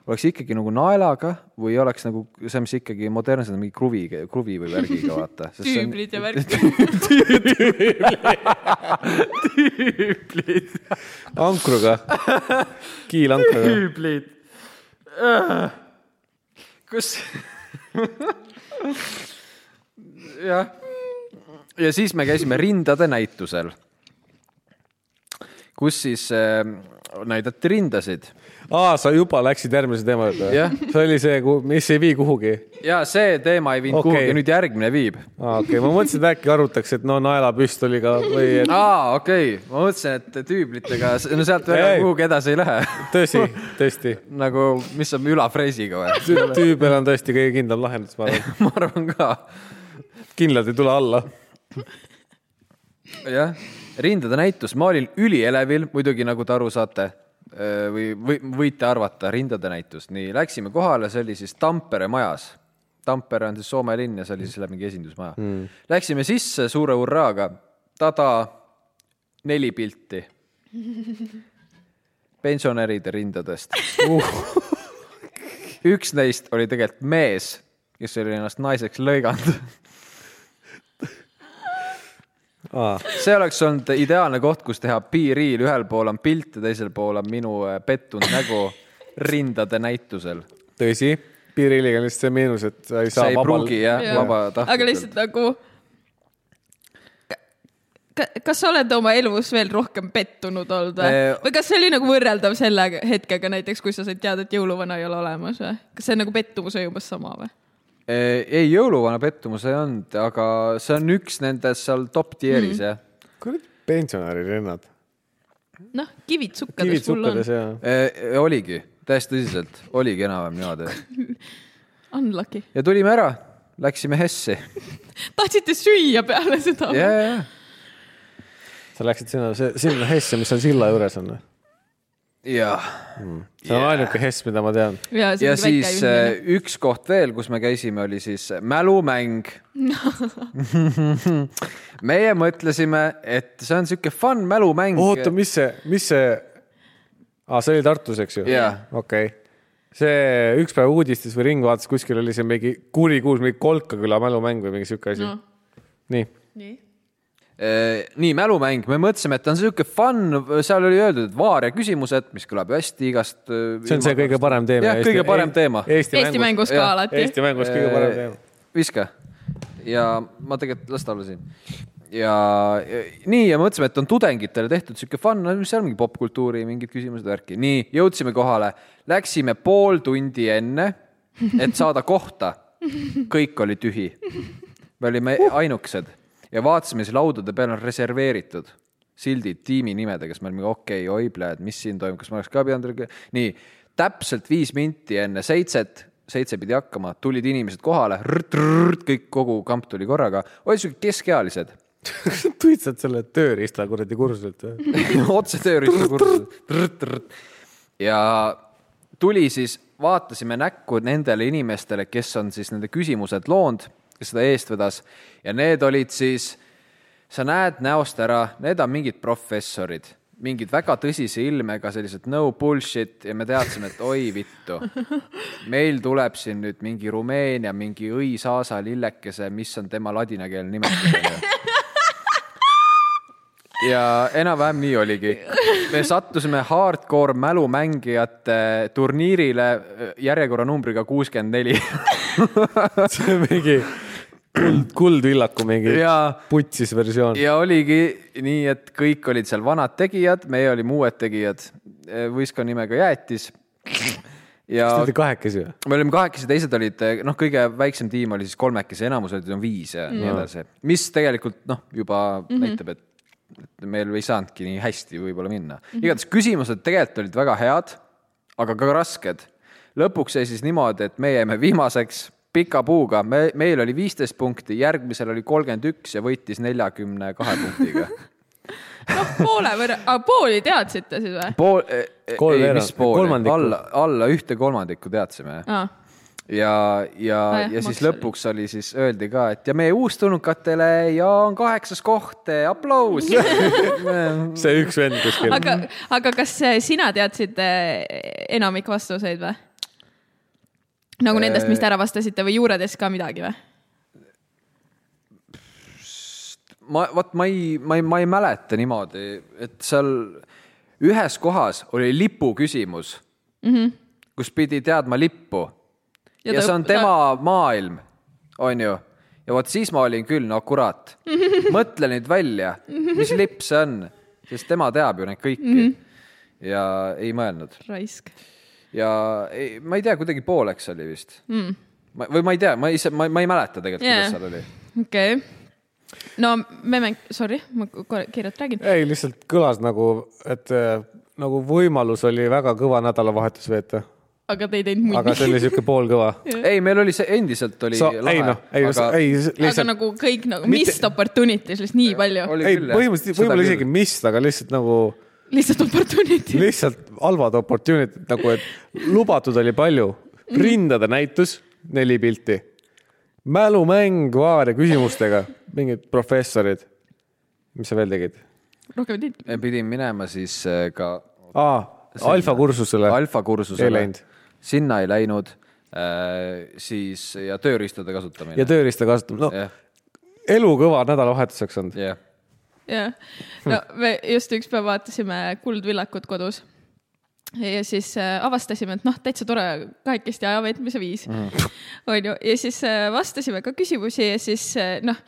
S5: oleks ikkagi nagu naelaga või oleks nagu see , mis ikkagi modernselt on mingi kruvi , kruvi või värgiga , vaata .
S4: tüüblid ja värk .
S1: ankruga , kiilankruga .
S5: tüüblid . Äh. kus ? jah . ja siis me käisime rindade näitusel , kus siis äh, näidati rindasid
S1: aa , sa juba läksid järgmise teema juurde
S5: Jah. ?
S1: see oli see , mis ei vii kuhugi
S5: ja see teema ei viinud
S1: Okei.
S5: okay. kuhugi , nüüd järgmine viib .
S1: aa , okei okay. , ma mõtlesin , et äkki arutaks , et no naelapüstoliga või et
S5: aa , okei okay. , ma mõtlesin , et tüüblitega , no sealt
S1: Ei.
S5: veel kuhugi edasi ei lähe .
S1: tõsi , tõesti .
S5: nagu , mis on ülafreesiga või ?
S1: tüübel on tõesti kõige kindlam lahendus , ma arvan .
S5: ma arvan ka
S1: kindlalt ei tule alla .
S5: jah , rindade näitus , ma olin ülielevil , muidugi nagu te aru saate öö, või , või võite arvata , rindade näitus , nii läksime kohale , see oli siis Tampere majas . Tampere on siis Soome linn ja see oli siis selle mingi esindusmaja mm. . Läksime sisse suure hurraaga , tada , neli pilti pensionäride rindadest uh. . üks neist oli tegelikult mees , kes oli ennast naiseks lõiganud
S1: aa ,
S5: see oleks olnud ideaalne koht , kus teha piiriil , ühel pool on pilt ja teisel pool on minu äh, pettunud nägu rindade näitusel .
S1: tõsi , piiriiliga on lihtsalt see miinus , et sa ei
S5: see
S1: saa
S5: ei
S1: vabal
S5: pruugi . jah ja. ,
S4: aga
S5: vabatahtlikult .
S4: lihtsalt nagu . kas sa oled oma elus veel rohkem pettunud olnud või
S5: Eh, ?
S4: või kas see oli nagu võrreldav selle hetkega näiteks , kui sa said teada , et jõuluvana ei ole olemas või ? kas see nagu pettumus oli umbes sama või ?
S5: Äh, ei , jõuluvana pettumus ei olnud , aga see on üks nendest seal top tier'is
S4: Mhm.
S5: mm. jah .
S1: kuradi pensionärirennad .
S4: noh , kivid sukkades
S1: kivid
S4: mul on
S1: sukkades . ja .
S5: Äh, oligi , täiesti tõsiselt , oligi enam-vähem niimoodi .
S4: Unlucky .
S5: ja tulime ära , läksime Hessi .
S4: tahtsite süüa peale seda
S5: ja ,? ja , ja ,
S1: sa läksid sinna , sinna Hesse , mis seal silla juures on .
S5: ja ,
S1: see on ainuke Hess , mida ma tean .
S4: ja,
S5: ja siis äh, . üks koht veel , kus me käisime , oli siis äh, mälumäng . meie mõtlesime , et see on sihuke fun mälumäng .
S1: oota , mis see , mis see , aa , see oli Tartus , eks ju ?
S5: Jaa.
S1: okei okay. see üks päev uudistes või Ringvaates kuskil oli see mingi kurikuus , mingi Kolka küla mälumäng või mingi siuke asi
S4: No.
S1: no. . nii ,
S4: nii .
S5: Eh, nii , mälumäng , me mõtlesime , et ta on sihuke fun , seal oli öeldud , et vaaria küsimused , mis kõlab ju hästi igast . äh,
S1: see on see kõige parem teema .
S5: jah , kõige parem teema .
S1: Eesti,
S4: Eesti mängus ka
S5: jah,
S4: alati .
S1: Eesti mängus kõige parem teema .
S5: viska ja ma tegelikult las ta olla siin ja, ja nii ja mõtlesime , et on tudengitele tehtud sihuke fun , no mis seal mingi popkultuuri mingid küsimused , värki , nii jõudsime kohale , läksime pool tundi enne , et saada kohta . kõik oli tühi , me olime ainukesed ja vaatasime siis laudade peal on reserveeritud sildid tiimi nimedega , siis me olime okei okay, , oi pljääd , mis siin toimub , kas ma oleks ka pidanud , nii täpselt viis minti enne seitset seitse pidi hakkama , tulid inimesed kohale , kõik kogu kamp tuli korraga , olid siuke keskealised
S1: tuitsad selle tööriista kuradi kursuselt või ?
S5: otse tööriista kursus . ja tuli siis , vaatasime näkku nendele inimestele , kes on siis nende küsimused loonud , kes seda eest vedas ja need olid siis , sa näed näost ära , need on mingid professorid , mingid väga tõsise ilmega sellised no bullshit ja me teadsime , et oi vittu . meil tuleb siin nüüd mingi Rumeenia mingi õisaasa lillekese , mis on tema ladinakeelne nimetus onju ja enam-vähem nii oligi . me sattusime hardcore mälumängijate turniirile äh, järjekorranumbriga kuuskümmend neli
S1: see on mingi kuld , kuldvillaku mingi
S5: ja ,
S1: putsis versioon .
S5: ja oligi nii , et kõik olid seal vanad tegijad , meie olime uued tegijad , võistkonna nimega Jäätis . ja
S1: Te olete kahekesi või ?
S5: me olime kahekesi , teised olid noh , kõige väiksem tiim oli siis kolmekesi , enamus olid on viis ja mm. nii edasi , mis tegelikult noh , juba mm -hmm. näitab , et et meil ei saanudki nii hästi võib-olla minna mm -hmm. . igatahes küsimused tegelikult olid väga head , aga ka rasked . lõpuks jäi siis niimoodi , et me jäime viimaseks pika puuga , me , meil oli viisteist punkti , järgmisel oli kolmkümmend üks ja võitis neljakümne kahe punktiga .
S4: noh , poole võrra , aga pooli teadsite siis või ?
S5: pool , ei
S1: Kolmveerand-
S5: mis pool ,
S1: kolmandiku.
S5: alla , alla ühte kolmandikku teadsime
S4: aa ,
S5: ja , ja
S4: Ah
S5: ah, ,
S4: jah,
S5: ja siis
S4: maks oli.
S5: lõpuks oli siis öeldi ka , et ja meie uustulnukatele ja on kaheksas koht , aplaus .
S1: see üks vend kuskil .
S4: aga , aga kas eh, sina teadsid eh, enamik vastuseid või ? nagu nendest , mis te ära vastasite või juuredes ka midagi või ?
S5: ma , vot ma ei , ma ei , ma ei mäleta niimoodi , et seal ühes kohas oli lipu küsimus mm , -hmm. kus pidi teadma lippu ja, ja see on tema maailm , onju . ja vot siis ma olin küll , no kurat , mõtle nüüd välja , mis lipp see on , sest tema teab ju neid kõiki mm . -hmm. ja ei mõelnud
S4: raisk .
S5: ja ei, ma ei tea , kuidagi pooleks oli vist mm. . Ma, või ma ei tea , ma ise , ma , ma ei mäleta tegelikult yeah. ,
S4: Jaa.
S5: kuidas seal oli .
S4: okei okay. . no me mäng- , sorry , ma kohe kiirelt räägin .
S1: ei , lihtsalt kõlas nagu , et äh, nagu võimalus oli väga kõva nädalavahetus veeta ,
S4: aga te ei teinud muid
S1: aga see
S4: midagi .
S1: oli siuke poolkõva .
S5: ei , meil oli see , endiselt oli
S1: sa , ei noh , ei aga... , ei s-
S4: aga
S1: lihtsalt ,
S4: nagu kõik nagu
S1: Mitte-
S4: missed opportunity's lihtsalt nii palju ,
S5: oli
S1: ei
S5: küll, jah.
S1: põhimõtteliselt
S5: Seda
S1: võib-olla
S5: küll.
S1: isegi mist , aga lihtsalt nagu ,
S4: lihtsalt opportunity .
S1: lihtsalt halvad opportunity'd nagu , et lubatud oli palju . rindade näitus , neli pilti . mälumäng vaaria küsimustega , mingid professorid . mis sa veel tegid ?
S4: rohkem ei teinud .
S5: me pidime minema siis äh, ka
S1: aa , alfakursusele . Ei
S5: alfakursusele
S1: läinud. .
S5: sinna ei läinud äh, . siis ja tööriistade kasutamine .
S1: ja tööriista kasutamine , noh ,
S5: jah ,
S1: elukõva nädalavahetuseks olnud .
S5: jah .
S4: jah , no me just üks päev vaatasime Kuldvillakut kodus . ja siis äh, avastasime , et noh , täitsa tore kahekesti aja veetmise viis mm. . onju , ja siis äh, vastasime ka küsimusi ja siis äh, noh ,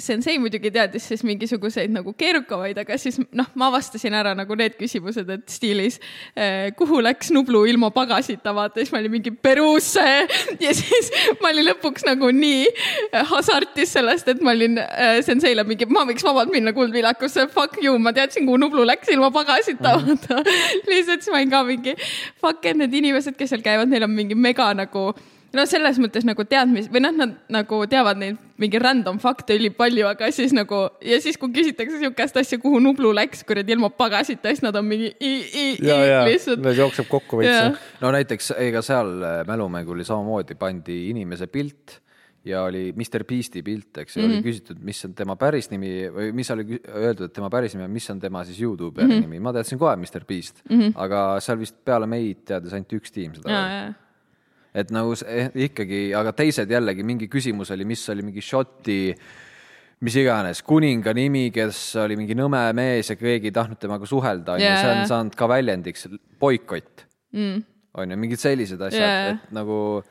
S4: sensei muidugi teadis siis mingisuguseid nagu keerukamaid , aga siis noh , ma avastasin ära nagu need küsimused , et stiilis eh, kuhu läks Nublu ilma pagasita , vaata , siis ma olin mingi Peruusse ja siis ma olin lõpuks nagu nii hasartis sellest , et ma olin eh, senseile mingi , ma võiks vabalt minna Kuldvilakusse , fuck you , ma teadsin , kuhu Nublu läks ilma pagasita , vaata . lihtsalt siis ma olin ka mingi fuck , et need inimesed , kes seal käivad , neil on mingi mega nagu no selles mõttes nagu teadmis- või noh , nad nagu teavad neid mingi random fakte ülipalju , aga siis nagu ja siis , kui küsitakse siukest asja , kuhu Nublu läks , kuradi ilma pagasita , siis nad on mingi i- i-
S1: ja ,
S4: i-
S1: ja
S4: lihtsalt .
S1: nad jookseb kokku veits .
S5: no näiteks , ega seal äh, mälumäng oli samamoodi , pandi inimese pilt ja oli Mr Beast'i pilt , eks ju mm -hmm. , oli küsitud , mis on tema päris nimi või mis oli kü- öeldud , et tema päris nimi on , mis on tema siis Youtube'i mm -hmm. nimi , ma teadsin kohe Mr Beast mm , -hmm. aga seal vist peale meid teadis ainult üks tiim seda
S4: ja ,
S5: veel.
S4: ja ,
S5: et nagu see- eh, ikkagi , aga teised jällegi mingi küsimus oli , mis oli mingi Šoti , mis iganes kuninga nimi , kes oli mingi nõme mees ja keegi ei tahtnud temaga suhelda , onju ,
S4: Jaa.
S5: see on saanud ka väljendiks boikott mm. . onju , mingid sellised asjad
S4: Jaa.
S5: yeah. , et nagu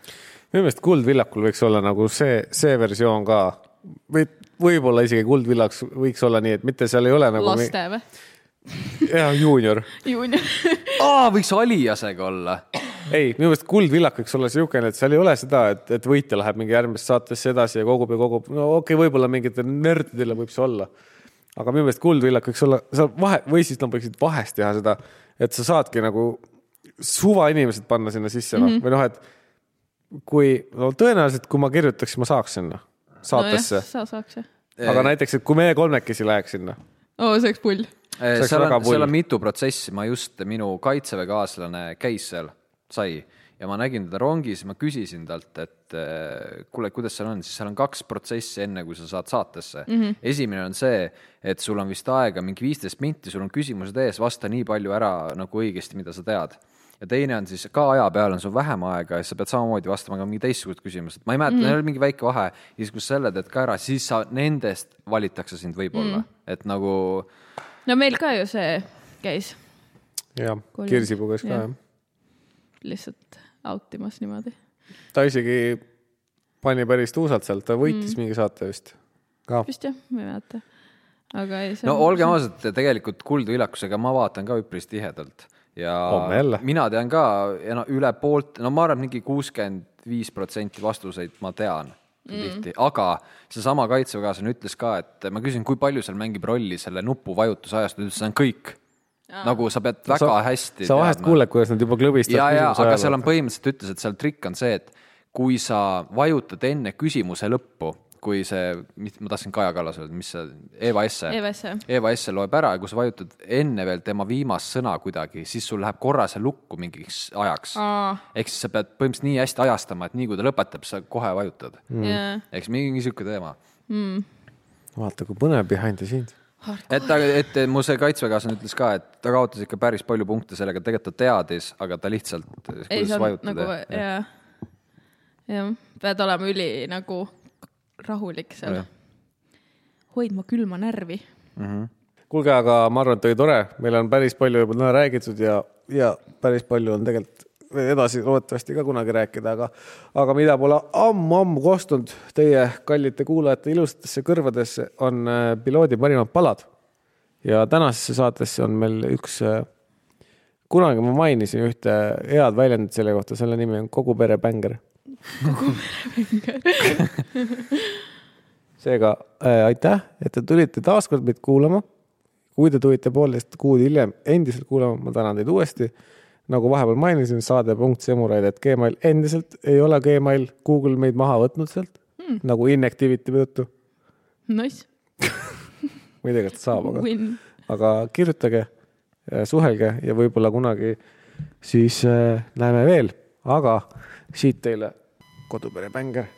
S1: minu meelest Kuldvillakul võiks olla nagu see , see versioon ka või võib-olla isegi Kuldvillaks võiks olla nii , et mitte seal ei ole nagu .
S4: laste või ?
S1: jah , juunior .
S4: juunior .
S5: aa , võiks Aliasega olla .
S1: ei , minu meelest Kuldvillak võiks olla siukene , et seal ei ole seda , et , et võitja läheb mingi järgmisse saatesse edasi ja kogub ja kogub . no okei okay, , võib-olla mingitele nördidele võib see olla . aga minu meelest Kuldvillak võiks olla , seal vahe või siis nad võiksid vahest teha seda , et sa saadki nagu suva inimesed panna sinna sisse
S4: Mhm.
S1: noh mm -hmm. või noh , et kui no tõenäoliselt , kui ma kirjutaks , siis ma saaks sinna saatesse no, .
S4: sa saaks jah .
S1: aga näiteks , et kui meie kolmekesi läheks sinna ,
S4: oo , see oleks pull .
S1: oleks
S5: Äh, seal
S1: väga
S5: on ,
S1: pull.
S5: seal on mitu protsessi , ma just , minu kaitseväekaaslane käis seal , sai ja ma nägin teda rongis , ma küsisin talt , et eh, kuule , kuidas seal on , siis seal on kaks protsessi , enne kui sa saad saatesse mm . -hmm. esimene on see , et sul on vist aega mingi viisteist minti , sul on küsimused ees , vasta nii palju ära nagu õigesti , mida sa tead ja teine on siis ka aja peal on sul vähem aega ja siis sa pead samamoodi vastama ka mingi teistsugused küsimused , ma ei mäleta mm , -hmm. neil oli mingi väike vahe ja siis , kui sa selle teed ka ära , siis sa nendest valitakse sind võib-olla mm , -hmm. et nagu
S4: no meil ka ju see käis
S1: jah ,
S4: Kolm-
S1: Kirsipuu käis ka
S4: jah.
S1: jah .
S4: lihtsalt out imas niimoodi .
S1: ta isegi pani päris tuusalt sealt , ta võitis mm.
S4: Mhm.
S1: mingi saate vist ka .
S4: vist jah , ma ei mäleta . aga ei , see
S5: no olgem ausad , tegelikult kuldvillakusega ma vaatan ka üpris tihedalt ja
S1: Homme jälle.
S5: mina tean ka ena- üle poolt , no ma arvan , mingi kuuskümmend viis protsenti vastuseid ma tean mm. tihti , aga seesama kaitseväekaaslane ütles ka , et ma küsin , kui palju seal mängib rolli selle nupuvajutuse ajast , ta ütles , see on kõik . nagu sa pead väga sa, hästi
S1: sa vahest kuuled , kuidas nad juba klubist .
S5: ja , ja , aga seal on . põhimõtteliselt ütles , et seal trikk on see , et kui sa vajutad enne küsimuse lõppu , kui see , ma tahtsin Kaja Kallas öelda , mis see Eva Esse .
S4: Eva Esse.
S5: Eva Esse loeb ära ja kui sa vajutad enne veel tema viimast sõna kuidagi , siis sul läheb korra see lukku mingiks ajaks .
S4: Aa.
S5: ehk siis sa pead põhimõtteliselt nii hästi ajastama , et nii kui ta lõpetab , sa kohe vajutad .
S1: Mm.
S4: jaa ,
S5: eks mingi sihuke teema .
S1: vaata , kui põnev behind the scenes .
S5: et , et mu see kaitseväekaaslane ütles ka , et ta kaotas ikka päris palju punkte sellega , tegelikult ta teadis , aga ta lihtsalt ,
S4: ei
S5: kuidas
S4: saanud
S5: vajutada
S4: nagu jaa , jah , pead olema üli nagu rahulik seal
S5: Jah. ,
S4: hoidma külma närvi .
S1: kuulge , aga ma arvan , et oli tore , meil on päris palju juba täna räägitud ja , ja päris palju on tegelikult veel edasi loodetavasti ka kunagi rääkida , aga , aga mida pole ammu-ammu kostunud teie kallite kuulajate ilusatesse kõrvadesse , on äh, piloodi parimad palad . ja tänasesse saatesse on meil üks , kunagi ma mainisin ühte head väljendit selle kohta , selle nimi on kogu pere bänger . seega äh, aitäh , et te tulite taas kord meid kuulama . kui te tulite poolteist kuud hiljem endiselt kuulama , ma tänan teid uuesti . nagu vahepeal mainisin , saade.semuraid.gmail endiselt ei ole Gmail , Google meid maha võtnud sealt hmm. nagu inactivity tõttu .
S4: Nice ,
S1: ma ei tea , kas ta saab , aga ,
S4: Noh. win .
S1: aga kirjutage , suhelge ja võib-olla kunagi siis äh, näeme veel , aga siit teile kodupere bänger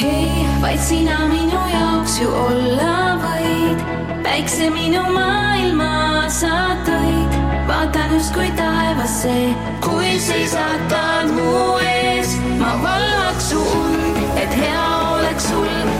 S6: Hei, vaid sina minu jaoks ju olla võid . tõid , päikse minu maailma sa tõid . vaatan justkui taevasse , kui seisad mu ees , ma valvaks su und , et hea oleks sul à.